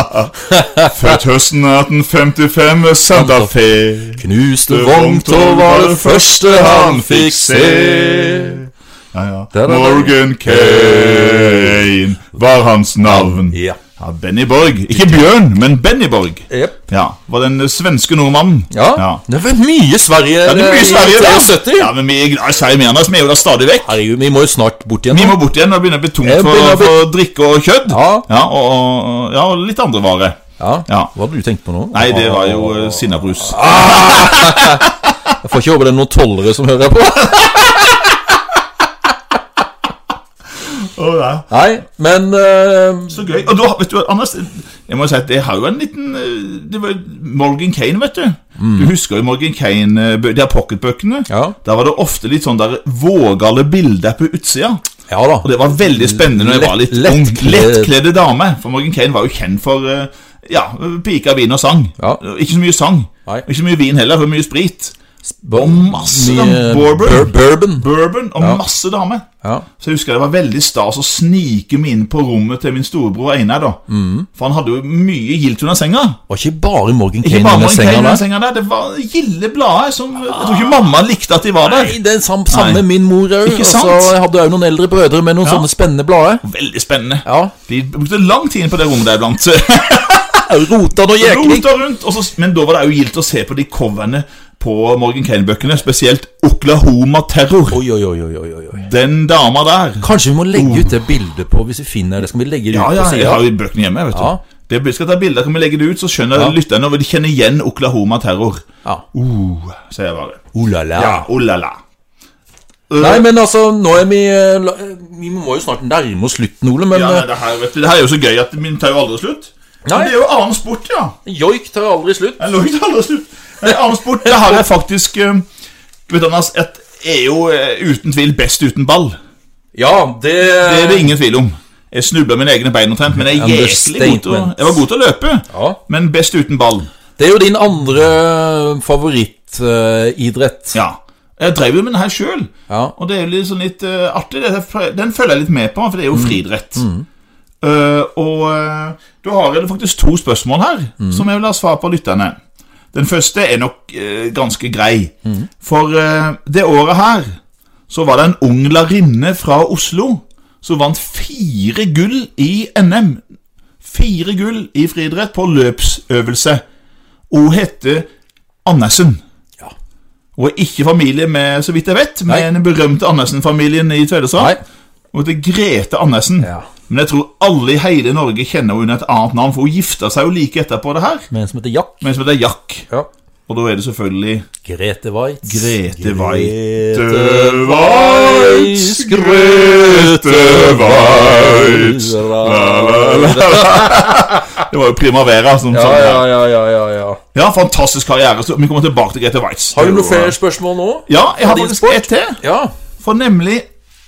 [SPEAKER 2] Født høsten 1855, Santa Fe.
[SPEAKER 1] Knuste vogntog var det første han fikk se.
[SPEAKER 2] Ja, ja.
[SPEAKER 1] Der er det.
[SPEAKER 2] Morgan Kane var hans navn.
[SPEAKER 1] Ja.
[SPEAKER 2] Ja, Benny Borg. Ikke Bjørn, men Benny Borg.
[SPEAKER 1] Jep.
[SPEAKER 2] Ja, Var den svenske nordmannen.
[SPEAKER 1] Ja, det var mye Sverige
[SPEAKER 2] Ja, det er mye Sverige
[SPEAKER 1] i
[SPEAKER 2] da.
[SPEAKER 1] 73.
[SPEAKER 2] Ja, men vi er glad i Sverige mer enn oss, vi er jo der stadig vekk.
[SPEAKER 1] Herregud, vi må jo snart bort igjen.
[SPEAKER 2] Vi må bort igjen og begynne å bli
[SPEAKER 1] Jeg
[SPEAKER 2] tungt for,
[SPEAKER 1] begynner å bli-
[SPEAKER 2] for drikke og kjødd.
[SPEAKER 1] Ja.
[SPEAKER 2] og, og- ja, og litt andre varer.
[SPEAKER 1] Ja.
[SPEAKER 2] Ja.
[SPEAKER 1] Hva hadde du tenkt på nå?
[SPEAKER 2] Nei, det var jo eh, sinnabrus.
[SPEAKER 1] Ah. Jeg får ikke håpe det er noen tollere som hører på.
[SPEAKER 2] Å, nei.
[SPEAKER 1] Nei, men eh,
[SPEAKER 2] Så gøy. Og da, vet du, hva, Anders, jeg må si at jeg har jo en liten eh, Det var jo Morgan Kane, vet du. Du husker jo Morgan Kane, eh, bø- de her pocketbøkene?
[SPEAKER 1] Mm. Ja.
[SPEAKER 2] Der var det ofte litt sånn der vågale bilder på utsida.
[SPEAKER 1] Ja da.
[SPEAKER 2] Og det var veldig spennende når jeg var litt
[SPEAKER 1] Lett-
[SPEAKER 2] ung.
[SPEAKER 1] lettkledd.
[SPEAKER 2] Lettkledde dame. For Morgan Kane var jo kjent for eh, ja, piker, vin og sang.
[SPEAKER 1] Ja.
[SPEAKER 2] Ikke så mye sang.
[SPEAKER 1] Nei.
[SPEAKER 2] Ikke så mye vin heller, for mye sprit. Og masse
[SPEAKER 1] Mye
[SPEAKER 2] dam- bourbon.
[SPEAKER 1] bur- bourbon.
[SPEAKER 2] Bourbon og masse damer.
[SPEAKER 1] Ja.
[SPEAKER 2] Så jeg husker det var veldig stas å snike meg inn på rommet til min storebror Einar. da
[SPEAKER 1] Mm.
[SPEAKER 2] For han hadde jo mye gilt under senga.
[SPEAKER 1] Og ikke bare Morgan
[SPEAKER 2] Ikke
[SPEAKER 1] Kane
[SPEAKER 2] bare
[SPEAKER 1] under
[SPEAKER 2] mange
[SPEAKER 1] senga
[SPEAKER 2] senga under
[SPEAKER 1] der.
[SPEAKER 2] senga der, det var gilde blader som Jeg tror ikke mamma likte at de var der.
[SPEAKER 1] Nei, det er sam, samme
[SPEAKER 2] Nei.
[SPEAKER 1] min mor òg.
[SPEAKER 2] Ikke
[SPEAKER 1] Og så
[SPEAKER 2] sant?
[SPEAKER 1] jeg hadde jeg òg noen eldre brødre med noen
[SPEAKER 2] Ja.
[SPEAKER 1] sånne spennende blader.
[SPEAKER 2] Veldig spennende.
[SPEAKER 1] Ja.
[SPEAKER 2] De brukte lang tid på det rommet der iblant.
[SPEAKER 1] Rotan og jekling.
[SPEAKER 2] Rota rundt, og så, men da var det jo gildt å se på de coverne på Morgan Kane-bøkene, spesielt Oklahoma Terror.
[SPEAKER 1] Oi, oi, oi, oi, oi, oi, oi.
[SPEAKER 2] Den dama der
[SPEAKER 1] Kanskje vi må legge ut det bildet på hvis vi finner det. Skal vi legge det ut
[SPEAKER 2] Ja, ja,
[SPEAKER 1] på
[SPEAKER 2] jeg har
[SPEAKER 1] siden?
[SPEAKER 2] jo bøkene hjemme, vet du.
[SPEAKER 1] Ja.
[SPEAKER 2] Det blir- skal ta bilder, kan vi legge det ut, så skjønner
[SPEAKER 1] Ja.
[SPEAKER 2] lytterne og de kjenner igjen Oklahoma Terror.
[SPEAKER 1] Ja.
[SPEAKER 2] Uh, sier jeg bare.
[SPEAKER 1] Oh la la.
[SPEAKER 2] Ja, oh la la. Uh,
[SPEAKER 1] Nei, men altså, nå er vi eh, la- Vi må jo snart nærme oss slutten, Ole, men
[SPEAKER 2] ja, nei,
[SPEAKER 1] eh,
[SPEAKER 2] det, her, vet du, det her er jo så gøy at min tar jo aldri slutt.
[SPEAKER 1] Nei.
[SPEAKER 2] Men det er jo annen sport, ja.
[SPEAKER 1] joik tar aldri slutt.
[SPEAKER 2] Jeg lå ikke aldri slutt. Nei, annen sport, det her er faktisk eh, Vet du, Anders, et er jo eh, uten tvil best uten ball.
[SPEAKER 1] Ja, det
[SPEAKER 2] Det er det ingen tvil om. Jeg snubla mine egne bein omtrent, men jeg er jæslig god til å
[SPEAKER 1] Understatement.
[SPEAKER 2] Jeg var god til å løpe,
[SPEAKER 1] Ja.
[SPEAKER 2] men best uten ball.
[SPEAKER 1] Det er jo din andre eh, favorittidrett.
[SPEAKER 2] Ja. Jeg drev jo med den her sjøl,
[SPEAKER 1] Ja.
[SPEAKER 2] og det er jo litt, sånn litt eh, artig. Det. Jeg prø- Den følger jeg litt med på, for det er jo friidrett. Eh, og eh, da har jeg faktisk to spørsmål her, som jeg vil ha svar på lytterne. Den første er nok eh, ganske grei. For eh, det året her så var det en ung lærerinne fra Oslo som vant fire gull i NM. Fire gull i friidrett på løpsøvelse. Hun heter Andersen.
[SPEAKER 1] Ja.
[SPEAKER 2] Hun er ikke familie med, så vidt jeg vet, med
[SPEAKER 1] Nei.
[SPEAKER 2] den berømte Andersen-familien i
[SPEAKER 1] Nei.
[SPEAKER 2] Tvedestrand. Hun heter Grete Andersen.
[SPEAKER 1] Ja.
[SPEAKER 2] Men jeg tror alle i hele Norge kjenner henne under et annet navn, for hun gifta seg jo like etterpå det her,
[SPEAKER 1] Med en som heter Jack.
[SPEAKER 2] med en som heter Jack.
[SPEAKER 1] Ja.
[SPEAKER 2] Og da er det selvfølgelig
[SPEAKER 1] Grete Waitz.
[SPEAKER 2] Grete Waitz.
[SPEAKER 1] Grete
[SPEAKER 2] Waitz, Grete Waitz. Det var jo Primavera som
[SPEAKER 1] Ja,
[SPEAKER 2] sang det.
[SPEAKER 1] ja, ja, ja, ja, ja.
[SPEAKER 2] Ja, fantastisk karriere. Så vi kommer tilbake til Grete Waitz.
[SPEAKER 1] Har du noen flere spørsmål nå?
[SPEAKER 2] Ja, jeg har
[SPEAKER 1] Din
[SPEAKER 2] faktisk
[SPEAKER 1] sport?
[SPEAKER 2] ett til.
[SPEAKER 1] Ja.
[SPEAKER 2] For nemlig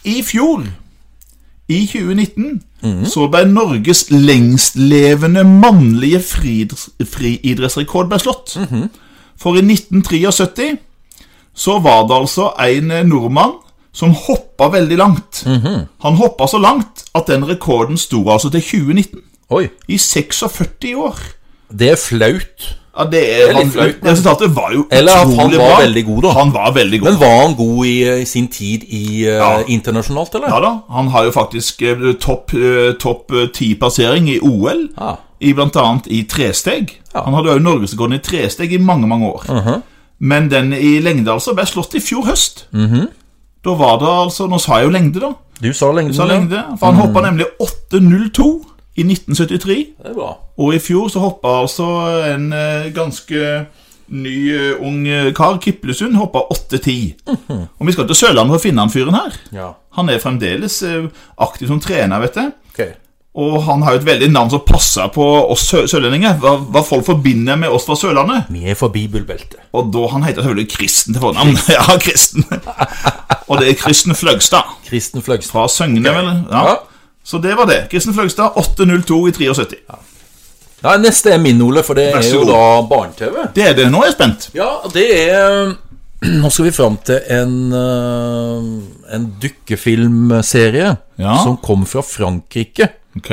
[SPEAKER 2] i fjor, i 2019,
[SPEAKER 1] Mhm.
[SPEAKER 2] så ble Norges lengstlevende mannlige friidretts- friidrettsrekord ble slått.
[SPEAKER 1] Mhm.
[SPEAKER 2] For i 1973 så var det altså en eh, nordmann som hoppa veldig langt.
[SPEAKER 1] Mhm.
[SPEAKER 2] Han hoppa så langt at den rekorden sto altså til 2019.
[SPEAKER 1] Oi.
[SPEAKER 2] I 46 år.
[SPEAKER 1] Det er flaut.
[SPEAKER 2] Ja, det
[SPEAKER 1] er
[SPEAKER 2] er,
[SPEAKER 1] litt flaut,
[SPEAKER 2] han, Resultatet var jo
[SPEAKER 1] Eller at han
[SPEAKER 2] utrolig
[SPEAKER 1] var
[SPEAKER 2] bra.
[SPEAKER 1] veldig god, da.
[SPEAKER 2] Han var veldig god.
[SPEAKER 1] Men var han god i, eh, sin tid i, eh,
[SPEAKER 2] Ja.
[SPEAKER 1] internasjonalt, eller?
[SPEAKER 2] Ja da, han har jo faktisk eh, topp eh, topp ti-plassering i OL,
[SPEAKER 1] Ja.
[SPEAKER 2] i blant annet i tresteg.
[SPEAKER 1] Ja. Uh-huh.
[SPEAKER 2] Han hadde jo norgesrekorden i tresteg i mange, mange år. Men den i lengde altså ble slått i fjor høst.
[SPEAKER 1] Mm-hmm.
[SPEAKER 2] Da var det altså Nå sa jeg jo lengde, da.
[SPEAKER 1] Du sa lengden.
[SPEAKER 2] Sa
[SPEAKER 1] ja. Mm-hmm.
[SPEAKER 2] lengde, for han hoppa nemlig 8,02 i 1973.
[SPEAKER 1] Det er bra.
[SPEAKER 2] Og i fjor så hoppa altså en eh, ganske ny eh, ung eh, kar, Kiplesund, hoppa 8,10. Og vi skal til Sørlandet for å finne han fyren her.
[SPEAKER 1] Ja.
[SPEAKER 2] Han er fremdeles eh, aktiv som trener, vet du.
[SPEAKER 1] Ok.
[SPEAKER 2] Og han har jo et veldig navn som passer på oss sø sørlendinger. Hva, hva folk forbinder med oss fra Sørlandet.
[SPEAKER 1] Vi er fra bibelbeltet.
[SPEAKER 2] Og da han heter selvfølgelig Kristen til fornavn. ja, Kristen. og det er Kristen Fløgstad
[SPEAKER 1] Kristen Fløgstad.
[SPEAKER 2] fra Søgne, vel? Ja.
[SPEAKER 1] Ja.
[SPEAKER 2] Så det var det. Kristen Fløgstad 8.02 i 73.
[SPEAKER 1] Nei, neste er min, Ole, for det
[SPEAKER 2] Vær
[SPEAKER 1] er
[SPEAKER 2] så
[SPEAKER 1] jo
[SPEAKER 2] god.
[SPEAKER 1] da barne-TV.
[SPEAKER 2] Det er det. Nå er jeg spent.
[SPEAKER 1] Ja, det er Nå skal vi fram til en, eh, en dukkefilmserie
[SPEAKER 2] Ja.
[SPEAKER 1] som kom fra Frankrike.
[SPEAKER 2] Ok.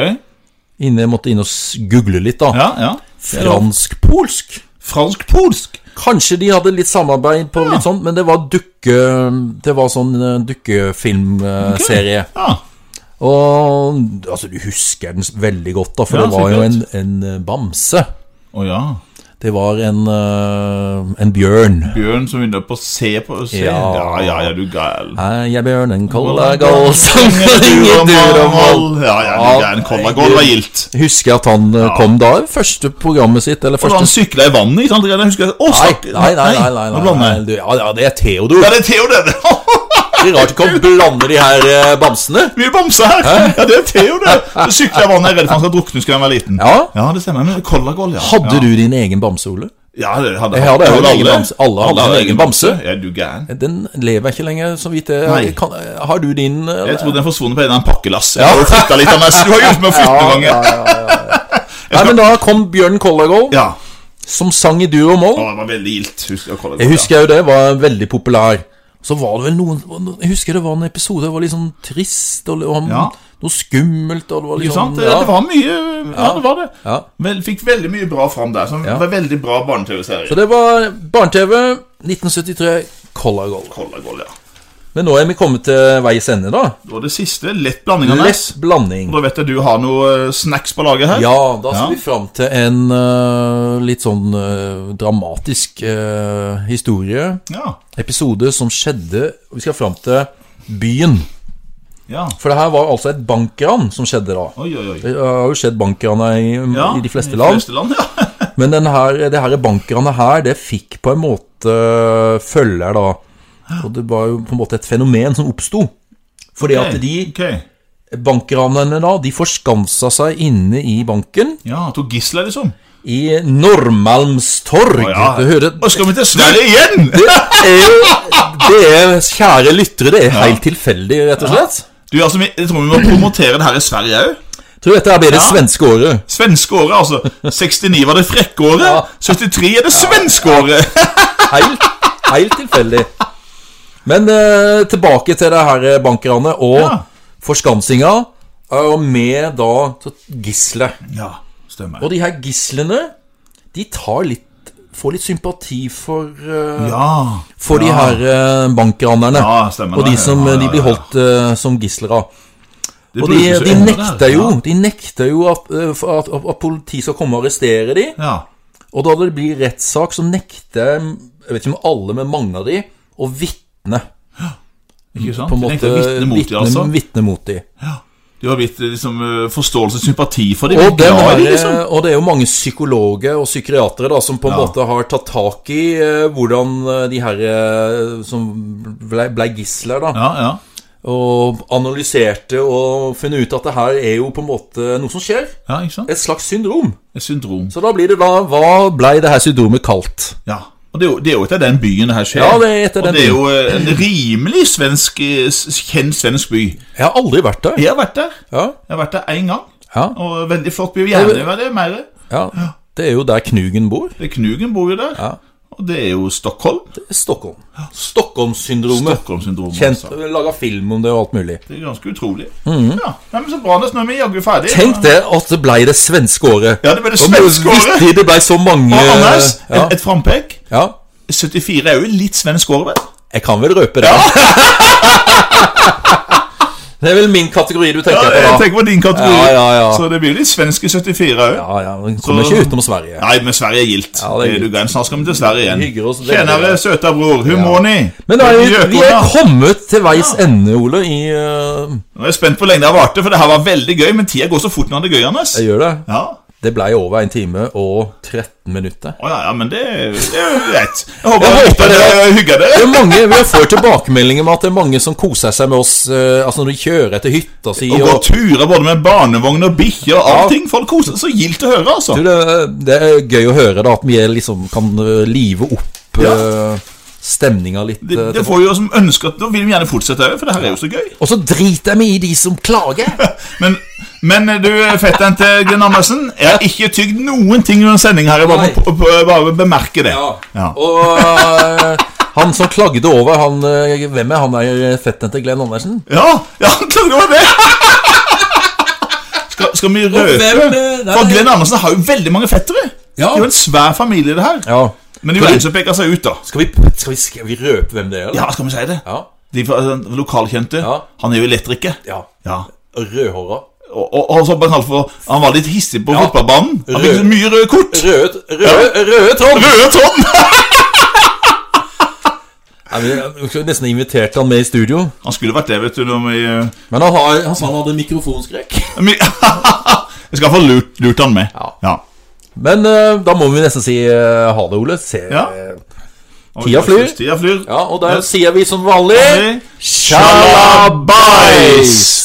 [SPEAKER 1] Inne, jeg måtte inn og s- google litt, da.
[SPEAKER 2] Ja, ja.
[SPEAKER 1] Fransk-polsk.
[SPEAKER 2] Fransk-polsk.
[SPEAKER 1] Kanskje de hadde litt samarbeid på litt sånn, men det var dukke... Det var sånn eh, dukkefilmserie.
[SPEAKER 2] Ja.
[SPEAKER 1] Og altså, du husker den s- veldig godt, da, for
[SPEAKER 2] Ja,
[SPEAKER 1] det var jo en,
[SPEAKER 2] sikkert.
[SPEAKER 1] en eh, bamse.
[SPEAKER 2] Å ja.
[SPEAKER 1] Det var en, eh, en bjørn.
[SPEAKER 2] Bjørn som begynner på å se på å se. Ja,
[SPEAKER 1] Ja.
[SPEAKER 2] ja, ja, du gal.
[SPEAKER 1] Hei, jeg bjørnen, kollagål, som ringer dur og moll.
[SPEAKER 2] Duramol. Ja, ja, du gæren. Kollagål var gildt.
[SPEAKER 1] Husker jeg at han eh, kom da, i første programmet sitt, eller
[SPEAKER 2] Og da han
[SPEAKER 1] første
[SPEAKER 2] sykla i vannet, ikke sant? Jeg husker jeg, Å,
[SPEAKER 1] Nei,
[SPEAKER 2] stakk-
[SPEAKER 1] nei, nei. nei, nei,
[SPEAKER 2] nå
[SPEAKER 1] nei,
[SPEAKER 2] blander
[SPEAKER 1] nei,
[SPEAKER 2] jeg.
[SPEAKER 1] du- Ja, ja, det er Theodor.
[SPEAKER 2] Ja, det er Theo, det.
[SPEAKER 1] Det er rart ikke å blande de her eh, bamsene.
[SPEAKER 2] Mye bamse her. Ja, det er Theo, det. Så sykla i vannet, jeg er redd for han skal drukne skulle han være liten.
[SPEAKER 1] Ja.
[SPEAKER 2] ja det stemmer. Men Kollagål, ja.
[SPEAKER 1] Hadde
[SPEAKER 2] ja.
[SPEAKER 1] du din egen bamse, Ole?
[SPEAKER 2] Ja, det hadde
[SPEAKER 1] Jeg hadde
[SPEAKER 2] det
[SPEAKER 1] jo en
[SPEAKER 2] hadde
[SPEAKER 1] egen bamse. Alle hadde en egen bamse.
[SPEAKER 2] Ja, du gæren.
[SPEAKER 1] Den lever ikke lenger, så vidt jeg
[SPEAKER 2] Nei.
[SPEAKER 1] kan, Har du din eh,
[SPEAKER 2] Jeg trodde den forsvunnet på en eller annen pakkelass. Ja. Du flytta litt, Anders. Du har hjulpet meg å flytte noen ganger.
[SPEAKER 1] Nei, men da kom Bjørn Kollergold,
[SPEAKER 2] Ja.
[SPEAKER 1] som sang i duo og moll.
[SPEAKER 2] Å, det var veldig gildt. Husker jeg Kollagål,
[SPEAKER 1] Jeg husker jo det, var veldig populær. Så var det vel noen Jeg husker det var en episode, det var litt sånn trist og litt-
[SPEAKER 2] Ja.
[SPEAKER 1] noe skummelt og det var
[SPEAKER 2] Ikke
[SPEAKER 1] litt
[SPEAKER 2] sant?
[SPEAKER 1] sånn
[SPEAKER 2] Det, det var mye Ja, det var det.
[SPEAKER 1] Ja.
[SPEAKER 2] Men fikk veldig mye bra fram der. Som
[SPEAKER 1] Ja.
[SPEAKER 2] var veldig bra barne-TV-serie.
[SPEAKER 1] Så det var barne-TV 1973, Kollergold.
[SPEAKER 2] Kollagål, ja.
[SPEAKER 1] Men nå er vi kommet til veis ende, da.
[SPEAKER 2] Og det siste, lett blanding av
[SPEAKER 1] Lett blanding.
[SPEAKER 2] Da vet jeg du har noe eh, snacks på laget her.
[SPEAKER 1] Ja, da skal
[SPEAKER 2] Ja.
[SPEAKER 1] vi fram til en øh, litt sånn øh, dramatisk øh, historie.
[SPEAKER 2] Ja.
[SPEAKER 1] Episode som skjedde Vi skal fram til byen.
[SPEAKER 2] ja.
[SPEAKER 1] For det her var altså et bankran som skjedde da.
[SPEAKER 2] Oi, oi, oi.
[SPEAKER 1] Det har jo skjedd bankrana i,
[SPEAKER 2] Ja,
[SPEAKER 1] i de fleste land.
[SPEAKER 2] ja.
[SPEAKER 1] Men den her, det her bankranet her, det fikk på en måte følger, da. Og det var jo på en måte et fenomen som oppsto. Fordi at de
[SPEAKER 2] Ok.
[SPEAKER 1] bankranerne da, de forskansa seg inne i banken.
[SPEAKER 2] Ja, tok gisler, liksom.
[SPEAKER 1] I Norrmalmstorg.
[SPEAKER 2] Å, ja.
[SPEAKER 1] Du hører
[SPEAKER 2] Og skal vi til Sverige igjen?
[SPEAKER 1] det er jo, det er, kjære lyttere, det er helt tilfeldig, rett og slett.
[SPEAKER 2] Du, altså, vi, Jeg tror vi må promotere det her i Sverige òg.
[SPEAKER 1] Tror dette blir det
[SPEAKER 2] Ja.
[SPEAKER 1] svenske året.
[SPEAKER 2] Svenske året, altså. 69 var det frekke året.
[SPEAKER 1] Ja.
[SPEAKER 2] 73 er det svenske året.
[SPEAKER 1] Helt, helt tilfeldig. Men eh, tilbake til det her eh, bankranet og
[SPEAKER 2] Ja.
[SPEAKER 1] forskansinga. eh, Og med da gisler.
[SPEAKER 2] Ja, stemmer.
[SPEAKER 1] Og de her gislene, de tar litt Får litt sympati for, eh,
[SPEAKER 2] Ja,
[SPEAKER 1] for de her eh, bankranerne.
[SPEAKER 2] Ja, stemmer
[SPEAKER 1] og de
[SPEAKER 2] det.
[SPEAKER 1] som
[SPEAKER 2] Ja, ja,
[SPEAKER 1] eh, de blir
[SPEAKER 2] ja.
[SPEAKER 1] holdt eh, som gisler av.
[SPEAKER 2] det
[SPEAKER 1] Og de,
[SPEAKER 2] brukes jo
[SPEAKER 1] de
[SPEAKER 2] ennå
[SPEAKER 1] nekter
[SPEAKER 2] der.
[SPEAKER 1] jo De nekter jo at, eh, for at, at politiet skal komme og arrestere de
[SPEAKER 2] Ja.
[SPEAKER 1] Og da det blir rettssak så nekter Jeg vet ikke om alle, men mange av de Å vittne
[SPEAKER 2] Ikke sant?
[SPEAKER 1] på en
[SPEAKER 2] De
[SPEAKER 1] måte
[SPEAKER 2] nekter å vitne mot dem, altså.
[SPEAKER 1] vittne mot de
[SPEAKER 2] De har blitt liksom, eh, forståelse og sympati for dem.
[SPEAKER 1] og,
[SPEAKER 2] de
[SPEAKER 1] den
[SPEAKER 2] er glad i
[SPEAKER 1] her,
[SPEAKER 2] dem, liksom.
[SPEAKER 1] og det er jo mange psykologer og psykiatere da, Som på en
[SPEAKER 2] Ja.
[SPEAKER 1] måte har tatt tak i eh, Hvordan eh, de her eh, Som ble, ble gisler da
[SPEAKER 2] Ja, ja.
[SPEAKER 1] Og analyserte og funnet ut at det her er jo på en måte Noe som skjer
[SPEAKER 2] ja, ikke sant?
[SPEAKER 1] Et slags syndrom
[SPEAKER 2] Et syndrom.
[SPEAKER 1] Så da blir det da Hva blei det her syndromet kalt?
[SPEAKER 2] Ja. Og det er, jo, det er jo etter den byen det her skjer.
[SPEAKER 1] Ja, det er etter
[SPEAKER 2] og
[SPEAKER 1] den
[SPEAKER 2] det er jo eh, en rimelig svensk, eh, s- kjent svensk by.
[SPEAKER 1] Jeg har aldri vært der.
[SPEAKER 2] Jeg har vært der.
[SPEAKER 1] Ja,
[SPEAKER 2] Jeg har vært der én gang.
[SPEAKER 1] ja,
[SPEAKER 2] Og veldig flott by. Gjerne være det mer.
[SPEAKER 1] ja. Det er jo der Knugen bor.
[SPEAKER 2] Det er Knugen bor jo der. Og det er jo Stockholm.
[SPEAKER 1] Det er Stockholm. Stockholmssyndromet.
[SPEAKER 2] Stockholm-syndromet.
[SPEAKER 1] Kjent,
[SPEAKER 2] altså.
[SPEAKER 1] Laga film om det og alt mulig.
[SPEAKER 2] Det er ganske utrolig. Ja, Nei, men Så bra, Anders. Nå er vi jaggu
[SPEAKER 1] Mhm.
[SPEAKER 2] ferdig.
[SPEAKER 1] Tenk det at det blei det svenske året.
[SPEAKER 2] Ja, det ble det
[SPEAKER 1] var
[SPEAKER 2] svenske året.
[SPEAKER 1] Vittig, det blei så mange eh,
[SPEAKER 2] Og Anders,
[SPEAKER 1] ja,
[SPEAKER 2] et, et frampek.
[SPEAKER 1] ja.
[SPEAKER 2] 74 er jo litt svensk år, vel?
[SPEAKER 1] Jeg kan vel røpe det. det er vel min kategori du
[SPEAKER 2] Ja,
[SPEAKER 1] tenker
[SPEAKER 2] jeg
[SPEAKER 1] på, da.
[SPEAKER 2] tenker på din kategori.
[SPEAKER 1] Ja, ja, ja.
[SPEAKER 2] Så det blir litt svensk i 74 òg.
[SPEAKER 1] Ja, ja, Den kommer
[SPEAKER 2] Så-
[SPEAKER 1] ikke utenom Sverige.
[SPEAKER 2] Nei, men Sverige er gildt.
[SPEAKER 1] Ja, det
[SPEAKER 2] det
[SPEAKER 1] er
[SPEAKER 2] er du gæren. Snart skal vi til Sverige
[SPEAKER 1] Vi hygger oss
[SPEAKER 2] igjen.
[SPEAKER 1] veldig.
[SPEAKER 2] Tjenere, søta bror. Hur mår ni?
[SPEAKER 1] Men da er vi, vi er
[SPEAKER 2] Gökona.
[SPEAKER 1] kommet til veis ende, Ole, i eh,
[SPEAKER 2] Nå er jeg spent på hvor lenge det har vart, for det her var veldig gøy. Men tida går så fort når det er gøy, Anders.
[SPEAKER 1] Jeg gjør det.
[SPEAKER 2] Ja.
[SPEAKER 1] Det blei over en time og 13 minutter.
[SPEAKER 2] Å ja, ja, men det det er jo greit. Jeg håper,
[SPEAKER 1] Jeg
[SPEAKER 2] jeg
[SPEAKER 1] håper
[SPEAKER 2] dere hygger
[SPEAKER 1] Det
[SPEAKER 2] dere.
[SPEAKER 1] er mange, Vi har fått tilbakemeldinger med at det er mange som koser seg med oss eh, Altså når de kjører til hytta si.
[SPEAKER 2] Og
[SPEAKER 1] Og,
[SPEAKER 2] går turer både med barnevogn og bikkjer og
[SPEAKER 1] Ja.
[SPEAKER 2] allting. Folk koser seg. Så gildt å høre, altså.
[SPEAKER 1] Du, det, det er gøy å høre da at vi er liksom kan eh, live opp
[SPEAKER 2] Ja.
[SPEAKER 1] eh, stemninga litt.
[SPEAKER 2] Det,
[SPEAKER 1] eh,
[SPEAKER 2] det
[SPEAKER 1] til-
[SPEAKER 2] får jo som ønske at Da vil vi gjerne fortsette òg, for det her er jo så gøy.
[SPEAKER 1] Og så driter jeg meg i de som klager!
[SPEAKER 2] Men, men eh, du, fetteren til Glenn Andersen, jeg har ikke tygd noen ting under sending her. Jeg bare,
[SPEAKER 1] Nei.
[SPEAKER 2] må p- p- bare bemerke det. Ja.
[SPEAKER 1] Og eh, Han som klagde over han, eh, Hvem er han der fetteren til Glenn Andersen?
[SPEAKER 2] Ja, ja han klagde over det! Skal, skal vi røpe?
[SPEAKER 1] hvem, eh, nei,
[SPEAKER 2] For
[SPEAKER 1] nei.
[SPEAKER 2] Glenn Andersen har jo veldig mange fettere.
[SPEAKER 1] Ja.
[SPEAKER 2] Det er jo en svær familie, det her.
[SPEAKER 1] Ja.
[SPEAKER 2] Men det er jo en som peker seg ut, da.
[SPEAKER 1] Skal vi, skal vi, skal vi røpe hvem det er? eller?
[SPEAKER 2] Ja, skal vi si det?
[SPEAKER 1] Ja.
[SPEAKER 2] De fra- eh, lokalkjente.
[SPEAKER 1] Ja.
[SPEAKER 2] Han er jo elektriker.
[SPEAKER 1] ja.
[SPEAKER 2] Ja.
[SPEAKER 1] Rødhåra.
[SPEAKER 2] Og, og, og så bare kalt for Han var litt hissig på
[SPEAKER 1] Ja.
[SPEAKER 2] fotballbanen. Han fikk
[SPEAKER 1] Rød.
[SPEAKER 2] så mye røde kort.
[SPEAKER 1] Røde, røde, røde Trond!
[SPEAKER 2] Røde tråden!
[SPEAKER 1] Nei, men Jeg eh, skulle nesten invitert han med i studio.
[SPEAKER 2] Han skulle vært det, vet du, når vi eh,
[SPEAKER 1] Men han, har, han sa han hadde mikrofonskrekk.
[SPEAKER 2] Vi- Jeg skal få lurt, lurt han med.
[SPEAKER 1] Ja.
[SPEAKER 2] ja.
[SPEAKER 1] Men eh, da må vi nesten si eh, ha det, Ole. Se, eh,
[SPEAKER 2] Ja. Og
[SPEAKER 1] Tida flyr.
[SPEAKER 2] Tida flyr.
[SPEAKER 1] Ja, og der sier vi som vanlig
[SPEAKER 2] Sjalabais!